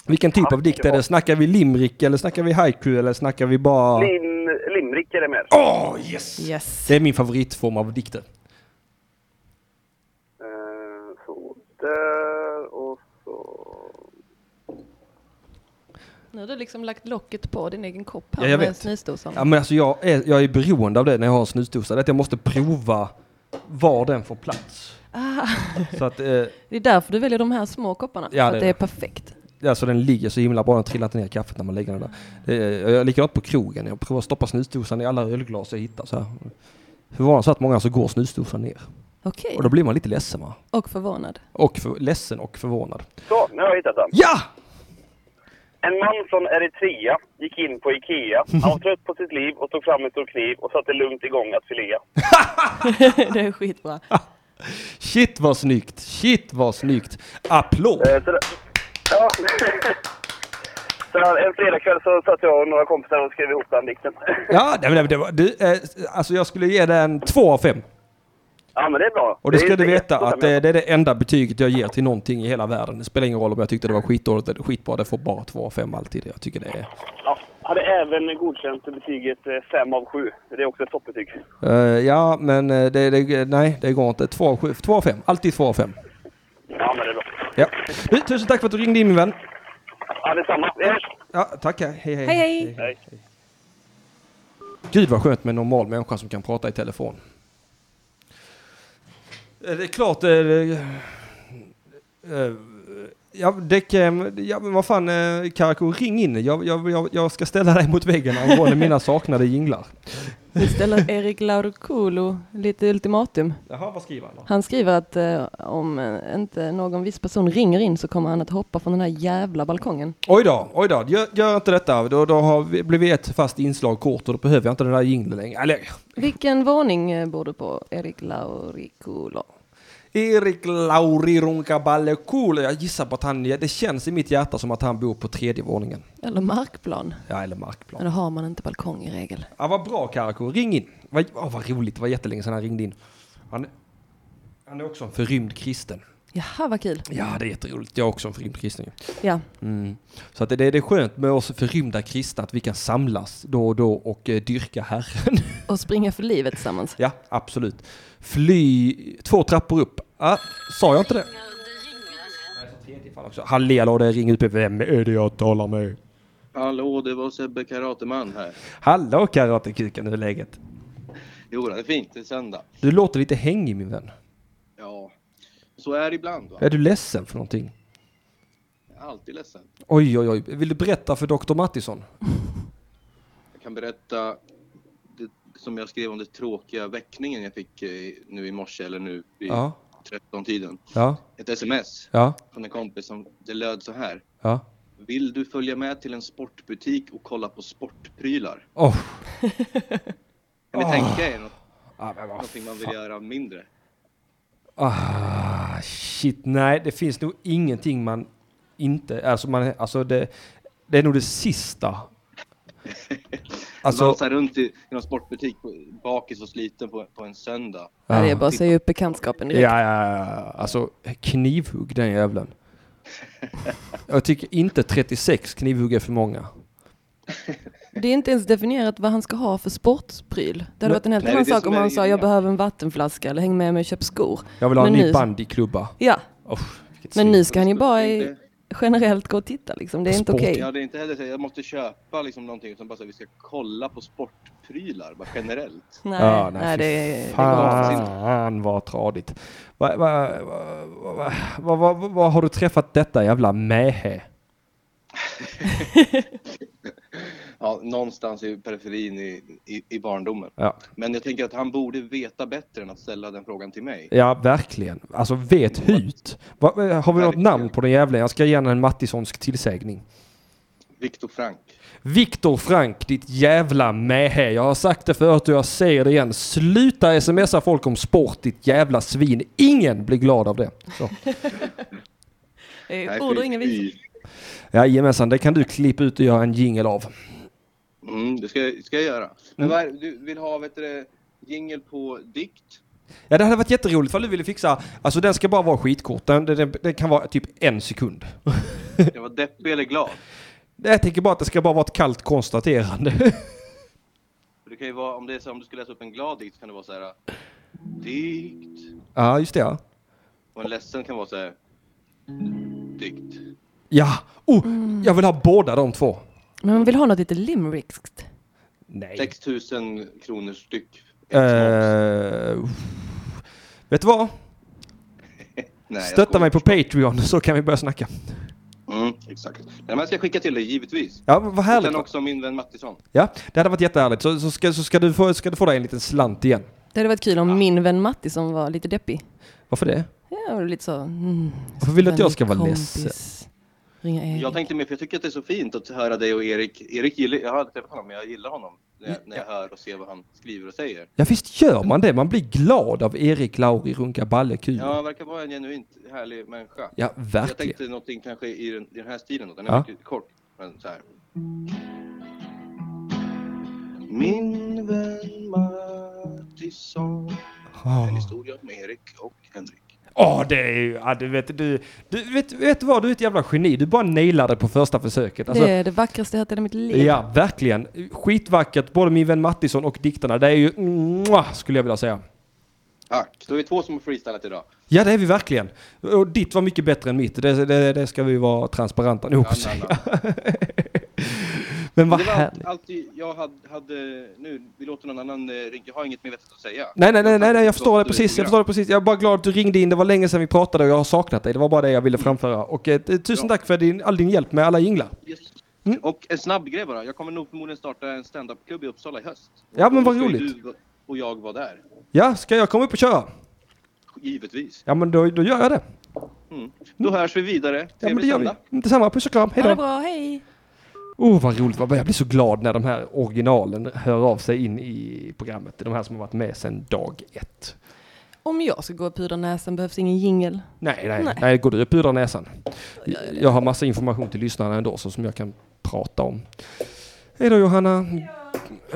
Speaker 1: Vilken typ av dikt är det? Snackar vi limrik eller snackar vi haiku eller snackar vi bara...
Speaker 6: Lim, limrik är det mer.
Speaker 1: Åh, yes!
Speaker 3: Yes.
Speaker 1: Det är min favoritform av dikter.
Speaker 6: Eh, så där och så...
Speaker 3: Nu har du liksom lagt locket på din egen kopp
Speaker 1: Ja,
Speaker 3: här
Speaker 1: jag
Speaker 3: med
Speaker 1: vet.
Speaker 3: snusdosan.
Speaker 1: Ja, men alltså jag, är, jag är beroende av det när jag har en snusdosa. Det är Att jag måste prova var den får plats.
Speaker 3: Ah,
Speaker 1: Så att, eh,
Speaker 3: Det är därför du väljer de här små kopparna.
Speaker 1: Ja,
Speaker 3: för
Speaker 1: det är
Speaker 3: att det
Speaker 1: det.
Speaker 3: är perfekt.
Speaker 1: alltså den ligger så himla bra, den trillar inte ner i kaffet när man lägger den där. Det är, jag är likadant på krogen, jag provar att stoppa snusdosan i alla ölglas jag hittar. Så här. Förvånansvärt många så går snusdosan ner.
Speaker 3: Okej.
Speaker 1: Och då blir man lite ledsen va?
Speaker 3: Och förvånad.
Speaker 1: Och för, ledsen och förvånad.
Speaker 6: Så, nu har jag hittat den.
Speaker 1: Ja!
Speaker 6: En man från Eritrea gick in på Ikea. Han var trött på sitt liv och tog fram en stor kniv och satte lugnt igång att filea.
Speaker 3: det är skitbra.
Speaker 1: Shit vad snyggt! Shit vad snyggt! Applåd!
Speaker 6: Eh, Så, det- ja. så en fredagkväll så satt jag och några kompisar och skrev ihop den dikten.
Speaker 1: Ja, nej, men det var, du, eh, alltså jag skulle ge den två av fem.
Speaker 6: Ja, men det är bra.
Speaker 1: Och det ska
Speaker 6: är-
Speaker 1: du
Speaker 6: är
Speaker 1: veta
Speaker 6: jättebra.
Speaker 1: att eh, det, det är det enda betyget jag ger till någonting i hela världen. Det spelar ingen roll om jag tyckte det var skitdåligt eller skitbra. Det får bara två av fem alltid. Jag tycker det är...
Speaker 6: Ja, hade även godkänt betyget 5 av 7. Det är också ett toppbetyg.
Speaker 1: Eh, ja, men eh, det, det, nej, det går inte. Två av sju- två av fem. Alltid två av fem.
Speaker 6: Ja, men det är bra.
Speaker 1: Ja. Du, tusen tack för att du ringde in min vän.
Speaker 6: Ja, detsamma. Vi hörs!
Speaker 1: Ja, tack. Hej, hej.
Speaker 3: Hej, hej.
Speaker 6: Hej.
Speaker 1: Gud vad skönt med en normal människa som kan prata i telefon. Eh, Det är klart... eh, eh, eh, Ja, däck, eh, ja men vad fan eh, Karakou, ring in. Jag, jag, jag, jag ska ställa dig mot väggen angående mina saknade jinglar.
Speaker 3: Nu ställer Erik Laurokulu lite ultimatum.
Speaker 1: Jaha, vad skriver han då?
Speaker 3: Han skriver att eh, om eh, inte någon viss person ringer in så kommer han att hoppa från den här jävla balkongen.
Speaker 1: Oj då, oj då, gör, gör inte detta. Då, då har vi, blir vi ett fast inslag kort och då behöver jag inte den där jingeln längre. Eller,
Speaker 3: Vilken våning eh, bor du på, Erik Laurikulu?
Speaker 1: Erik Lauri Runkabalekulu. Jag gissar på att han, ja, det känns i mitt hjärta som att han bor på tredje våningen.
Speaker 3: Eller markplan.
Speaker 1: Ja, eller
Speaker 3: Men
Speaker 1: markplan.
Speaker 3: då har man inte balkong i regel.
Speaker 1: Ja, vad bra Karakou, ring in. Vad, åh, vad roligt, det var jättelänge sedan han ringde in. Han, han är också en förrymd kristen.
Speaker 3: Jaha, vad kul.
Speaker 1: Ja, det är jätteroligt. Jag är också en förrymd kristen ju.
Speaker 3: Ja,
Speaker 1: Mm. Så att det, det är skönt med oss förrymda kristna att vi kan samlas då och då och eh, dyrka Herren.
Speaker 3: och springa för livet tillsammans.
Speaker 1: ja, absolut. Fly två trappor upp. Ah, sa jag inte det? Nej, så tredje fall också. Halli hallå, det ringer ut. Vem är det jag talar med?
Speaker 7: Hallå, det var Sebbe Karateman här.
Speaker 1: Hallå Karatekuken, hur är läget?
Speaker 7: Jo, det är fint. Det är söndag.
Speaker 1: Du låter lite hängig min vän.
Speaker 7: Ja, så är det ibland va?
Speaker 1: Är du ledsen för någonting?
Speaker 7: Jag är alltid ledsen.
Speaker 1: Oj, oj, oj. Vill du berätta för doktor Mattisson?
Speaker 7: Jag kan berätta det, som jag skrev om den tråkiga väckningen jag fick eh, nu i morse, eller nu vid
Speaker 1: Ja,
Speaker 7: 13-tiden.
Speaker 1: ja,
Speaker 7: Ett sms
Speaker 1: ja,
Speaker 7: från en kompis som det löd så här.
Speaker 1: ja.
Speaker 7: Vill du följa med till en sportbutik och kolla på sportprylar?
Speaker 1: Oh.
Speaker 7: Kan ni tänka er något,
Speaker 1: Ah, men vad
Speaker 7: någonting man vill göra mindre?
Speaker 1: Ah, shit, nej, det finns nog ingenting man inte... Alltså, man, alltså det, det är nog det sista. Alltså,
Speaker 7: Valsa runt i, i någon sportbutik, på- bakis och sliten på, på en söndag.
Speaker 3: Ja. Det är bara att säga upp bekantskapen
Speaker 1: ja,
Speaker 3: direkt.
Speaker 1: ja, ja, alltså knivhugg den jäveln. Jag tycker inte 36 knivhugg är för många.
Speaker 3: Det är inte ens definierat vad han ska ha för sportspryl. Det hade varit en helt
Speaker 7: Nej,
Speaker 3: annan
Speaker 7: det är det
Speaker 3: sak
Speaker 7: som
Speaker 3: om
Speaker 7: är
Speaker 3: han
Speaker 7: det
Speaker 3: sa jag
Speaker 7: rimliga."
Speaker 3: behöver en vattenflaska eller häng med mig och köp skor.
Speaker 1: Jag vill ha en
Speaker 3: Men
Speaker 1: ny
Speaker 3: nu-
Speaker 1: bandyklubba.
Speaker 3: Ja,
Speaker 1: Oh, vilket
Speaker 3: men
Speaker 1: svin.
Speaker 3: nu ska
Speaker 7: Typ.
Speaker 3: han ju bara
Speaker 7: Det är
Speaker 3: i,
Speaker 7: inte-
Speaker 3: generellt gå och titta liksom. Det är inte
Speaker 1: Sport,
Speaker 3: okej.
Speaker 7: Ja, det är inte heller så. Jag måste köpa liksom någonting utan bara så att vi ska kolla på sportprylar bara generellt.
Speaker 3: Nej,
Speaker 1: Ja,
Speaker 3: nej,
Speaker 1: fy
Speaker 3: det är... det går inte.
Speaker 1: Fan vad tradigt. Vad va, va, va, va, va, va, va, har du träffat detta jävla mähä?
Speaker 7: Ja, någonstans i periferin i, i, i barndomen.
Speaker 1: Ja.
Speaker 7: Men jag tänker att han borde veta bättre än att ställa den frågan till mig.
Speaker 1: Ja, verkligen. Alltså, vet
Speaker 3: Mm.
Speaker 1: hut. Va, eh, har vi något
Speaker 7: Verkligen.
Speaker 1: namn på den jävla? Jag ska ge honom en Mattissonsk tillsägning.
Speaker 7: Viktor Frank.
Speaker 1: Viktor Frank, ditt jävla mähä. Jag har sagt det förut och jag säger det igen. Sluta smsa folk om sport, ditt jävla svin. Ingen blir glad av det. Så.
Speaker 3: Det
Speaker 7: Nej,
Speaker 3: är ord och
Speaker 7: fy-
Speaker 3: ingen visor.
Speaker 1: Jajamensan, det kan du klippa ut och göra en jingel av.
Speaker 7: Mm, det ska, jag- ska jag göra.
Speaker 1: Mm.
Speaker 7: Men vad är, du vill ha vet du, jingel på dikt?
Speaker 1: Ja, det hade varit jätteroligt ifall du ville fixa. Alltså den ska bara vara skitkort. Den, den, den kan vara typ en sekund.
Speaker 7: Jag var deppig eller glad?
Speaker 1: Jag tänker bara att det ska bara vara ett kallt konstaterande.
Speaker 7: För Det kan ju vara, om, det är så, om du ska läsa upp en glad dikt så kan det vara så här. Dikt.
Speaker 1: ja, just det. ja.
Speaker 7: Och en ledsen kan vara så här. Dikt.
Speaker 1: Ja, oh, jag vill ha båda de två.
Speaker 3: Men man vill ha något lite limerickskt.
Speaker 1: Nej.
Speaker 7: 6 000 kronor styck.
Speaker 1: Eh, vet du vad?
Speaker 7: Nej, jag
Speaker 1: Stötta
Speaker 7: skojar.
Speaker 1: mig på Patreon så kan vi börja snacka.
Speaker 7: Mm, exakt. Nej, men jag ska skicka till dig, givetvis.
Speaker 1: Ja, vad
Speaker 7: Och
Speaker 1: härligt. Mm.
Speaker 7: sen också min vän Mattisson.
Speaker 1: Ja, det hade varit jättehärligt. Så, så, ska, så ska, du få, ska du få dig en liten slant igen.
Speaker 3: Det hade varit kul om min vän Matti som var lite deppig.
Speaker 1: Varför det?
Speaker 3: Ja, och lite så... Mm,
Speaker 1: Varför vill du att
Speaker 3: vänlig
Speaker 1: jag ska vara
Speaker 3: kompis.
Speaker 1: ledsen?
Speaker 3: Ringa Erik.
Speaker 7: Jag tänkte mer, för jag tycker att det är så fint att höra dig och Erik. Erik gillar, jag har aldrig träffat honom, men jag gillar honom. När
Speaker 1: Mm,
Speaker 7: jag, när jag hör och ser vad han skriver och säger.
Speaker 1: Ja, visst gör man det? Man blir glad av Erik Lauri runka ballekulor.
Speaker 7: Ja,
Speaker 1: Ja,
Speaker 7: han verkar vara en genuint härlig människa. jag
Speaker 1: verkligen.
Speaker 7: tänkte någonting kanske i den, i den här stilen då. Den är
Speaker 1: Ja.
Speaker 7: mycket kort, men så här. Min vän Mattisson. En
Speaker 1: Åh,
Speaker 7: historia med Erik och Henrik.
Speaker 1: Åh, det är ju... Ja, du vet, du, du, vet, vet du vad? Du är ett jävla geni. Du bara nailade på första försöket. Alltså,
Speaker 3: det är det vackraste jag hört i hela mitt liv.
Speaker 1: Ja, verkligen. Skitvackert, både min vän Mattisson och dikterna. Det är ju... mwah, Skulle jag vilja säga.
Speaker 7: Tack. Då är vi två som har freestylat idag.
Speaker 1: Ja, det är vi verkligen. Och ditt var mycket bättre än mitt. Det, det, det ska vi vara transparenta nog
Speaker 7: Ja,
Speaker 1: att säga.
Speaker 7: nej, nej.
Speaker 1: Men vad
Speaker 7: det var allt,
Speaker 1: härligt.
Speaker 7: alltid jag hade, hade... Nu, vi låter någon annan eh, ringa. Jag har inget mer vettigt att säga.
Speaker 1: Nej, nej, nej, nej, nej, jag förstår det
Speaker 7: Gott, eh,
Speaker 1: precis. Jag
Speaker 7: program.
Speaker 1: förstår det precis. Jag är bara glad att du ringde in. Det var länge sedan vi pratade och jag har saknat dig. Det var bara det jag ville
Speaker 7: Mm.
Speaker 1: framföra. Och eh, tusen tack för din, all din hjälp med alla jinglar.
Speaker 7: Yes.
Speaker 1: Mm.
Speaker 7: Och en snabb grej bara. Jag kommer nog förmodligen starta en standup-klubb i Uppsala i höst.
Speaker 1: Ja, men
Speaker 7: Då
Speaker 1: vad
Speaker 7: ska ju
Speaker 1: roligt.
Speaker 7: Du och jag var där.
Speaker 1: Ja, ska jag komma upp och köra?
Speaker 7: Givetvis.
Speaker 1: Ja, men då, då gör jag det.
Speaker 7: Då hörs vi vidare.
Speaker 1: Mm. Ja, men det
Speaker 7: Trevlig
Speaker 1: gör vi.
Speaker 7: söndag.
Speaker 1: Mm, Detsamma. Puss och kram. Hej
Speaker 3: Ha det
Speaker 1: då.
Speaker 3: bra, hej!
Speaker 1: Oh, vad roligt. Vad- Jag blir så glad när de här originalen hör av sig in i programmet. De här som har varit med sedan dag ett.
Speaker 3: Om jag ska gå och pudra näsan behövs ingen jingel.
Speaker 1: Nej, nej, nej.
Speaker 3: Nej.
Speaker 1: går du och pudrar näsan? Jag har massa information till lyssnarna ändå så som jag kan prata om. Hej då Johanna.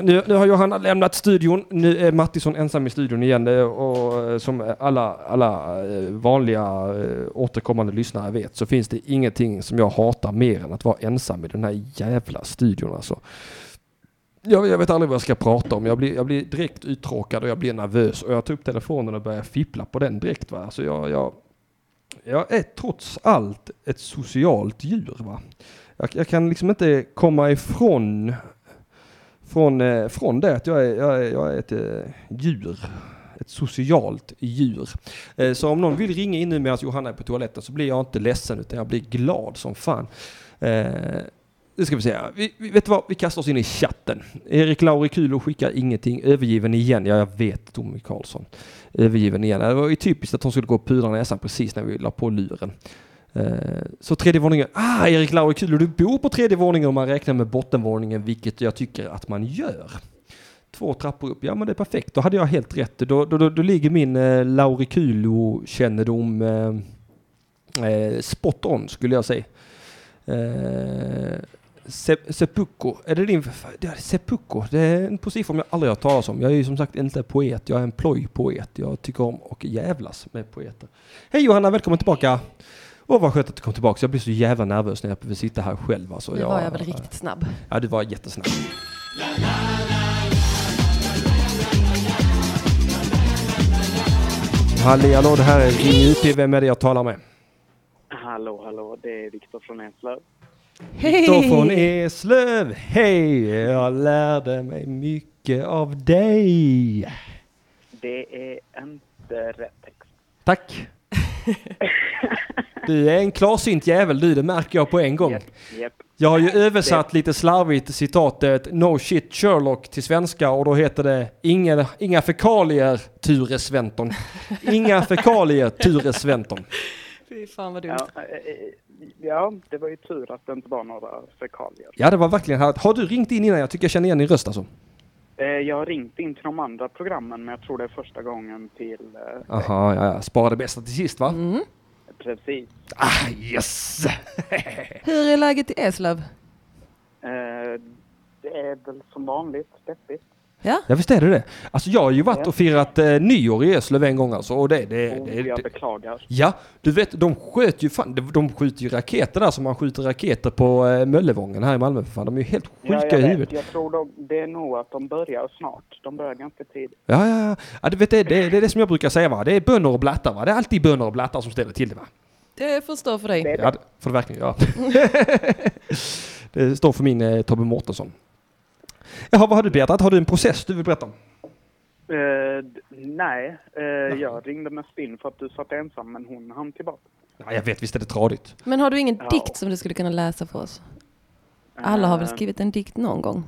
Speaker 1: Nu, nu har Johanna lämnat studion. Nu är Mattisson ensam i studion igen. Det- Och eh, som alla, alla eh, vanliga eh, återkommande lyssnare vet så finns det ingenting som jag hatar mer än att vara ensam i den här jävla studion. Alltså. Jag, jag vet aldrig vad jag ska prata om. Jag blir, jag blir direkt uttråkad och jag blir nervös. Och jag tar upp telefonen och börjar fippla på den direkt. Va? Alltså jag, jag, jag är trots allt ett socialt djur. Va? Jag, jag kan liksom inte komma ifrån från, eh, från det att jag är, jag är, jag är ett eh, djur. Ett socialt djur. Eh, så om någon vill ringa in nu medan Johanna är på toaletten så blir jag inte ledsen utan jag blir glad som fan. Eh, det ska vi säga. Vi, vi, vet du vad? Vi kastar oss in i chatten. Erik Laurikulo skickar ingenting. Övergiven igen. Ja, jag vet Tommy Karlsson. Övergiven igen. Det var ju typiskt att hon skulle gå och pudra näsan precis när vi la på luren. Eh, Så tredje våningen. Ah, Erik Laurikulo, du bor på tredje våningen om man räknar med bottenvåningen, vilket jag tycker att man gör. Två trappor upp. Ja, men det är perfekt. Då hade jag helt rätt. Då, då, då, då ligger min eh, Laurikulo-kännedom eh, eh, spot on, skulle jag säga. Eh, Se- Seppuku, är det din... det är Seppuku, det är en position jag aldrig har hört talas om. Jag är ju som sagt inte poet, jag är en plojpoet. Jag tycker om och jävlas med poeter. Hej Johanna, välkommen tillbaka! Åh vad skönt att du kom tillbaka, jag blir så jävla nervös när jag behöver sitta här själv. Alltså,
Speaker 3: Nu var jag väl riktigt snabb.
Speaker 1: Ja, du var jättesnabb. Halli hallå, det här är Ring UP, vem är det jag talar med?
Speaker 8: Hallå, hallå, det är Viktor från Eslöv.
Speaker 1: Viktor från
Speaker 3: Hej!
Speaker 1: Eslöv, hej! Jag lärde mig mycket av dig.
Speaker 8: Det är inte rätt text.
Speaker 1: Tack. Du är en klarsynt jävel du, det märker jag på en gång.
Speaker 8: Japp.
Speaker 1: Jag har ju översatt lite slarvigt citatet No shit Sherlock till svenska och då heter det Inga, inga fekalier Ture Sventon. Inga fekalier Ture Sventon.
Speaker 3: Fy fan vad dumt.
Speaker 8: Ja, eh, eh, ja, det var ju tur att det inte var några fekalier.
Speaker 1: Ja det var verkligen härligt. Har du ringt in innan? Jag tycker jag känner igen din röst alltså.
Speaker 8: Eh, Jag har ringt in till de andra programmen, men jag tror det är första gången till... eh,
Speaker 1: Aha, ja, ja. Spara det bästa till sist va?
Speaker 8: Precis.
Speaker 1: Ah, yes!
Speaker 3: Hur är läget i Eslöv?
Speaker 8: Eh, Det är väl som vanligt deppigt.
Speaker 3: Ja,
Speaker 1: Ja visst är det det. Alltså jag har ju varit och firat eh, nyår i Eslöv en gång alltså och det, det,
Speaker 8: Och
Speaker 1: det,
Speaker 8: jag
Speaker 1: det,
Speaker 8: beklagar.
Speaker 1: Ja, du vet, de sköt ju fan, de- de skjuter ju raketer där som man skjuter raketer på eh, Möllevången här i Malmö för fan. De är ju helt sjuka
Speaker 8: Ja, jag,
Speaker 1: i
Speaker 8: vet.
Speaker 1: huvudet.
Speaker 8: jag tror de, det är nog att de börjar snart. De börjar ganska tidigt.
Speaker 1: Ja, ja, ja. ja du vet, det, det, det är det som jag brukar säga va. Det är bönder och blattar va. Det är alltid bönder och blattar som ställer till det va.
Speaker 3: det förstår för dig.
Speaker 1: Ja, det får du verkligen göra. det står för min eh, Tobbe Mårtensson. Jaha, vad har du berättat? Har du en process du vill berätta om?
Speaker 8: Eh, d- nej, eh, jag ringde med Spinn för att du satt ensam, men hon hann tillbaka.
Speaker 1: Ja, jag vet, visst är det tradigt.
Speaker 3: Men har du ingen
Speaker 8: Ja.
Speaker 3: dikt som du skulle kunna läsa för oss? Alla har väl skrivit en dikt någon gång?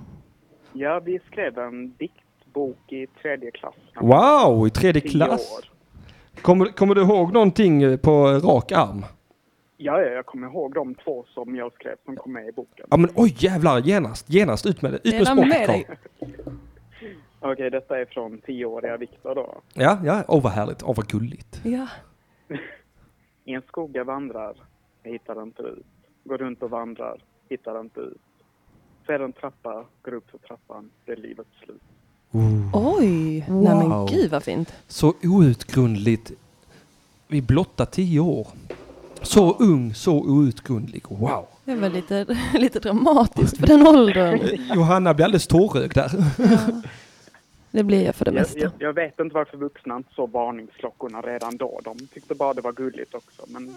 Speaker 8: Ja, vi skrev en diktbok i tredje klass. när vi
Speaker 1: Wow, i tredje
Speaker 8: var tio
Speaker 1: klass.
Speaker 8: år.
Speaker 1: Kommer, kommer du ihåg någonting eh, på rak arm?
Speaker 8: Ja, ja, jag kommer ihåg de två som jag skrev som kom med i boken.
Speaker 1: Ja, men oj jävlar, genast, genast ut med det. Ut med
Speaker 3: Dela med
Speaker 1: språket Carl.
Speaker 3: dig.
Speaker 8: Okej, detta är från tioåriga Viktor då.
Speaker 1: Ja, ja. Åh vad härligt. Åh vad gulligt.
Speaker 3: Ja.
Speaker 8: I en skog jag vandrar, jag hittar inte ut. Går runt och vandrar, hittar inte ut. Ser en trappa, går upp för trappan, det är livets slut.
Speaker 3: Oj! Nej men gud vad fint.
Speaker 1: Så outgrundligt. Vi blotta tio år. Så ung, så outgrundlig. Wow.
Speaker 3: Det var lite, lite dramatiskt för den åldern.
Speaker 1: Johanna blir alldeles tårögd där.
Speaker 3: Det blir jag för det
Speaker 8: Jag, jag,
Speaker 3: mesta.
Speaker 8: jag vet inte varför vuxna inte såg varningsklockorna redan då. De tyckte bara det var gulligt också. Men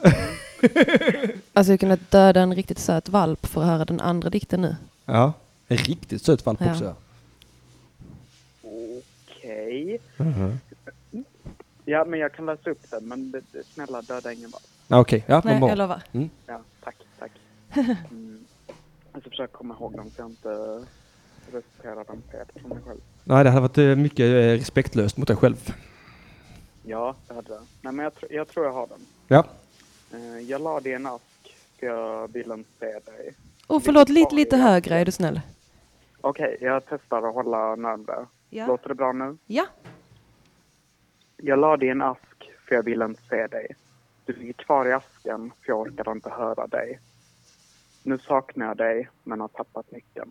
Speaker 3: Alltså jag kunde döda en riktigt söt valp för att höra den andra dikten nu.
Speaker 1: Ja. En riktigt söt valp också.
Speaker 3: Ja.
Speaker 8: Okej. Ja, men jag kan läsa upp den, men det- det- snälla döda ingen valp.
Speaker 1: Ja, Okej, ja, men
Speaker 3: Nej,
Speaker 1: bra. Mm.
Speaker 3: jag lovar.
Speaker 8: Ja, tack, tack. Mm. Jag ska försöka komma ihåg dem så jag inte reciterar dem fel för mig själv.
Speaker 1: Nej, det hade varit eh, mycket eh, respektlöst mot dig själv.
Speaker 8: Ja, det hade jag. Nej, men jag, tr- jag tror jag har den.
Speaker 1: Ja.
Speaker 8: Eh, jag la det i en ask, för jag vill inte se dig.
Speaker 3: Oh, förlåt, lite, lite högre är du snäll.
Speaker 8: Okej, jag testar att hålla närmare.
Speaker 3: Ja.
Speaker 8: Låter det bra nu?
Speaker 3: ja.
Speaker 8: Jag la dig i en ask för jag ville inte se dig. Du ligger kvar i asken för jag orkade inte höra dig. Nu saknar jag dig men har tappat nyckeln.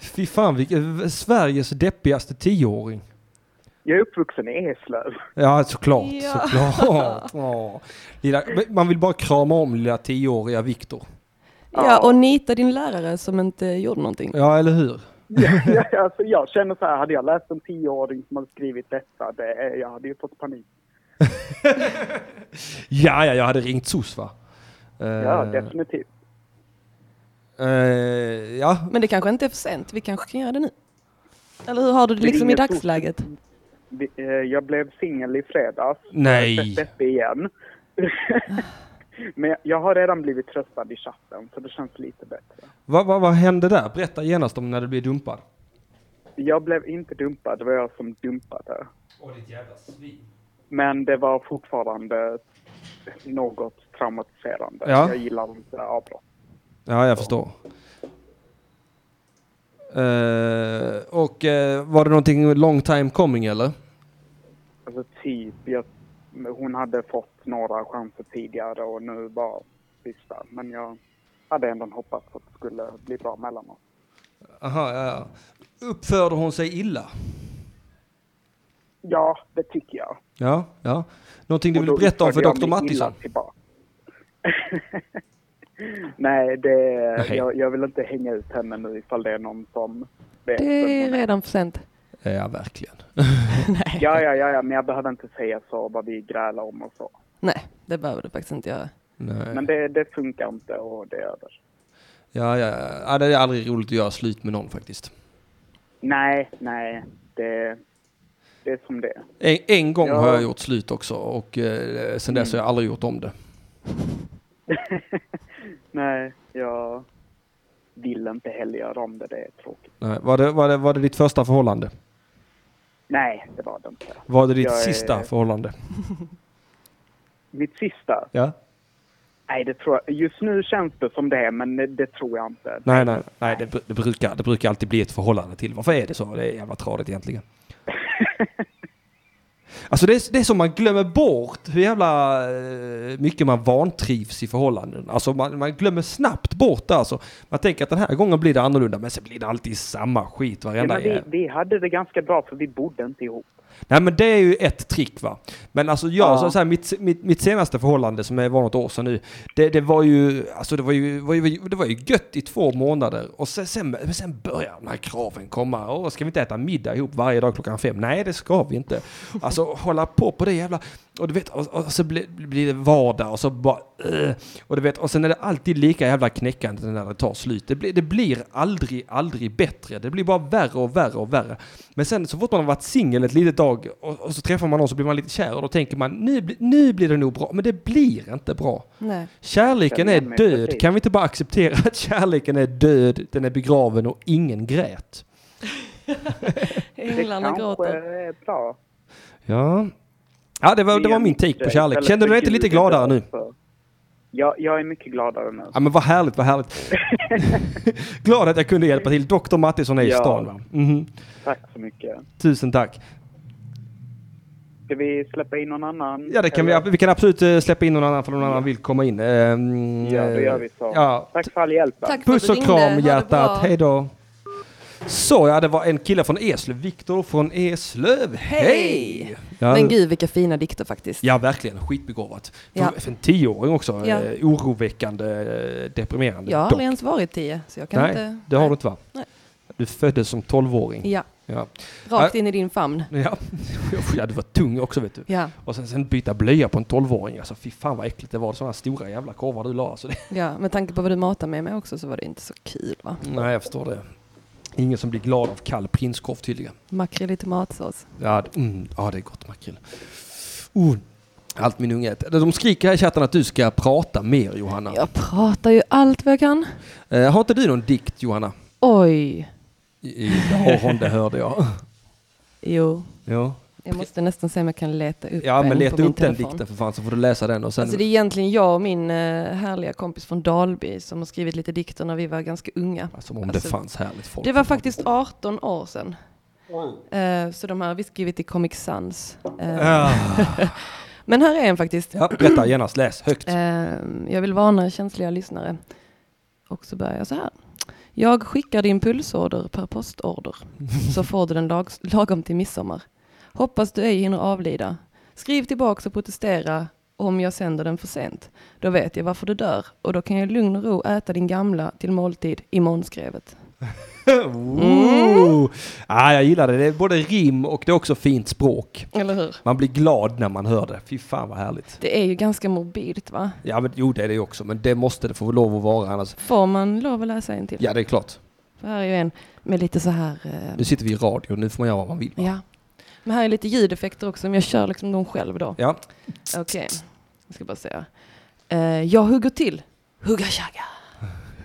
Speaker 1: Fy fan, vilken, Sveriges deppigaste tioåring.
Speaker 8: Jag är uppvuxen i Eslöv.
Speaker 1: Ja, såklart.
Speaker 3: Ja.
Speaker 1: såklart. Ja. Lilla, men man vill bara krama om lilla tioåriga Viktor.
Speaker 3: ja, och nita din lärare som inte gjorde någonting.
Speaker 1: Ja, eller hur?
Speaker 8: Ja, alltså, jag känner så här, hade jag läst en tioåring som hade skrivit detta, det, eh, jag hade ju fått panik.
Speaker 1: Ja, ja, jag hade ringt SOS va? Eh,
Speaker 8: Ja, definitivt.
Speaker 1: eh, ja,
Speaker 3: Men det kanske inte är för sent, vi kanske kan göra det nu. Eller hur har du det
Speaker 8: Det är
Speaker 3: liksom i
Speaker 8: inget stort.
Speaker 3: dagsläget?
Speaker 8: Vi- eh, Jag blev singel i fredags.
Speaker 1: Nej.
Speaker 8: Jag har sett Beppe igen. Men jag- jag har redan blivit tröstad i chatten, så det känns lite bättre.
Speaker 1: vad, vad, vad hände där? Berätta genast om när du blev dumpad.
Speaker 8: Jag blev inte dumpad, det var jag som dumpade.
Speaker 1: Åh, ditt jävla svin.
Speaker 8: Men det var fortfarande något traumatiserande.
Speaker 1: Ja.
Speaker 8: Jag gillar inte avbrott.
Speaker 1: Ja, jag förstår. Eh, och eh, var det någonting long time coming eller?
Speaker 8: Alltså typ, jag, hon hade fått några chanser tidigare och nu var sista. Men jag hade ändå hoppats att det skulle bli bra mellan oss.
Speaker 1: Aha, ja, ja. Uppförde hon sig illa?
Speaker 8: Ja, det tycker jag.
Speaker 1: Ja, ja. Någonting du
Speaker 8: Och
Speaker 1: vill
Speaker 8: då
Speaker 1: berätta om för
Speaker 8: utförde
Speaker 1: Dr.
Speaker 8: jag mig illa
Speaker 1: Mattisson?
Speaker 8: tillbaka. Nej, det,
Speaker 1: Nej.
Speaker 8: Jag, jag vill inte hänga ut henne nu ifall det är någon som vet vem
Speaker 3: Det är
Speaker 8: hon är.
Speaker 3: redan för sent.
Speaker 1: Ja, verkligen.
Speaker 8: Ja, ja, ja, ja, men jag behöver inte säga så vad vi grälar om och så.
Speaker 3: Nej, det behöver du faktiskt inte göra.
Speaker 1: Nej.
Speaker 8: Men det, det funkar inte och det är över.
Speaker 1: Ja, ja, ja, det är aldrig roligt att göra slut med någon faktiskt.
Speaker 8: Nej, nej, det, det är som det är.
Speaker 1: En, en gång
Speaker 8: Ja. Mm.
Speaker 1: har jag gjort slut också och eh, sen dess har jag aldrig gjort om det.
Speaker 8: Nej, jag vill inte heller göra om det. Det är tråkigt.
Speaker 1: Nej, var, det, var, det, var det ditt första förhållande?
Speaker 8: Nej, det var det inte.
Speaker 1: Var det ditt
Speaker 8: Jag är-
Speaker 1: sista förhållande?
Speaker 8: Mitt sista?
Speaker 1: Ja.
Speaker 8: Nej, det tror jag. Just nu känns det som det, men det tror jag inte.
Speaker 1: Nej, nej, nej det, br- det, brukar, det brukar alltid bli ett förhållande till. Varför är det så? Det är jävla tradigt egentligen. Alltså det är, det är som man glömmer bort hur jävla eh, mycket man vantrivs i förhållanden. Alltså man, man glömmer snabbt bort det alltså. Man tänker att den här gången blir det annorlunda men sen blir det alltid samma skit
Speaker 8: Ja,
Speaker 1: varenda
Speaker 8: men vi,
Speaker 1: jävel.
Speaker 8: vi hade det ganska bra för vi bodde inte ihop.
Speaker 1: Nej men det är ju ett trick va. Men alltså jag,
Speaker 8: Ja.
Speaker 1: så, så här, mitt, mitt, mitt senaste förhållande som är- var något år sedan nu. Det, det var ju, alltså det var ju, var ju, det var ju gött i två månader. Och sen, sen, men sen börjar de här kraven komma. Åh, ska vi inte äta middag ihop varje dag klockan fem? Nej det ska vi inte. Alltså hålla på på det jävla... Och du vet, och, och så blir, blir det vardag och så bara... eh. och du vet, och sen är det alltid lika jävla knäckande när det tar slut. Det blir, det blir aldrig, aldrig bättre. Det blir bara värre och värre och värre. Men sen så fort man har varit singel ett litet tag och, och så träffar man någon så blir man lite kär och då tänker man nu, bli- nu blir det nog bra. Men det blir inte bra.
Speaker 3: Nej.
Speaker 1: Kärleken
Speaker 8: Känner
Speaker 1: är
Speaker 8: igen mig
Speaker 1: död.
Speaker 8: precis.
Speaker 1: Kan vi inte bara acceptera att kärleken är död, den är begraven och ingen grät?
Speaker 3: Änglarna
Speaker 8: det kanske
Speaker 3: gråter.
Speaker 8: är bra.
Speaker 1: Ja, ja det, var, det var min take på kärlek. Känner du dig inte lite gladare nu?
Speaker 8: Ja, jag är mycket gladare nu.
Speaker 1: Ja men vad härligt, vad härligt. Glad att jag kunde hjälpa till. Dr. Mattisson är i
Speaker 8: Ja.
Speaker 1: stan va? Mhm.
Speaker 8: Tack så mycket.
Speaker 1: Tusen tack.
Speaker 8: Ska vi släppa in någon annan?
Speaker 1: Ja, det kan vi,
Speaker 8: Eller?
Speaker 1: vi kan absolut eh, släppa in någon annan för någon annan vill komma in. Ehm,
Speaker 8: Ja, det gör
Speaker 1: eh,
Speaker 8: vi så.
Speaker 1: Ja,
Speaker 8: Tack för all hjälp. va?
Speaker 3: Tack för
Speaker 1: Puss
Speaker 3: att du
Speaker 1: och
Speaker 3: ringde. Ha
Speaker 1: kram
Speaker 3: det
Speaker 1: hjärtat,
Speaker 3: bra.
Speaker 1: hej då. Så ja, det var en kille från Eslöv, Viktor från Eslöv. Hej!
Speaker 3: Hej!
Speaker 1: Ja,
Speaker 3: Men
Speaker 1: det-
Speaker 3: gud vilka fina dikter faktiskt.
Speaker 1: ja verkligen, skitbegåvat. För,
Speaker 3: Ja.
Speaker 1: för en tioåring också,
Speaker 3: Ja.
Speaker 1: eh, oroväckande, eh, deprimerande.
Speaker 3: Jag har
Speaker 1: dock.
Speaker 3: aldrig ens varit tio, så jag kan
Speaker 1: Nej,
Speaker 3: inte...
Speaker 1: det har du inte va?
Speaker 3: Nej.
Speaker 1: Du föddes som tolvåring.
Speaker 3: Ja,
Speaker 1: Ja.
Speaker 3: Rakt
Speaker 1: Nej.
Speaker 3: in i din famn.
Speaker 1: Ja. ja, du var tung också vet du.
Speaker 3: Ja,
Speaker 1: Och sen, sen byta blöja på en 12-åring. Alltså fy fan vad äckligt det var. Sådana stora jävla korvar du la. Alltså, det...
Speaker 3: ja, med tanke på vad du matar mig med också så var det inte så kul va?
Speaker 1: Nej, jag förstår det. Ingen som blir glad av kall prinskorv tydligen.
Speaker 3: Makrill i tomatsås.
Speaker 1: Ja, det- mm, ja det är gott makrill. Oh, allt min unge äter. De skriker här i chatten att du ska prata mer Johanna.
Speaker 3: Jag pratar ju allt vad jag kan.
Speaker 1: Eh, har inte du någon dikt Johanna?
Speaker 3: Oj,
Speaker 1: I- Det har hon, det hörde jag.
Speaker 3: jo.
Speaker 1: Ja,
Speaker 3: Jag måste nästan se om jag kan leta upp
Speaker 1: ja men
Speaker 3: en
Speaker 1: leta
Speaker 3: på min
Speaker 1: upp den
Speaker 3: telefon.
Speaker 1: dikten för fan så får du läsa den och sen...
Speaker 3: Alltså det är egentligen jag och min eh, härliga kompis från Dalby som har skrivit lite dikter när vi var ganska unga.
Speaker 1: Som om det
Speaker 3: Alltså,
Speaker 1: fanns härligt folk.
Speaker 3: Det var faktiskt 18 år sedan. Eh, Så de här har vi skrivit i Comic Sans. Eh, Men här är en faktiskt.
Speaker 1: Äh. Ja, berätta genast, läs högt.
Speaker 3: Eh, Jag vill varna känsliga lyssnare. Och så börjar jag så här. Jag skickar din pulsorder per postorder. Så får du den lag- lagom till midsommar. Hoppas du ej hinner avlida. Skriv tillbaks och protestera om jag sänder den för sent. Då vet jag varför du dör och då kan jag i lugn och ro äta din gamla till måltid i månskrevet. Mm.
Speaker 1: Ooh. Ja, jag gillar det. Det är både rim och det är också fint språk.
Speaker 3: Eller hur?
Speaker 1: Man blir glad när man hör det. Fy fan vad härligt.
Speaker 3: Det är ju ganska morbidt va?
Speaker 1: Ja, men, jo det är det ju också, men det måste det få lov att vara annars.
Speaker 3: Får man lov att läsa en till?
Speaker 1: Ja, det är klart.
Speaker 3: För här är ju en med lite så här... eh,
Speaker 1: Nu sitter vi i radio, nu får man göra vad man vill. va?
Speaker 3: ja. Men här är lite ljudeffekter också, men jag kör liksom dem själv då.
Speaker 1: Ja.
Speaker 3: Okej, jag ska bara säga. Eh, jag hugger till. Hugga tjagga.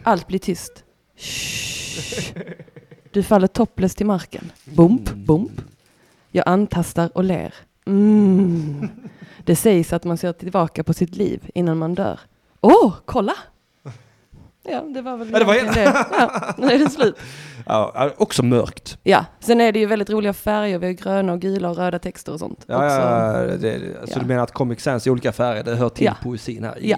Speaker 3: Allt blir tyst. Shh. Du faller topless till marken. Bump,
Speaker 1: Mm.
Speaker 3: bump. Jag antastar och ler. Mm. Det sägs att man ser tillbaka på sitt liv innan man dör. Åh, kolla! Ja, det var väl
Speaker 1: Ja, det var
Speaker 3: egentligen det. Ja, nu är det slut.
Speaker 1: Ja, ja, också mörkt.
Speaker 3: Ja, sen är det ju väldigt roliga färger. Vi har gröna och gula och röda texter och sånt.
Speaker 1: Ja,
Speaker 3: också.
Speaker 1: ja, ja, det, det- Så
Speaker 3: Ja.
Speaker 1: du menar att Comic Sans i olika färger, det hör till
Speaker 3: Ja.
Speaker 1: poesin här?
Speaker 3: Ja.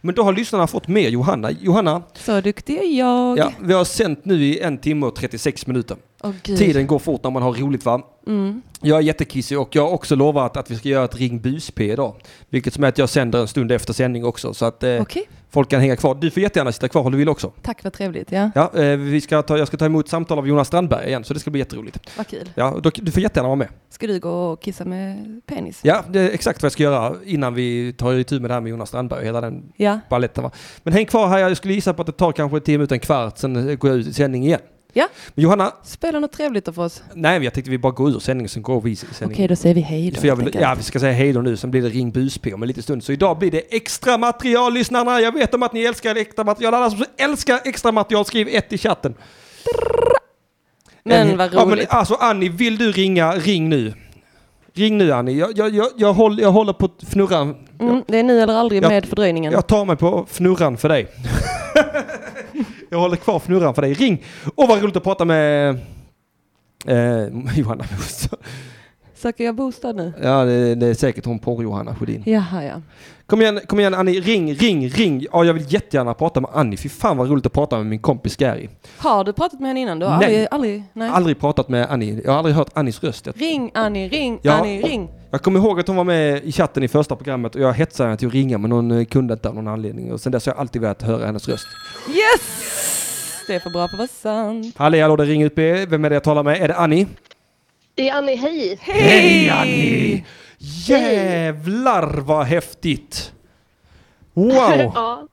Speaker 1: Men då har lyssnarna fått med Johanna. Johanna,
Speaker 3: Så duktig är jag.
Speaker 1: ja, vi har sänt nu i en timme och 36 minuter.
Speaker 3: Åh, gud.
Speaker 1: Tiden går fort när man har roligt va?
Speaker 3: Mm.
Speaker 1: Jag är jättekissig och jag har också lovat att vi ska göra ett Ring Bus-P idag. Vilket som är att jag sänder en stund efter sändning också så att eh,
Speaker 3: Okej,
Speaker 1: folk kan hänga kvar. Du får jättegärna sitta kvar om du vill också.
Speaker 3: tack vad trevligt. Ja,
Speaker 1: Ja, eh, vi ska ta, jag ska ta emot samtal av Jonas Strandberg igen så det ska bli jätteroligt.
Speaker 3: vad kul.
Speaker 1: Ja, då, du får jättegärna vara med.
Speaker 3: Ska du gå och kissa med penis?
Speaker 1: Ja, det är exakt vad jag ska göra innan vi tar itu med det här med Jonas Strandberg och hela den
Speaker 3: Ja,
Speaker 1: baletten va. Men häng kvar här, jag skulle gissa på att det tar kanske 10 minuter, en kvart, sen går jag ut i sändning igen.
Speaker 3: Ja.
Speaker 1: Men Johanna,
Speaker 3: spela något trevligt då för oss.
Speaker 1: nej men jag tänkte vi bara går ur sändningen, sen går vi i sändningen.
Speaker 3: Okej, då säger vi hej då.
Speaker 1: För jag
Speaker 3: helt
Speaker 1: vill,
Speaker 3: enkelt.
Speaker 1: ja, vi ska säga hej då nu, sen blir det ring Bus-P om en liten stund. Så idag blir det extra material, lyssnarna. Jag vet om att ni älskar extra material. Alla som älskar extra material, skriv ett i chatten.
Speaker 3: Men
Speaker 1: Eh,
Speaker 3: vad
Speaker 1: ja, men
Speaker 3: roligt.
Speaker 1: alltså Annie, vill du ringa, ring nu. Ring nu Annie. Jag, jag, jag, jag, håller, jag håller på fnurran.
Speaker 3: Mm, det är nu eller aldrig
Speaker 1: Ja.
Speaker 3: med fördröjningen.
Speaker 1: Jag tar mig på fnurran för dig. jag håller kvar fnurran för dig. Ring! Åh vad roligt att prata med eh, Johanna Moser.
Speaker 3: Söker jag bostad nu?
Speaker 1: Ja, det, det är säkert hon porr-Johanna Sjödin.
Speaker 3: Jaha, ja.
Speaker 1: Kom igen, kom igen Annie, ring, ring, ring. Ja, jag vill jättegärna prata med Annie. Fy fan vad roligt att prata med min kompis Gary.
Speaker 3: Har du pratat med henne innan? Du har
Speaker 1: Nej.
Speaker 3: aldrig, aldrig, nej.
Speaker 1: Aldrig pratat med Annie. Jag har aldrig hört Annies röst. Jag,
Speaker 3: Ring Annie, ring
Speaker 1: Ja.
Speaker 3: Annie, ring.
Speaker 1: jag kommer ihåg att hon var med i chatten i första programmet och jag hetsade henne till att ringa men hon eh, kunde inte av någon anledning. Och sen dess har jag alltid velat höra hennes röst.
Speaker 3: Yes! Det är för bra för att vara sant.
Speaker 1: Hallå, hallå, det ringer ut B. Vem är det jag talar med? Är det Annie?
Speaker 9: Det är Annie, hej!
Speaker 1: Hej Annie! Jävlar vad häftigt! Wow!
Speaker 9: ja,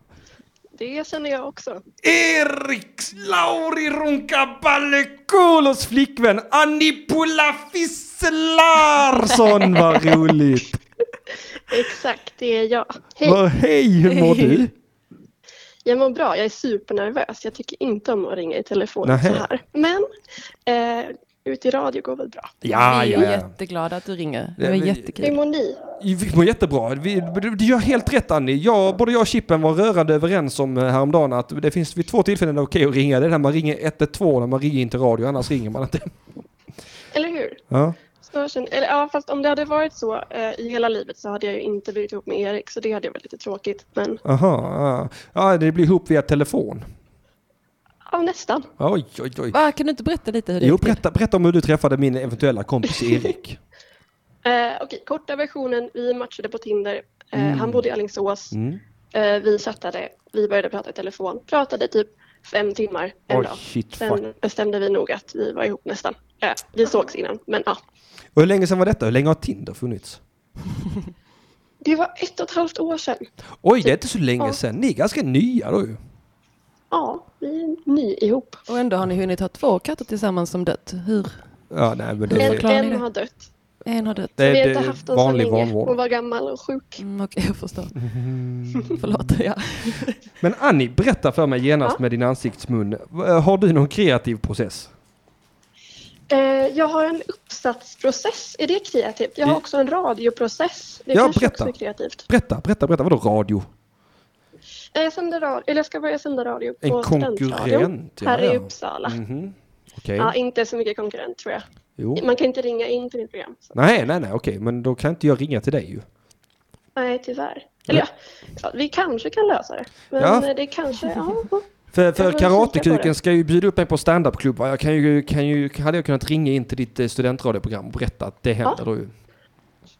Speaker 9: det känner jag också.
Speaker 1: Erik Lauri Runkaballekulos flickvän Annie Pula Larsson, vad roligt!
Speaker 9: Exakt, det är jag. Hej!
Speaker 1: Vad, hej, hur mår du?
Speaker 9: Jag mår bra, jag är supernervös. Jag tycker inte om att ringa i telefon
Speaker 1: Nähä.
Speaker 9: så här. Men eh, ut i radio går väl bra.
Speaker 1: Ja,
Speaker 3: vi är
Speaker 1: ja, ja.
Speaker 3: jätteglada att du ringer.
Speaker 1: Ja,
Speaker 3: Det var
Speaker 1: vi-
Speaker 9: Hur
Speaker 3: jättekul.
Speaker 9: mår ni?
Speaker 1: Vi mår jättebra. Vi, du- du gör helt rätt Annie. Jag, både jag och Chippen var rörande överens om eh, häromdagen att det finns vid två tillfällen det är okej att ringa. Det är när man ringer 112 när man ringer in till radio, annars ringer man inte.
Speaker 9: Eller hur?
Speaker 1: Ja.
Speaker 9: Så känner, eller, ja, fast om det hade varit så eh, i hela livet så hade jag ju inte blivit ihop med Erik så det hade ju varit lite tråkigt. Men
Speaker 1: Aha, ja. ja, det blir ihop via telefon.
Speaker 9: ja, nästan.
Speaker 1: Oj, oj, oj.
Speaker 3: Va, kan du inte berätta lite hur det
Speaker 1: Jo,
Speaker 3: gick till?
Speaker 1: berätta, berätta om hur du träffade min eventuella kompis Erik.
Speaker 9: Eh, Okej, korta versionen. Vi matchade på Tinder. Eh, Han bodde i Alingsås.
Speaker 1: Mm.
Speaker 9: Eh, vi chattade. Vi började prata i telefon. Pratade typ fem timmar en
Speaker 1: Oj,
Speaker 9: dag.
Speaker 1: shit
Speaker 9: Sen
Speaker 1: fuck.
Speaker 9: bestämde vi nog att vi var ihop nästan. Eh, vi sågs innan, men ja.
Speaker 1: Och hur länge sedan var detta? Hur länge har Tinder funnits?
Speaker 9: Det var ett och ett halvt år sedan. Typ.
Speaker 1: Oj, det är inte så länge
Speaker 9: Ja.
Speaker 1: sedan. Ni är ganska nya då ju.
Speaker 9: Ja, vi är ny ihop.
Speaker 3: Och ändå har ni hunnit ha två katter tillsammans som dött. Hur?
Speaker 1: Ja, nej, men det
Speaker 3: Hur
Speaker 1: är,
Speaker 3: förklarar ni
Speaker 9: En
Speaker 3: det?
Speaker 9: har dött.
Speaker 3: En har dött.
Speaker 1: det
Speaker 9: vi
Speaker 1: är,
Speaker 9: har
Speaker 1: det
Speaker 9: inte haft
Speaker 1: är
Speaker 9: den så
Speaker 1: vanlig
Speaker 9: länge. Hon
Speaker 1: vanvård.
Speaker 9: var gammal och sjuk.
Speaker 3: Mm, Okej, jag förstår. Förlåt. Ja.
Speaker 1: Men Annie, berätta för mig genast med din ansiktsmun. V- Har du någon kreativ process?
Speaker 9: Eh, jag har en uppsatsprocess. Är det kreativt? Jag har
Speaker 1: I-
Speaker 9: också en radioprocess. Det
Speaker 1: Ja,
Speaker 9: kanske
Speaker 1: berätta.
Speaker 9: också är kreativt.
Speaker 1: Berätta, berätta, berätta. Vadå radio?
Speaker 9: Eh, Jag, sänder radio, eller jag ska börja sända radio
Speaker 1: En
Speaker 9: på Studentradion
Speaker 1: konkurrent, ja,
Speaker 9: här i
Speaker 1: ja.
Speaker 9: Uppsala.
Speaker 1: Mhm. Okej.
Speaker 9: Ja, inte så mycket konkurrent tror jag.
Speaker 1: Jo.
Speaker 9: Man kan inte ringa in till mitt program. Så.
Speaker 1: Nej, nej, nej, okej. Men då kan inte jag ringa till dig ju.
Speaker 9: Nej, tyvärr. Eller ja, ja, vi kanske kan lösa det. Men
Speaker 1: Ja.
Speaker 9: eh, det kanske... Ja, ja.
Speaker 1: För,
Speaker 9: Jag
Speaker 1: för
Speaker 9: får kika på
Speaker 1: Karatekuken
Speaker 9: det.
Speaker 1: ska ju bjuda upp mig på standupklubbar. Jag kan ju, kan ju, hade jag kunnat ringa in till ditt eh, studentradioprogram och berätta att det händer då ju.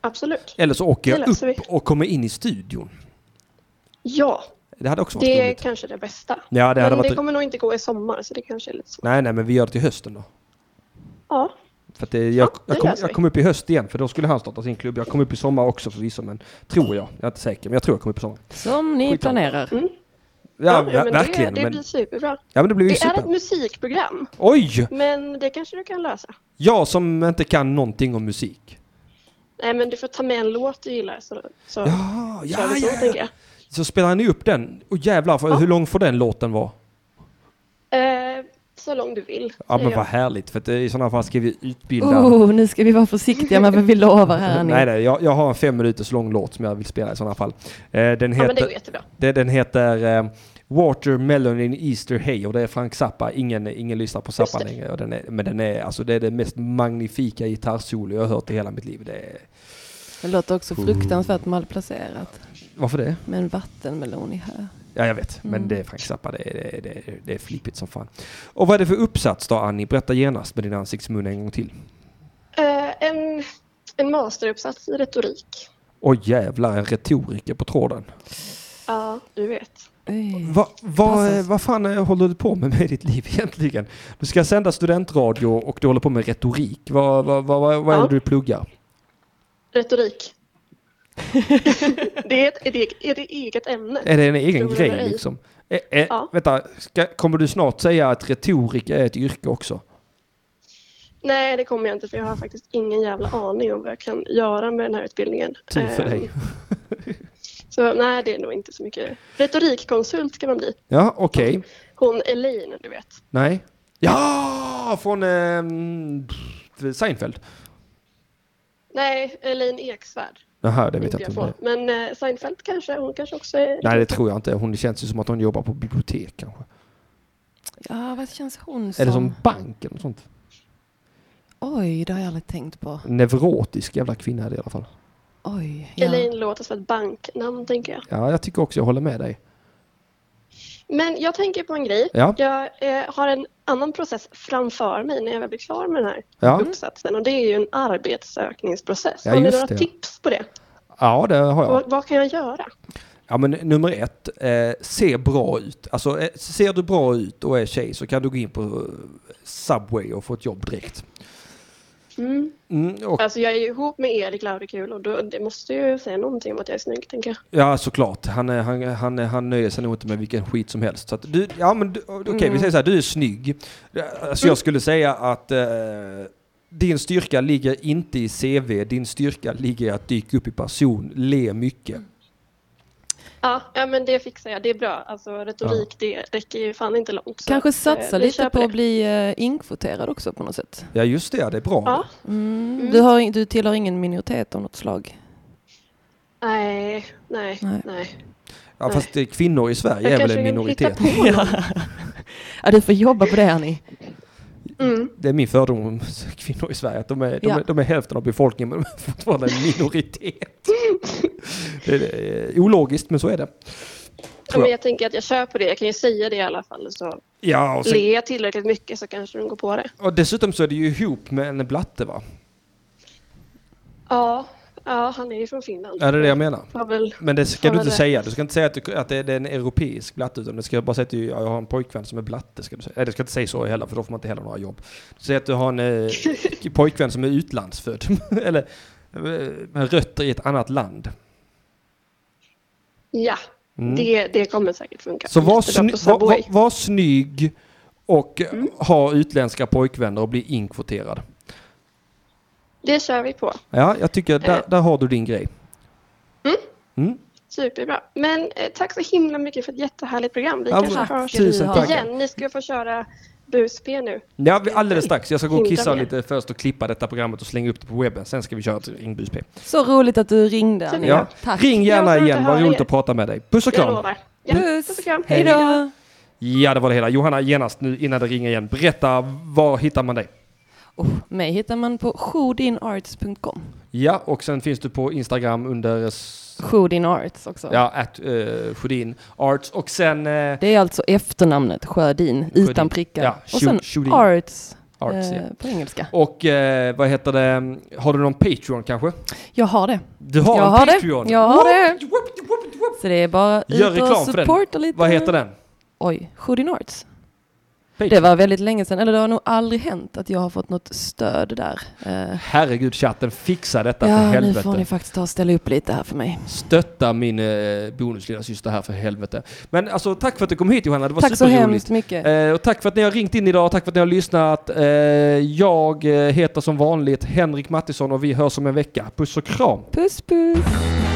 Speaker 9: absolut.
Speaker 1: Eller så åker
Speaker 9: Det
Speaker 1: jag
Speaker 9: löser
Speaker 1: upp och kommer in i studion.
Speaker 9: Ja,
Speaker 1: Det hade också varit
Speaker 9: det är
Speaker 1: roligt.
Speaker 9: kanske det bästa.
Speaker 1: Ja, det hade
Speaker 9: men
Speaker 1: varit...
Speaker 9: det kommer nog inte gå i sommar, så det kanske är lite svårt.
Speaker 1: Nej, nej, men vi gör det till hösten då.
Speaker 9: Ja,
Speaker 1: För att det, jag,
Speaker 9: Ja,
Speaker 1: jag,
Speaker 9: det
Speaker 1: kom,
Speaker 9: löser
Speaker 1: jag
Speaker 9: vi.
Speaker 1: kom upp i höst igen, för då skulle han starta sin klubb. Jag kom upp i sommar också förvisso, men tror jag. Jag är inte säker, men jag tror jag kom upp i sommar.
Speaker 3: Som ni
Speaker 1: Skitsamma. Mm.
Speaker 3: planerar.
Speaker 1: Ja,
Speaker 9: jo,
Speaker 1: ver-
Speaker 9: men
Speaker 1: verkligen.
Speaker 9: Det, det
Speaker 1: men,
Speaker 9: blir superbra.
Speaker 1: ja, men det blir ju
Speaker 9: Det är
Speaker 1: super.
Speaker 9: ett musikprogram,
Speaker 1: Oj!
Speaker 9: men det kanske du kan lösa.
Speaker 1: Jag som inte kan någonting om musik.
Speaker 9: Nej, men du får ta med en låt du gillar så, så
Speaker 1: Ah, Ja,
Speaker 9: kör
Speaker 1: ja,
Speaker 9: vi så,
Speaker 1: ja,
Speaker 9: tänker
Speaker 1: ja.
Speaker 9: jag.
Speaker 1: Så spelar ni upp den. Och jävlar, för, hur lång får den låten vara?
Speaker 9: Eh, så lång du vill.
Speaker 1: Ja, men
Speaker 9: säger
Speaker 1: vad härligt. För att, eh, i sådana fall ska vi utbilda...
Speaker 3: Oh, nu ska vi vara försiktiga med vad vi lovar här.
Speaker 1: nej,
Speaker 3: Annie.
Speaker 1: nej, jag, jag har en fem minuters lång låt som jag vill spela i sådana fall. Eh, den
Speaker 9: jag. ja, men det
Speaker 1: heter...
Speaker 9: går jättebra.
Speaker 1: Det, den heter eh, Watermelon in Easter Hay och det är Frank Zappa. Ingen, ingen lyssnar på Zappa
Speaker 9: Just det.
Speaker 1: längre. Och den är, men den är, alltså, det är det mest magnifika gitarrsolo jag har hört i hela mitt liv. Det är,
Speaker 3: Det låter också fruktansvärt malplacerat.
Speaker 1: varför det?
Speaker 3: Med en vattenmelon i här.
Speaker 1: Ja, jag vet. Men
Speaker 9: Mm.
Speaker 1: det är Frank Zappa. Det, är- det, det, det är flippigt som fan. Och vad är det för uppsats då, Annie? Berätta genast med din ansiktsmun en gång till.
Speaker 9: Eh, en, en masteruppsats i retorik.
Speaker 1: Åh jävlar, en retoriker på tråden.
Speaker 9: Ja, du vet.
Speaker 3: Oj.
Speaker 1: Va, va,
Speaker 3: Passas.
Speaker 1: eh, vad fan eh, håller du på med med ditt liv egentligen? Du ska sända studentradio och du håller på med retorik. Vad, vad, vad, vad, vad är
Speaker 9: Ja.
Speaker 1: det du pluggar?
Speaker 9: Retorik. det är ett, är det, är det eget ämne.
Speaker 1: Är det en egen
Speaker 9: Tror eller
Speaker 1: grej
Speaker 9: ej.
Speaker 1: liksom? Ä, ä,
Speaker 9: Ja.
Speaker 1: Vänta, ska, kommer du snart säga att retorik är ett yrke också?
Speaker 9: Nej, det kommer jag inte för jag har faktiskt ingen jävla aning om vad jag kan göra med den här utbildningen.
Speaker 1: Tur för
Speaker 9: Eh,
Speaker 1: dig.
Speaker 9: Så nej, det är nog inte så mycket. Retorikkonsult kan man bli.
Speaker 1: Ja, okej.
Speaker 9: Hon Elaine, du vet.
Speaker 1: Nej. Ja, från ehm, pff, Seinfeld.
Speaker 9: Nej, Elaine Eksvärd.
Speaker 1: Jaha, det vet
Speaker 9: tänkte
Speaker 1: jag
Speaker 9: jag
Speaker 1: inte.
Speaker 9: på.
Speaker 1: om det-
Speaker 9: Men eh, Seinfeld kanske, hon kanske också är...
Speaker 1: Nej, det tror jag inte. Hon det känns ju som att hon jobbar på bibliotek kanske.
Speaker 3: Ja, vad känns hon som?
Speaker 1: Eller som banken och sånt.
Speaker 3: Oj, det har jag aldrig tänkt på.
Speaker 1: Neurotisk jävla kvinna är det i alla fall.
Speaker 3: Oj. Ja.
Speaker 9: Elaine låter som ett banknamn, tänker jag.
Speaker 1: Ja, jag tycker också jag håller med dig.
Speaker 9: Men jag tänker på en grej.
Speaker 1: Ja.
Speaker 9: Jag eh, har en annan process framför mig när jag väl blir klar med den här
Speaker 1: Ja.
Speaker 9: uppsatsen och det är ju en arbetssökningsprocess.
Speaker 1: Ja,
Speaker 9: har ni
Speaker 1: just
Speaker 9: några
Speaker 1: det.
Speaker 9: tips på det?
Speaker 1: Ja, det har jag.
Speaker 9: Vad, vad kan jag göra?
Speaker 1: Ja men nummer ett, eh, se bra ut. Alltså eh, ser du bra ut och är tjej så kan du gå in på eh, Subway och få ett jobb direkt.
Speaker 9: Mm.
Speaker 1: Mm, och,
Speaker 9: Alltså jag är ju ihop med Erik Laurekul och då, det måste ju säga någonting om att jag är snygg, tänker jag.
Speaker 1: ja såklart, han, är- han, han, är- han nöjer sig nog inte med vilken skit som helst. Så att du, ja men du- okej vi
Speaker 9: Mm.
Speaker 1: säger så här, du är snygg. Alltså jag skulle säga att eh, din styrka ligger inte i CV, din styrka ligger i att dyka upp i person, le mycket.
Speaker 9: Ja, ja men det fixar jag. Det är bra. Alltså retorik, det räcker ju fan inte långt. Så
Speaker 3: Kanske
Speaker 9: att,
Speaker 3: satsa
Speaker 9: eh, vi
Speaker 3: lite
Speaker 9: kör
Speaker 3: på
Speaker 9: det.
Speaker 3: att bli eh, inkvoterad också på något sätt.
Speaker 1: Ja just det, ja, det är bra.
Speaker 9: Ja,
Speaker 3: Mm. Du, har, in- du tillhör ingen minoritet av något slag.
Speaker 9: nej, nej,
Speaker 3: Nej.
Speaker 9: nej.
Speaker 1: Ja, fast eh, kvinnor i Sverige
Speaker 9: Jag
Speaker 1: är väl
Speaker 9: kanske
Speaker 1: en
Speaker 9: kan
Speaker 1: minoritet.
Speaker 9: hitta på någon.
Speaker 3: Ja, du får jobba på det Annie.
Speaker 9: Mm.
Speaker 1: Det är min fördom om kvinnor i Sverige, att de är, de,
Speaker 3: Ja.
Speaker 1: är, de är hälften av befolkningen men de är fortfarande en minoritet. det är, det är ologiskt, men så är det.
Speaker 9: Ja, men jag tänker att jag kör på det. Jag kan ju säga det i alla fall.
Speaker 1: Alltså-
Speaker 9: Så
Speaker 1: Ja, och, sen,
Speaker 9: ler jag tillräckligt mycket så kanske de går på det.
Speaker 1: och dessutom så är det ju ihop med en blatte va?
Speaker 9: Ja, Ja, han är ju från Finland.
Speaker 1: Ja, det är det jag menar.
Speaker 9: Var väl...
Speaker 1: Men det ska
Speaker 9: Ja,
Speaker 1: du
Speaker 9: men
Speaker 1: inte
Speaker 9: det-
Speaker 1: säga. Du ska inte säga att, du, att det, det är en europeisk blatte, utan du ska bara säga att du, ja, jag har en pojkvän som är blatte. Ska du säga. Nej, du ska inte säga så heller, för då får man inte heller några jobb. Du säger att du har en eh, pojkvän som är utlandsfödd, eller eh, med rötter i ett annat land.
Speaker 9: Ja, det, det kommer säkert funka.
Speaker 1: Mm. Så var, sny,
Speaker 9: Jättebra på
Speaker 1: var,
Speaker 9: Subway.
Speaker 1: var, var snygg och eh,
Speaker 9: Mm.
Speaker 1: ha utländska pojkvänner och bli inkvoterad.
Speaker 9: Det kör vi på.
Speaker 1: Ja, jag tycker
Speaker 9: Eh.
Speaker 1: där, där har du din grej.
Speaker 9: Superbra. Men eh, tack så himla mycket för ett jättehärligt program. Vi
Speaker 1: Ja,
Speaker 9: kanske
Speaker 1: men-
Speaker 9: hörs
Speaker 1: tusen tack.
Speaker 9: igen. Ni ska få köra bus-P nu.
Speaker 1: Ja, vi- alldeles strax. Jag ska gå och
Speaker 9: Hinta
Speaker 1: kissa
Speaker 9: med.
Speaker 1: lite först och klippa detta programmet och slänga upp det på webben. Sen ska vi köra till Ringbys P.
Speaker 3: Så roligt att du ringde Anja.
Speaker 1: Ja.
Speaker 3: Tack.
Speaker 1: Ring
Speaker 9: Jag
Speaker 1: gärna
Speaker 9: vill inte
Speaker 1: igen, vad
Speaker 9: höra
Speaker 1: roligt
Speaker 9: er.
Speaker 1: att prata med dig. Puss och
Speaker 9: Jag
Speaker 1: kram!
Speaker 9: lovar. Ja,
Speaker 3: Puss.
Speaker 9: Puss och kram.
Speaker 3: Hej då.
Speaker 1: Ja, det var det hela. Johanna, genast nu innan det ringer igen, berätta, var hittar man dig?
Speaker 3: Oh, mig hittar man på shodinarts.com.
Speaker 1: Ja, och sen finns du på Instagram under s-
Speaker 3: Shodinarts också.
Speaker 1: ja, at, eh, Sjödin Arts och sen eh,
Speaker 3: Det är alltså efternamnet Sjödin, utan prickar.
Speaker 1: Ja,
Speaker 3: och sen
Speaker 1: Sho- Shodin.
Speaker 3: Arts,
Speaker 1: Arts.
Speaker 3: eh,
Speaker 1: Ja.
Speaker 3: på engelska.
Speaker 1: Och eh, vad heter det, har du någon Patreon kanske?
Speaker 3: Jag har det.
Speaker 1: Du har
Speaker 3: jag
Speaker 1: en
Speaker 3: har
Speaker 1: Patreon?
Speaker 3: det. Jag har det.
Speaker 1: Whoop, whoop, whoop, whoop.
Speaker 3: Så det är bara
Speaker 1: Gör
Speaker 3: ut och
Speaker 1: reklam för den.
Speaker 3: supporta lite.
Speaker 1: Vad heter den?
Speaker 3: Oj, Shodinarts.
Speaker 1: Patreon.
Speaker 3: Det var väldigt länge sedan, eller det har nog aldrig hänt att jag har fått något stöd där. Eh,
Speaker 1: Herregud chatten, fixa detta för
Speaker 3: ja, nu
Speaker 1: helvete.
Speaker 3: får ni faktiskt ta och ställa upp lite här för mig.
Speaker 1: Stötta min eh, bonuslilla syster här för helvete. Men alltså tack för att du kom hit Johanna, det var
Speaker 3: Tack så
Speaker 1: superroligt.
Speaker 3: hemskt mycket.
Speaker 1: Eh, och tack för att ni har ringt in idag, tack för att ni har lyssnat. Eh, jag eh, heter som vanligt Henrik Mattisson och vi hörs om en vecka. Puss och kram!
Speaker 3: Puss puss.